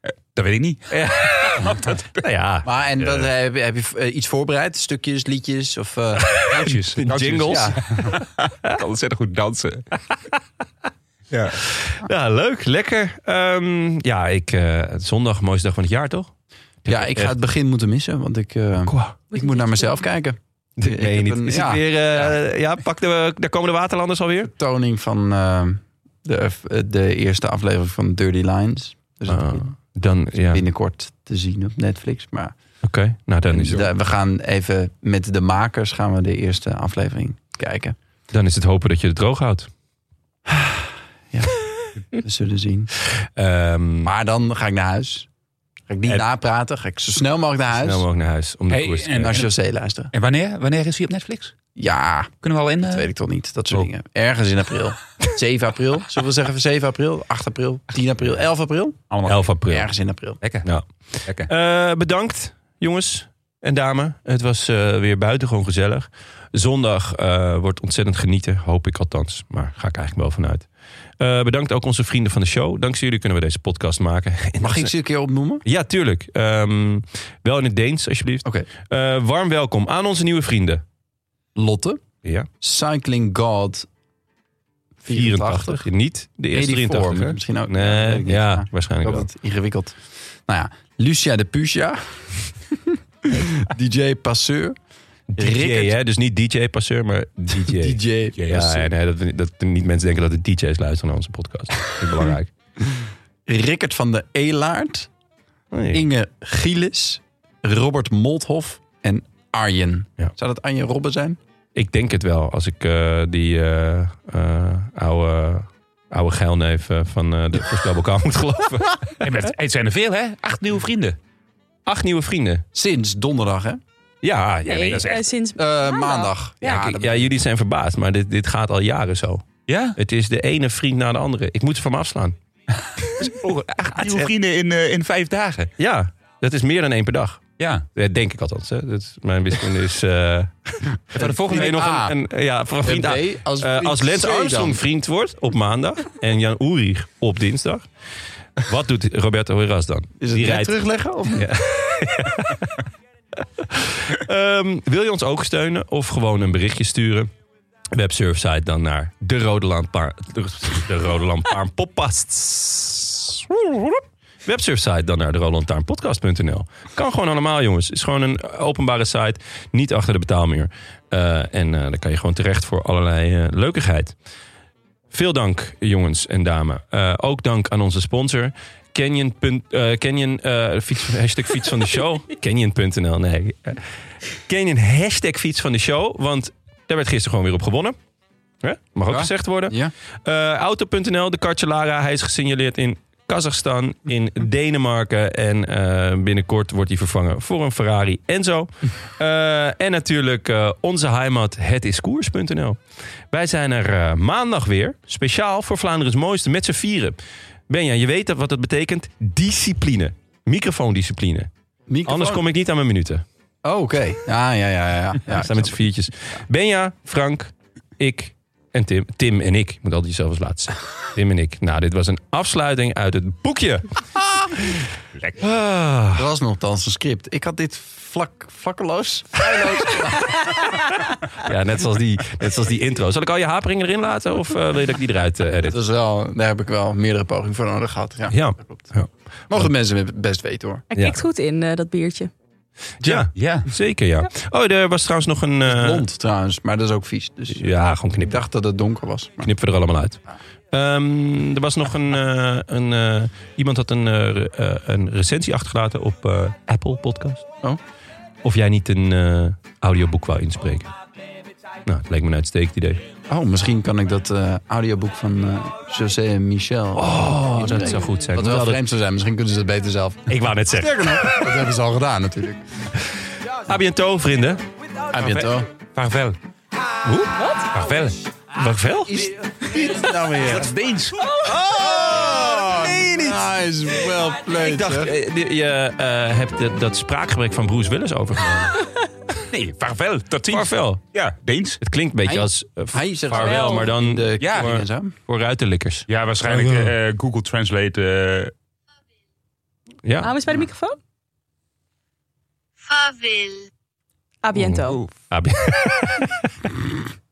Eh, Dat weet ik niet.
Nou ja.
Maar en dat, eh, heb je, heb je eh, iets voorbereid? Stukjes, liedjes of... eh,
Dansjes.
Jingles.
Ja. Ik kan ontzettend goed dansen. ja.
Ja, leuk. Lekker. Ehm, ja, ik, eh, zondag, mooiste dag van het jaar, toch?
ja, ik ga het begin moeten missen, want ik, eh, ik moet naar mezelf kijken. ik
Nee,
heb
niet.
een-
Is
ja.
het weer... eh, ja, pak de, daar komen de waterlanders alweer.
Toning van eh, de, eh, de eerste aflevering van Dirty Lines. Dus dat
Ah,
is
dan, ja. Oké,
binnenkort te zien op Netflix. Maar
nou dan is, het,
da- we gaan even met de makers gaan we de eerste aflevering kijken.
dan is het hopen dat je het droog houdt.
We zullen zien.
Ehm
Maar dan ga ik naar huis. Ga ik niet
En-
napraten. Ga ik zo snel mogelijk naar huis.
snel mogelijk naar huis om de
Hey,
koers te
en
Naar
kijken.
José luisteren.
En wanneer, wanneer is hij op Netflix?
Ja,
Kunnen we al in? eh,
dat weet ik toch niet. Dat soort
Oh.
dingen. Ergens in april. 7 april. Zullen we zeggen 7 april? 8 april? 10 april? 11 april?
Allemaal
11 april.
Ergens in april.
lekker.
Nou.
lekker.
Eh, bedankt, jongens en dame. Het was eh, weer buitengewoon gezellig. Zondag eh, wordt ontzettend genieten, hoop ik althans. Maar ga ik eigenlijk wel vanuit. Eh, bedankt ook onze vrienden van de show. Dankzij jullie kunnen we deze podcast maken. En dat
Mag ik
is-
ze een keer opnoemen?
Ja, tuurlijk. Ehm, wel in het Deens, alsjeblieft.
Oké.
Eh, warm welkom aan onze nieuwe vrienden.
Lotte.
Ja.
Cycling God.
84. Niet de eerste
84,
83. hè?
misschien ook. Ja, weet
Nee,
ik niet.
ja,
Ja.
waarschijnlijk
Dat
wel.
het ingewikkeld. Nou ja, Lucia de Pucia. DJ Passeur.
DJ,
Rickert.
hè? Dus niet DJ-passeur, maar DJ.
DJ.
Ja,
Passeur.
nee, dat, we- dat er niet mensen denken dat de DJ's luisteren naar onze podcast. Dat is belangrijk.
Rickert van de Elaard. Inge Gielis. Robert Molthof. En Arjen.
Ja.
Zou dat Arjen Robben zijn?
Ik denk het wel, als ik eh, die eh, eh, oude, oude geilneef eh, van eh, de Voorspelbokaal moet geloven.
Hey, maar het- het zijn er veel, hè? Acht nieuwe vrienden.
Acht nieuwe vrienden.
Sinds donderdag, hè? Eh,
Ja, ja
Nee,
nee, dat is
eh,
echt... Ah,
sinds
maandag.
Ja, kijk, ja, Ah, jullie zijn verbaasd, maar dit, dit gaat al jaren zo.
Ja?
Het is de ene vriend na de andere. Ik moet ze van me afslaan.
Acht nieuwe vrienden in, eh, in vijf dagen.
Ja, dat is meer dan één per dag.
Ja.
Eh, Denk ik althans. Hè. Dat is, mijn wiskunde is... eh
de volgende
week
week
nog
A.
een, een- ja, voor een vriend
En
A.
B, als
Eh,
vriend
als Lens
C dan.
Armstrong vriend wordt op maandag en Jan Ulrich op dinsdag. Wat doet Roberto Heras dan?
Is het
Die
net
rijdt-
terugleggen? Of...
Ja. Ehm, wil je ons ook steunen of gewoon een berichtje sturen? Websurfsite dan naar de Rode Lantaarn de Rode Lantaarn Podcast. Websurfsite dan naar de Rode Lantaarn Podcast.nl. Kan gewoon allemaal, jongens. Het is gewoon een openbare site, niet achter de betaalmuur. Eh, en eh daar kan je gewoon terecht voor allerlei eh, leukigheid. Veel dank, jongens en dames. Eh, ook dank aan onze sponsor. Canyon. punt- eh, Canyon eh, fiets, hashtag fiets van de show. Canyon.nl, nee. Eh, Canyon hashtag fiets van de show. Want daar werd gisteren gewoon weer op gewonnen. Hè? Mag ook
Ja.
gezegd worden.
Ja.
Eh, Auto.nl, de kartje Lara. Hij is gesignaleerd in Kazachstan, in Denemarken. En eh, binnenkort wordt hij vervangen voor een Ferrari en zo. Eh, en natuurlijk eh, onze heimat, hetiskoers.nl. Wij zijn er eh, maandag weer. Speciaal voor Vlaanderen's Mooiste met z'n vieren. Benja, je weet dat wat dat betekent? Discipline. Microfoondiscipline. Anders kom ik niet aan mijn minuten.
Oh, oké. Ja, ja, ja. ja.
Ja,
ja
we staan met z'n viertjes. Benja, Frank, ik en Tim. Tim en ik. Ik moet altijd jezelf als laatste zeggen. Tim en ik. Nou, dit was een afsluiting uit het boekje. Lekker.
Er was nogthans een script. Ik had dit vlak, vlakkeloos, feilloos.
Ja, net zoals, die, net zoals die intro. Zal ik al je haperingen erin laten? Of eh, wil je dat ik die eruit eh, edit?
Dat is wel, daar heb ik wel meerdere pogingen voor nodig gehad. Ja.
Ja.
Mogen mensen het best weten hoor.
Hij
Ja.
kijkt goed in, eh, dat biertje.
Ja,
ja.
zeker ja. Oh, er was trouwens nog een... eh,
Blond trouwens, maar dat is ook vies. Dus
ja, gewoon knip.
ik dacht dat het donker was. Maar
Knippen we er allemaal uit. Ehm, er was nog een. eh, een eh, iemand had een, eh, re- eh, een recensie achtergelaten op eh, Apple Podcast.
Oh.
Of jij niet een eh, audioboek wou inspreken. Nou, het leek me een uitstekend idee.
Oh, misschien kan ik dat eh, audioboek van eh, José en Michel.
Oh,
inspreken.
dat zou goed zijn.
Wat wel
Hoewel dat-
vreemd zou zijn, misschien kunnen ze dat beter zelf.
Ik wou net zeggen.
Sterker nog, dat hebben ze al gedaan natuurlijk.
A bientôt, vrienden. Ah,
A bientôt.
Vaarwel.
Hoe?
Vaarwel.
Vaarwel?
Dit nou weer. Dat is Deens. Oh, nice. Well played.
Ik dacht,
hè?
eh, je eh, hebt dat- dat spraakgebrek van Bruce Willis overgenomen.
Nee, vaarwel. Tot ziens.
Vaarwel.
Ja, Deens.
Het klinkt een beetje
Hij-
als eh,
hij zegt
vaarwel,
wel
maar dan
de
Ja.
voor,
en zo.
voor ruitenlikkers.
Ja, waarschijnlijk eh, Google Translate. eh,
Ja.
Ah.
Hou eens bij de microfoon.
Farvel.
A biento.
Ah, bi-